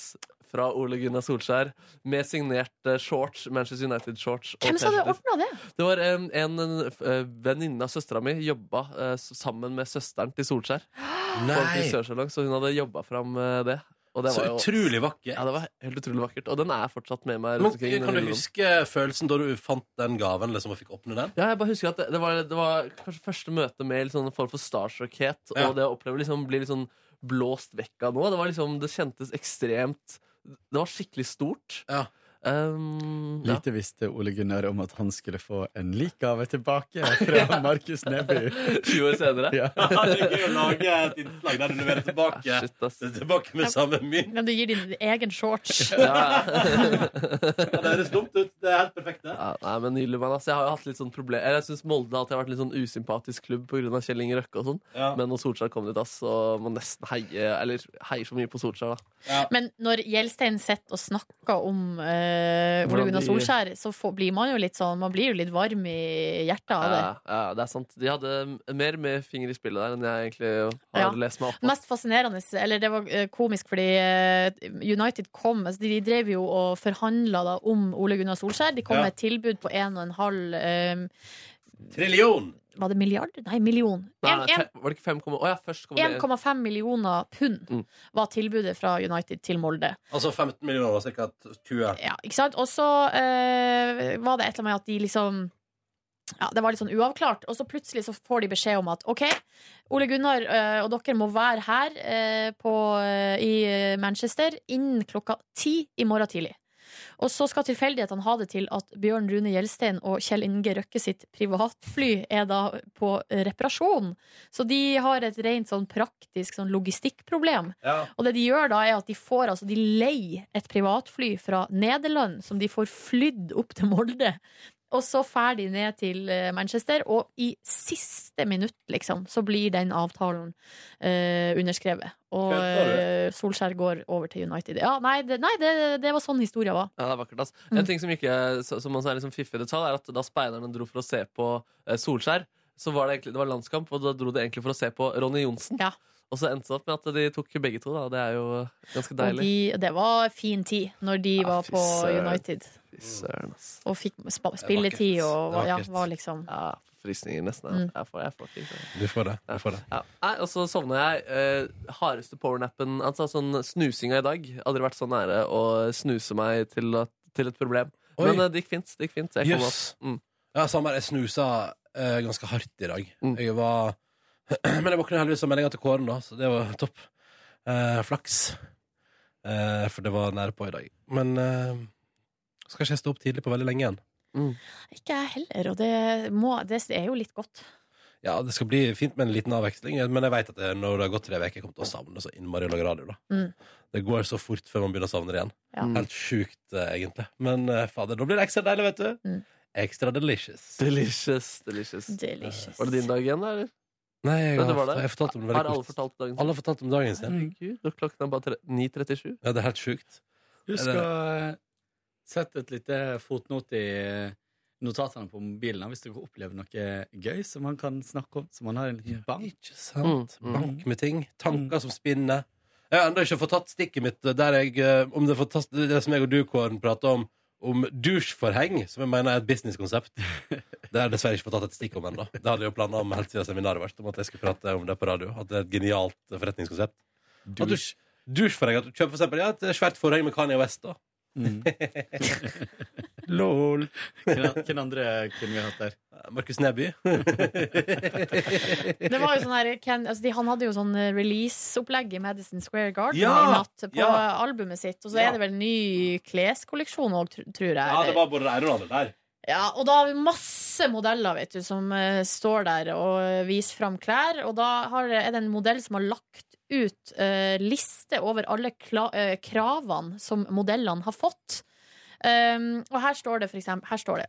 S3: fra Ole Gunnar Solskjær med signert eh, shorts, Manchester United-shorts. og
S2: Hvem sa det
S3: T-skjorter.
S2: ordna det?
S3: Det var em, en, en f- eh, venninne av søstera mi jobba eh, s- sammen med søsteren til Solskjær.
S1: Nei.
S3: På en frisørsalong, Så hun hadde jobba fram eh, det. Og det
S1: Så
S3: var jo,
S1: utrolig vakkert.
S3: Ja, det var helt utrolig vakkert. Og den er fortsatt med meg. rundt
S1: Men,
S3: omkring i
S1: kan du
S3: hyllerom.
S1: huske følelsen da du fant den gaven liksom, og fikk åpne den?
S3: Ja, jeg bare husker at det, det, var, det var kanskje første møte med liksom, en form for starstruckhet.
S1: Ja.
S3: Og det å oppleve liksom, bli liksom blåst vekk av noe. Det, var liksom, det kjentes ekstremt Det var skikkelig stort. Um, ja.
S4: Lite visste Ole Gunnar om at han skulle få en lik gave tilbake fra Markus Neby.
S3: Sju år senere.
S4: Ja.
S1: det er gøy å lage et innslag der du leverer tilbake, tilbake med samme mynt.
S2: Men du gir din egen shorts.
S3: Ja.
S1: det høres dumt ut. Det er helt perfekt, det.
S3: Ja, nei, men nydelig, mann. ass. Jeg har jo hatt litt sånn problem Jeg synes Molde har alltid vært litt sånn usympatisk klubb pga. Kjell Inge Røkke og sånn.
S1: Ja.
S3: Men når Solskjær kom dit, ass, så må nesten heie Eller heier så mye på Solskjær, da.
S2: Men når Gjelstein sitter og snakker om eh, eh, Ole
S16: Hvordan
S2: Gunnar
S16: de-
S2: Solskjær, så får, blir man jo litt sånn Man blir jo litt varm i hjertet av det.
S16: Ja, ja, det er sant. De hadde m- mer med finger i spillet der enn jeg egentlig har
S2: Ja.
S16: lest meg opp på.
S2: Mest fascinerende, eller det var eh, komisk fordi eh, United kom altså De de drev jo og forhandla da om Ole Gunnar Solskjær. De kom
S1: Ja.
S2: med et tilbud på 1,5 eh,
S1: Trillion!
S2: Var det milliard? Nei, million.
S16: Nei,
S2: En-
S16: nei,
S2: en-
S16: fe- var det ikke 5,1? Å ja, først kom det
S2: 1,5 millioner pund
S16: Mm.
S2: var tilbudet fra United til Molde.
S1: Altså 15 millioner og ca. 20.
S2: Ja, ikke sant? Og så eh, var det et eller annet med at de liksom ja, Det var litt sånn uavklart. Og så plutselig så får de beskjed om at OK, Ole Gunnar eh, og dere må være her eh, på, eh, i Manchester innen klokka ti i morgen tidlig. Og så skal tilfeldighetene ha det til at Bjørn Rune Gjelstein og Kjell Inge Røkke sitt privatfly er da på reparasjon. Så de har et rent sånn praktisk sånn logistikkproblem.
S1: Ja.
S2: Og det de gjør da, er at de får altså, de leier et privatfly fra Nederland, som de får flydd opp til Molde. Og så fær de ned til eh, Manchester, og i siste minutt, liksom, så blir den avtalen eh, underskrevet. Og
S16: Kødder du?
S2: eh, Solskjær går over til United. Ja, nei, det, nei, det, det var sånn historia var.
S16: Ja, det er vakkert, ass.
S2: Mm.
S16: En ting som, ikke, som også er liksom fiffig detalj, er at da speiderne dro for å se på eh, Solskjær, så var det, egentlig, det var landskamp, og da dro de egentlig for å se på Ronny Johnsen. Og så endte det opp med at de tok begge to, da. Det er jo ganske
S2: Og
S16: deilig.
S2: de, det var fin tid når de var på
S16: søren.
S2: United.
S16: Fy søren, ass.
S2: Og fikk spa- spilletid og var,
S16: Det er
S2: ja,
S16: vakkert.
S2: var liksom
S16: Ja, frysninger nesten. ja.
S2: Mm.
S16: Jeg får, jeg får ikke det.
S1: Du får det. Du får det.
S16: Ja. Nei, og så sovna jeg. Eh, hardeste powernappen altså sånn Snusinga i dag. Aldri vært så nære å snuse meg til, at, til et problem.
S1: Oi.
S16: Men eh, det gikk fint. Det gikk fint. Jeg kom
S1: Jøss.
S16: opp. Mm.
S1: Ja, samme her. Jeg snusa eh, ganske hardt i dag.
S16: Mm.
S1: Jeg var Men jeg våkna heldigvis av meldinga til Kåren, da, så det var topp. Eh, flaks. Eh, for det var nære på i dag. Men eh, skal ikke jeg stå opp tidlig på veldig lenge igjen.
S16: Mm.
S2: Ikke jeg heller, og det, må, det er jo litt godt.
S1: Ja, det skal bli fint med en liten avveksling, men jeg veit at det, når det har gått tre uker, jeg kommer til å savne så innmari å lage radio, da.
S2: Mm.
S1: Det går så fort før man begynner å savne det igjen.
S2: Ja.
S16: Mm.
S1: Helt sjukt, eh, egentlig. Men eh, fader, da blir det ekstra deilig, vet du.
S2: Mm.
S1: Ekstra delicious.
S16: Delicious, delicious.
S2: Delicious.
S16: Var det din dag igjen, da? eller?
S1: Nei, jeg,
S16: Men du
S1: har,
S16: var der?
S1: jeg fortalte om det
S16: Har
S1: veldig
S16: alle
S1: kort.
S16: fortalt dagen
S1: Alle har fortalt om dagen sin.
S16: Herregud, da klokken er bare tre- 9.37.
S1: Ja, det er helt sjukt.
S4: Husk
S1: Er
S4: å
S1: det-
S4: eh, sette et lite fotnot i eh, notatene på mobilen hvis dere opplever noe gøy som man kan snakke om, så man har en liten bank. Mm,
S1: Ikke sant? Bank med ting. Tanker som spinner. Jeg har ennå ikke fått tatt stikket mitt der jeg, eh, om det, fantas- det som jeg og du, Kåren, prater om, om dusjforheng, som jeg mener er et businesskonsept. Det har jeg dessverre ikke fått tatt et stikk om ennå. Det hadde jeg jo planer om helt siden seminaret vårt, om at jeg skulle prate om det på radio. At det er et genialt eh, forretningskonsept. At du-
S4: Dusj.
S1: Dusjforheng. At du kjøper for eksempel ja, et svært forheng med Kanye West, da. Mm. Lol.
S4: Hvem hvem andre kunne vi hatt der?
S1: Markus Neby.
S2: Det var jo sånn her, Ken, altså de, Han hadde jo sånn eh, release-opplegg i Madison Square Garden
S1: Ja!
S2: i natt på
S1: Ja.
S2: eh, albumet sitt. Og så er det vel en ny kleskolleksjon òg, tror jeg.
S1: Ja, det var både det ene og det andre der.
S2: Ja, og da har vi masse modeller vet du, som eh, står der og eh, viser fram klær. Og da har, er det en modell som har lagt ut eh, liste over alle kla, eh, kravene som modellene har fått. Um, og her står det for eksempel Her står det.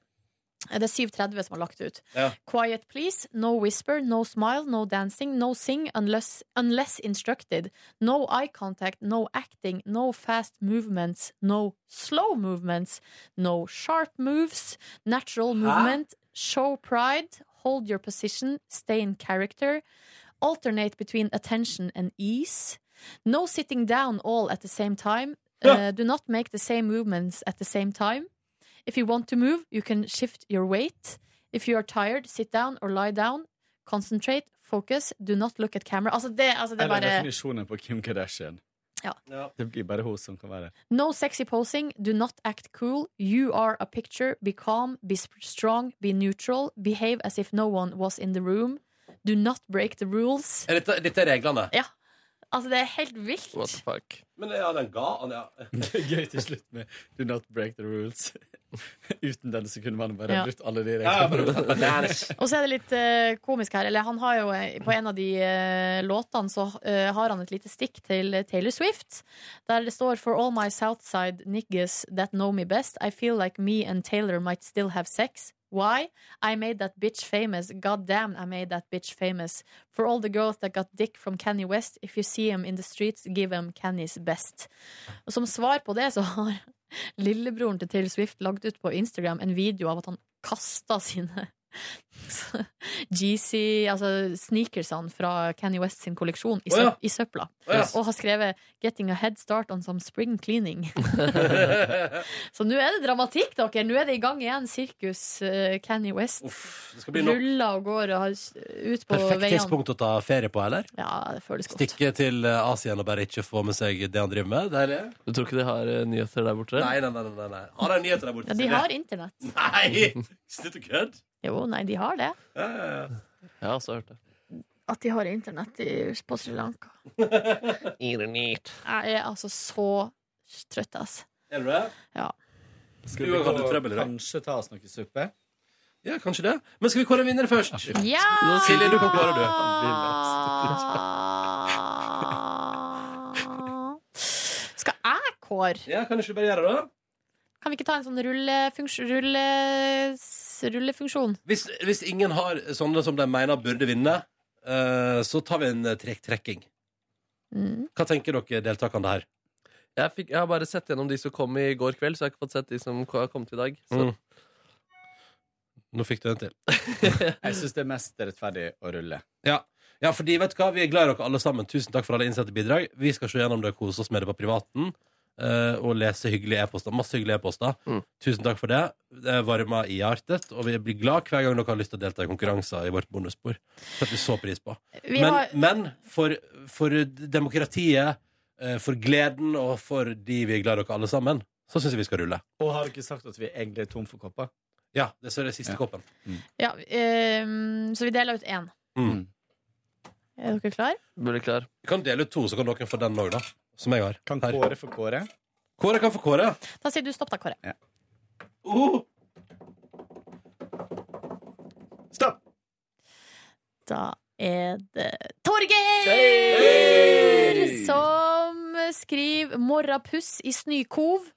S2: Eh, Det er 730 som har lagt ut.
S1: Ja.
S2: Quiet please, no whisper, no smile, no dancing, no sing unless, unless instructed. No eye contact, no acting, no fast movements, no slow movements, no sharp moves, natural movement, show pride, hold your position, stay in character, alternate between attention and ease. No sitting down all at the same time. Uh, do not make the same movements at the same time. If you want to move, you can shift your weight. If you are tired, sit down or lie down. Concentrate, focus, do not look at camera. Altså, det, altså det er
S4: Eller
S2: bare
S4: definisjonen på Kim Kardashian.
S2: Ja.
S4: Det blir bare hun som kan være der.
S2: No sexy posing, do not act cool. You are a picture. Be calm, be sp- strong, be neutral. Behave as if no one was in the room. Do not break the rules.
S1: Er Dette, dette er reglene.
S2: Ja. Altså, det er helt vilt.
S16: What the fuck?
S1: Men ja, den ga han, ja.
S4: Gøy til slutt med Do not break the rules. Uten den så kunne man bare
S2: Ja.
S4: brutt alle de
S1: Ja, bare-
S4: reglene.
S2: Og så er det litt eh, komisk her. Eller han har jo eh, På en av de eh, låtene så eh, har han et lite stikk til eh, Taylor Swift, der det står For all my Southside niggas that know me best, I feel like me and Taylor might still have sex. Why? I made that bitch famous. God damn, I made that bitch famous. For all the girls that got dick from Kanye West, if you see him in the streets, give him Kanye's best. Og som svar på det så har lillebroren til Taylor Swift lagde ut på Instagram en video av at han kasta sine GC, altså sneakersene fra Kanye West sin kolleksjon i,
S6: Å ja.
S2: søp i søpla.
S6: Å ja.
S2: Og har skrevet 'Getting a head start on some spring cleaning'. Så nå er det dramatikk, dere. Nå er det i gang igjen. Sirkus eh, Kanye West
S1: det skal bli nok.
S2: ruller og går og har s- ut på
S1: Perfekt
S2: veiene.
S1: tidspunkt å ta ferie på, eller?
S2: Ja, det føles godt.
S1: Stikke til eh, Asia og bare ikke få med seg det han driver med? Deilig.
S3: Du tror ikke de har eh, nyheter der borte?
S1: Nei, nei, nei. nei, nei. Har de nyheter der borte?
S2: Ja, de
S1: Silje?
S2: har internett.
S1: Nei! Slutt å kødde!
S2: Jo, nei, de har det.
S1: Ja, ja, ja.
S3: Jeg har også hørt det.
S2: At de har internett i, på Sri Lanka. Jeg er altså så trøtt, ass.
S1: Er du det?
S2: Ja.
S4: Skal
S1: Du
S4: vi
S1: har hatt litt trøbbel i
S4: gå,
S1: dag.
S4: kanskje ta oss noe suppe?
S1: Ja, kanskje det. Men skal vi kåre en vinner først?
S2: Ja!
S1: Silje, du kan kåre, du.
S2: Skal jeg kåre?
S1: Ja, kan du ikke bare gjøre det?
S2: Kan vi ikke ta en sånn rullefunksjon? Rulle, s- rullefunksjon?
S1: Hvis, hvis ingen har sånne som de mener burde vinne, eh, så tar vi en eh, trekk trekking. Hva tenker dere deltakerne her?
S3: Jeg, fikk, jeg har bare sett gjennom de som kom i går kveld, så jeg har ikke fått sett de som ko- har kommet i dag. Så.
S1: Mm. Nå fikk du en til.
S4: Jeg syns det er mest rettferdig å rulle.
S1: Ja. ja, fordi vet du hva, vi er glad i dere alle sammen. Tusen takk for alle innsendte bidrag. Vi skal se gjennom det og kose oss med det på privaten. eh, og lese hyggelige e-poster. Masse hyggelige e-poster.
S2: Mm.
S1: Tusen takk for det. Det varmer i hjertet, og vi blir glad hver gang dere har lyst til å delta i konkurranser i vårt bonusspor. Det setter vi så pris på.
S2: Vi
S1: Men,
S2: har-
S1: men for, for demokratiet, eh, for gleden og for de vi er glad i dere alle sammen, så syns jeg vi skal rulle.
S4: Og har dere sagt at vi egentlig er tom for kopper?
S1: Ja, det så er det siste koppen.
S2: Ja, ehm, så vi deler ut én.
S1: Mm.
S2: Er dere klare?
S1: Vi kan dele ut to, så kan dere få den òg, da. Som jeg har. Kan
S4: Kåre få Kåre?
S1: Kåre kan få Kåre.
S2: Da sier du stopp, da, Kåre.
S1: Oh!
S4: Stopp!
S2: Da er det Torgeir! Som skriver 'Morrapuss i snøkov'.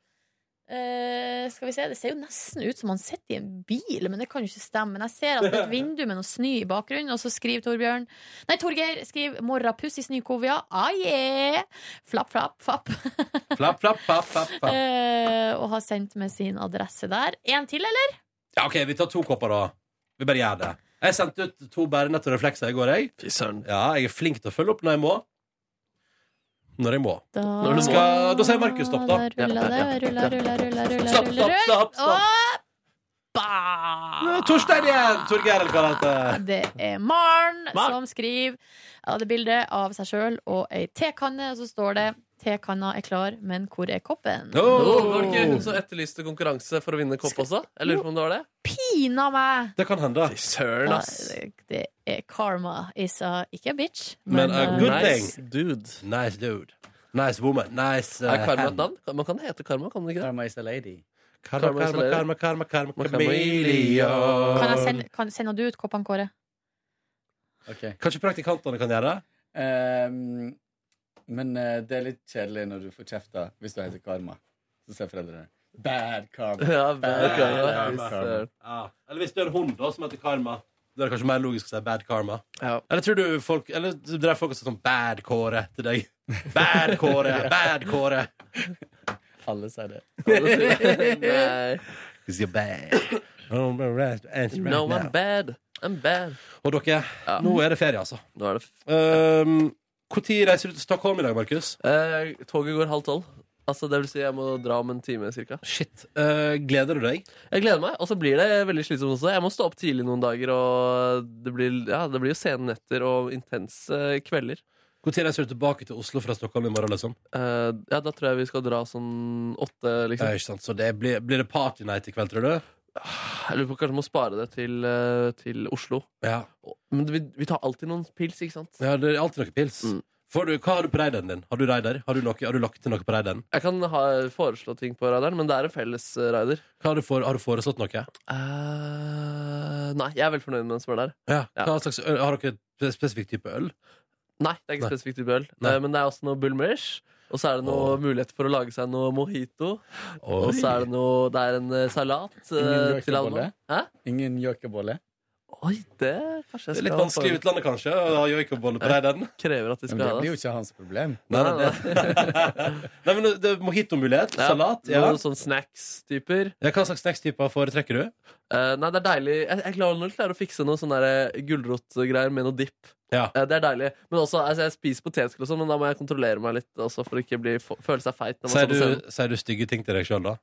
S2: Eh, skal vi se, Det ser jo nesten ut som han sitter i en bil, men det kan jo ikke stemme. Men jeg ser at det er et vindu med noe snø i bakgrunnen, og så skriver Torbjørn Nei, Torgeir skriver 'Morrapuss i snøkov', ja. Ah, yeah. Flapp, flapp, fapp.
S1: Flapp, flapp, flapp, flapp, flapp.
S2: Eh, og har sendt med sin adresse der. En til, eller?
S1: Ja, OK, vi tar to kopper, da. Vi bare gjør det. Jeg sendte ut to bærenett og reflekser i går, jeg. Ja, jeg er flink til å følge opp når jeg må. Når jeg må.
S2: Da,
S1: Når du skal, da sier Markus stopp, da.
S2: Der ruller det, ruller, ruller, ruller, ruller,
S1: Stopp,
S2: ruller,
S1: stopp, stopp,
S2: ruller.
S1: stopp. Nå er Torstein igjen! Torgeir, eller hva det heter.
S2: Det er Maren
S1: Maren.
S2: som skriver ja, det bildet av seg sjøl og ei tekanne, og så står det Tekanna er klar, men hvor er koppen?
S3: Oh, var det ikke hun som etterlyste konkurranse for å vinne kopp også? Jeg lurer på om det var det?
S2: Pina meg!
S1: Det kan hende.
S3: Søren,
S2: Ja,
S3: ass.
S2: det- det er karma is a Ikke a bitch,
S1: Men a
S2: eh,
S1: good
S3: nice
S1: thing. Dude. Nice dude. Nice woman. Nice uh,
S3: Er karma
S1: hand.
S3: et navn? Man kan hete karma, kan det ikke?
S4: Karma is a lady.
S1: Karma,
S3: Karma is a
S1: karma,
S3: lady.
S1: karma, karma, karma,
S3: Karma.
S1: chameleon.
S2: eh, Kan jeg sende, kan, sender du ut koppene, Kåre?
S1: Kanskje praktikantene kan gjøre det?
S4: Ehm, men eh, det er litt kjedelig når du får kjefta hvis du heter Karma. Så ser foreldrene Bad karma.
S1: Ja, bad karma.
S4: bad
S1: Søren. Eller hvis du er en hund da, som heter Karma. Da er det kanskje mer logisk å si bad karma. Eller tror du folk Eller drev folk og sa sånn bad Kåre til deg? Bad Kåre, bad Kåre.
S4: Alle sier det.
S3: Nei.
S1: 'Cause you're bad. I'm arrest- arrest right
S3: No,
S1: now.
S3: I'm bad. I'm bad.
S1: Og dere, nå er det ferie, altså.
S3: Nå er det f
S1: Når Ehm, reiser du til Stockholm i dag, Markus?
S3: Eh, toget går halv tolv. Altså, det vil si jeg må dra om en time cirka.
S1: Shit. Eh, gleder du deg?
S3: Jeg gleder meg, og så blir det veldig slitsomt også. Jeg må stå opp tidlig noen dager, og det blir, ja, det blir jo sene netter og intense kvelder.
S1: Når reiser du tilbake til Oslo fra Stockholm i morgen? liksom?
S3: Eh, ja, da tror jeg vi skal dra sånn åtte, liksom. Ah,
S1: Ja, ikke sant. Så det blir, blir det party night i kveld, tror du?
S3: Jeg lurer på kanskje om å spare det til, eh, til Oslo.
S1: Ja.
S3: Men vi, vi tar alltid noen pils, ikke sant?
S1: Ja, det er alltid noe pils. Får du, hva har du på raideren din? Har du raider? Har du, noe, har du lagt til noe på raideren?
S3: Jeg kan ha, foreslå ting på radaren, men det er en felles eh, rider.
S1: Hva har, du for, har du foreslått noe?
S3: Eh, nei, jeg er veldig fornøyd med den som er der.
S1: Ja. Hva slags øl, har dere et spesifikk type øl?
S3: Nei, det er ikke
S1: Nei.
S3: spesifikt type øl, Eh, men det er også noe Bullmerish. Og så er det noe mulighet for å lage seg noe mojito. Og så er det noe Det er en eh, salat eh,
S4: Ingen
S3: til alle.
S4: gjøkebolle?
S3: Hæ?
S4: Ingen gjøkebolle?
S3: Oi, det kanskje jeg
S1: Det er litt
S3: skal
S1: vanskelig i
S3: prøve.
S1: utlandet, kanskje, å ha joikabolle på deg, den.
S3: Krever at de skal
S4: Men det
S3: ha altså.
S4: blir jo ikke hans problem.
S1: Nei, nei, Nei, men det er Mojito-mulighet. Salat. Ja.
S3: Noen sånne snacks-typer. Eh,
S1: Ja, hva slags snacks-typer foretrekker du?
S3: nei, det er deilig Jeg, jeg klarer når jeg klarer å fikse noen sånne der, eh, gulrotgreier med noe dipp. Eh, det er deilig. Men også, altså, jeg spiser potetgull og sånn, men da må jeg kontrollere meg litt også, for å ikke bli, få- føle seg feit. Når man
S1: Sier
S3: står på scenen.
S1: du, sier du stygge ting til deg sjøl, da?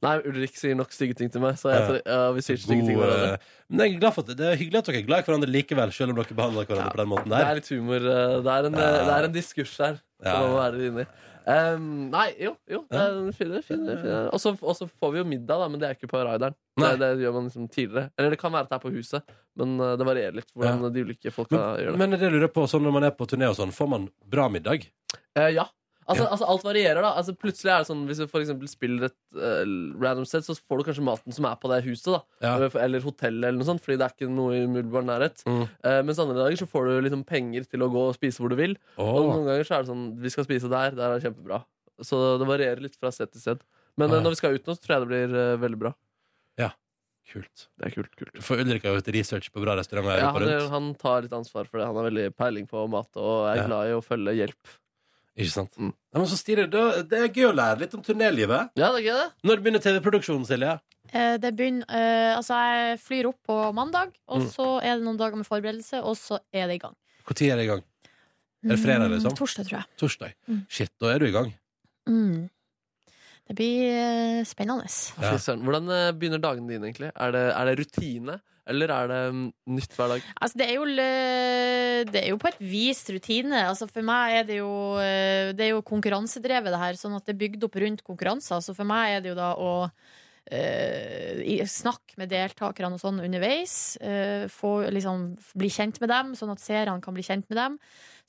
S3: Nei, Ulrik sier nok stygge ting til meg, så jeg, tror- ja, vi sier stygge ting til
S1: God,
S3: hverandre.
S1: eh, Men jeg er glad for at, Det er hyggelig at dere er glad i hverandre likevel, selv om dere behandler hverandre på den måten
S3: Det
S1: der.
S3: er litt humor. eh, Det er en, eh, det er en diskurs der.
S1: Ja.
S3: Som man må være inne i. Em, nei, jo. jo det er en fin, fin, fin. Og så og så får vi jo middag, da, men det er ikke på Raideren. Det, det gjør man liksom tidligere. Eller det kan være at det er på huset, men eh, det varierer litt hvordan
S1: Ja.
S3: de ulike folka gjør det.
S1: Men, men det lurer jeg på, sånn når man er på turné og sånn, får man bra middag?
S3: Eh, ja. Altså, altså Alt varierer, da. Altså Plutselig er det sånn Hvis du for eksempel spiller et eh, random set, så får du kanskje maten som er på det huset. da
S1: Ja.
S3: Eller hotellet, eller noe sånt fordi det er ikke noe i umiddelbar nærhet.
S1: Mm.
S3: Eh, mens andre dager så får du liksom penger til å gå og spise hvor du vil.
S1: Åh.
S3: Og noen ganger så er det sånn Vi skal spise der. Der er det kjempebra. Så det varierer litt fra sted til sted. Men
S1: Ah,
S3: eh,
S1: ja.
S3: når vi skal ut nå, så tror jeg det blir eh, veldig bra.
S1: Ja. Kult.
S3: Det er kult, kult.
S1: For Ulrik har jo gjort research på bra restauranter.
S3: Ja,
S1: Ja,
S3: han, er- han tar litt ansvar for det. Han har veldig peiling på mat og er
S1: Ja.
S3: glad i å følge hjelp.
S1: Ikke sant?
S4: Mm.
S1: Ja, men så stilig. Da- Det er gøy å lære litt om turnélivet.
S3: Ja, det er gøy det
S1: Når begynner TV-produksjonen, Silje?
S2: Eh, Det begynner, eh, altså jeg flyr opp på mandag, og
S1: Mm.
S2: så er det noen dager med forberedelse, og så er det i gang.
S1: Når er det i gang? Er det fredag, liksom?
S2: Mm, torsdag, tror jeg.
S1: Torsdag.
S2: Mm.
S1: Shit, da er du i gang.
S2: Mm. Det blir eh, spennende.
S3: Fy søren. Hvordan eh, begynner dagene dine, egentlig? Er det, er det rutine, eller er det mm, nytt hver dag?
S2: Altså, det er, jo, lø- det er jo på et vis rutine. Altså, for meg er det jo, eh, det er jo konkurransedrevet, det her. Sånn at det er bygd opp rundt konkurranser. Så for meg er det jo da å eh, i- snakke med deltakerne og sånn underveis. eh, få, liksom, bli kjent med dem, sånn at seerne kan bli kjent med dem.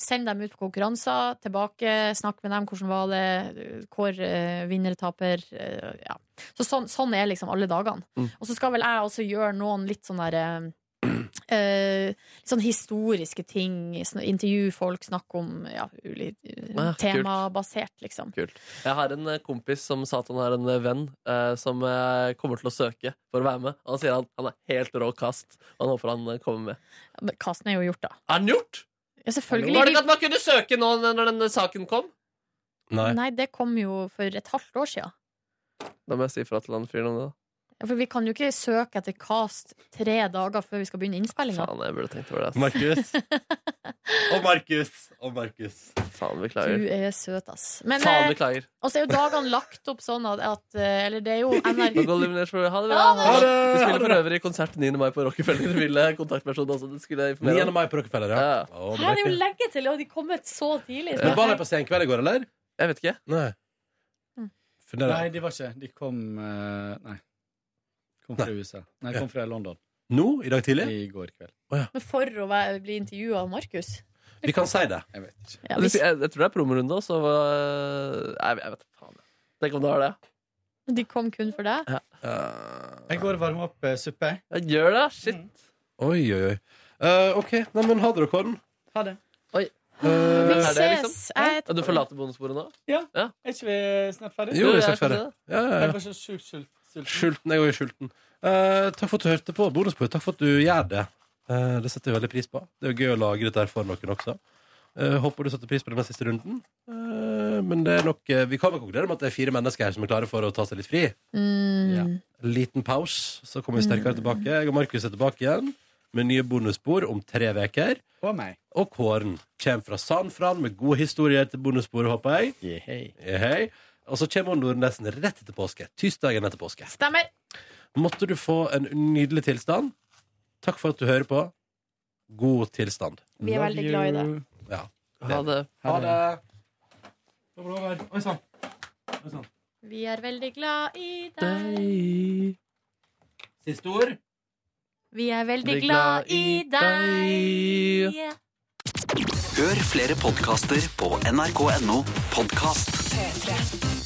S2: Send dem ut på konkurranser, tilbake, snakk med dem. Hvordan var det? Hvor eh, vinner, taper? eh, ja. Så sånn, sånn er liksom alle dagene.
S3: Mm.
S2: Og så skal vel jeg også gjøre noen litt sånn derre eh, litt sånn historiske ting. sn- Intervjue folk, snakke om ja, uli-
S3: Ah, kult.
S2: temabasert, liksom.
S3: Kult. Jeg har en eh, kompis som sa at han har en eh, venn eh, som eh, kommer til å søke for å være med. Han sier han, han er helt rå kast, og han håper han eh, kommer med.
S2: Men Casten er jo gjort, da.
S3: Er den gjort?
S2: Ja, selvfølgelig.
S3: Var det ikke at man kunne søke nå n- når den eh, saken kom?
S1: Nei.
S2: Nei, det kom jo for et halvt år siden.
S3: Da må jeg si ifra til han fyren om det. da.
S2: Ja, For vi kan jo ikke søke etter cast tre dager før vi skal begynne innspillinga.
S3: Faen, jeg burde tenkt over det. ass.
S1: Markus. Og Markus. Og Markus.
S3: Faen,
S2: Du
S3: beklager.
S2: er søt, ass. Men,
S3: Faen,
S2: eh,
S3: beklager.
S2: og så er jo dagene lagt opp sånn at, at eh, Eller det er jo
S3: Da går
S2: NRK
S3: Luminers for Ha det bra.
S2: Ha det!
S3: Vi
S1: Ha
S3: spiller
S1: det!
S3: for øvrig konsert 9. mai på Rockefeller. Ville kontaktperson også. Det skulle jeg informere
S1: 9. mai på Rockefeller, ja. Å,
S2: Her er det jo
S1: merkelig.
S2: lenge til, og de kom ut så tidlig.
S1: Men Var de på Senkveld i går, eller?
S3: Jeg vet ikke.
S1: Nei.
S2: Mm.
S1: Funderer.
S4: Nei, de var ikke De kom eh, Nei. Kom fra USA. Nei, kom fra London.
S1: Nå? I dag tidlig?
S4: I går kveld.
S2: Men for å være, bli intervjua av Markus.
S1: Vi kan si det.
S4: Jeg vet ikke.
S2: Ja,
S3: Du
S2: hvis-
S3: sier- jeg, jeg tror det er promorunde også. og, øh, Nei, jeg vet faen. jeg. Tenk om du har det.
S2: De kom kun for deg.
S4: Jeg går og varmer opp eh, suppe. jeg.
S3: Jeg gjør det, shit.
S1: Mm. Oi, oi, oi. Eh, OK. Nei, men ha det, dere.
S4: Ha det.
S3: Oi.
S1: Eh,
S3: er det liksom?
S2: Jeg-
S3: Ja, Du forlater bonusbordet nå?
S4: Ja. Er ikke vi snart ferdig?
S1: Jo, vi er
S3: jeg
S1: snart ferdig.
S3: synes det.
S1: Ja, ja, ja.
S4: Jeg var så sjukt sult- sulten.
S1: Skjulten, jeg er jo skjulten. Eh, takk for at du hørte på Bonusbord. Takk for at du gjør det. Eh, det setter jeg veldig pris på. Det er jo gøy å lage dette her for noen også. Eh, håper du satte pris på den siste runden. Eh, men det er nok, eh, vi kan vel konkludere med at det er fire mennesker her som er klare for å ta seg litt fri.
S2: Mm.
S1: Liten pause, så kommer vi sterkere tilbake. Jeg og Markus er tilbake igjen med nye bonusspor om tre uker.
S4: Og meg.
S1: Og Kåren kommer fra San Fran med gode historier til bonusspor, håper jeg. Eh, hei. Og så kommer Nordnesen rett etter påske. Tirsdagen etter påske.
S2: Stemmer.
S1: Måtte du få en nydelig tilstand. Takk for at du hører på. God tilstand.
S2: Vi er veldig glad i det.
S1: Ja.
S3: Ha det.
S1: Ha det.
S4: Det var bra vær. Oi
S1: sånn.
S4: sann. Oi sann.
S2: Vi er veldig glad i deg.
S1: Siste ord.
S2: Vi er veldig glad i deg.
S15: Hør flere podkaster på nrk.no podkast.
S17: P3.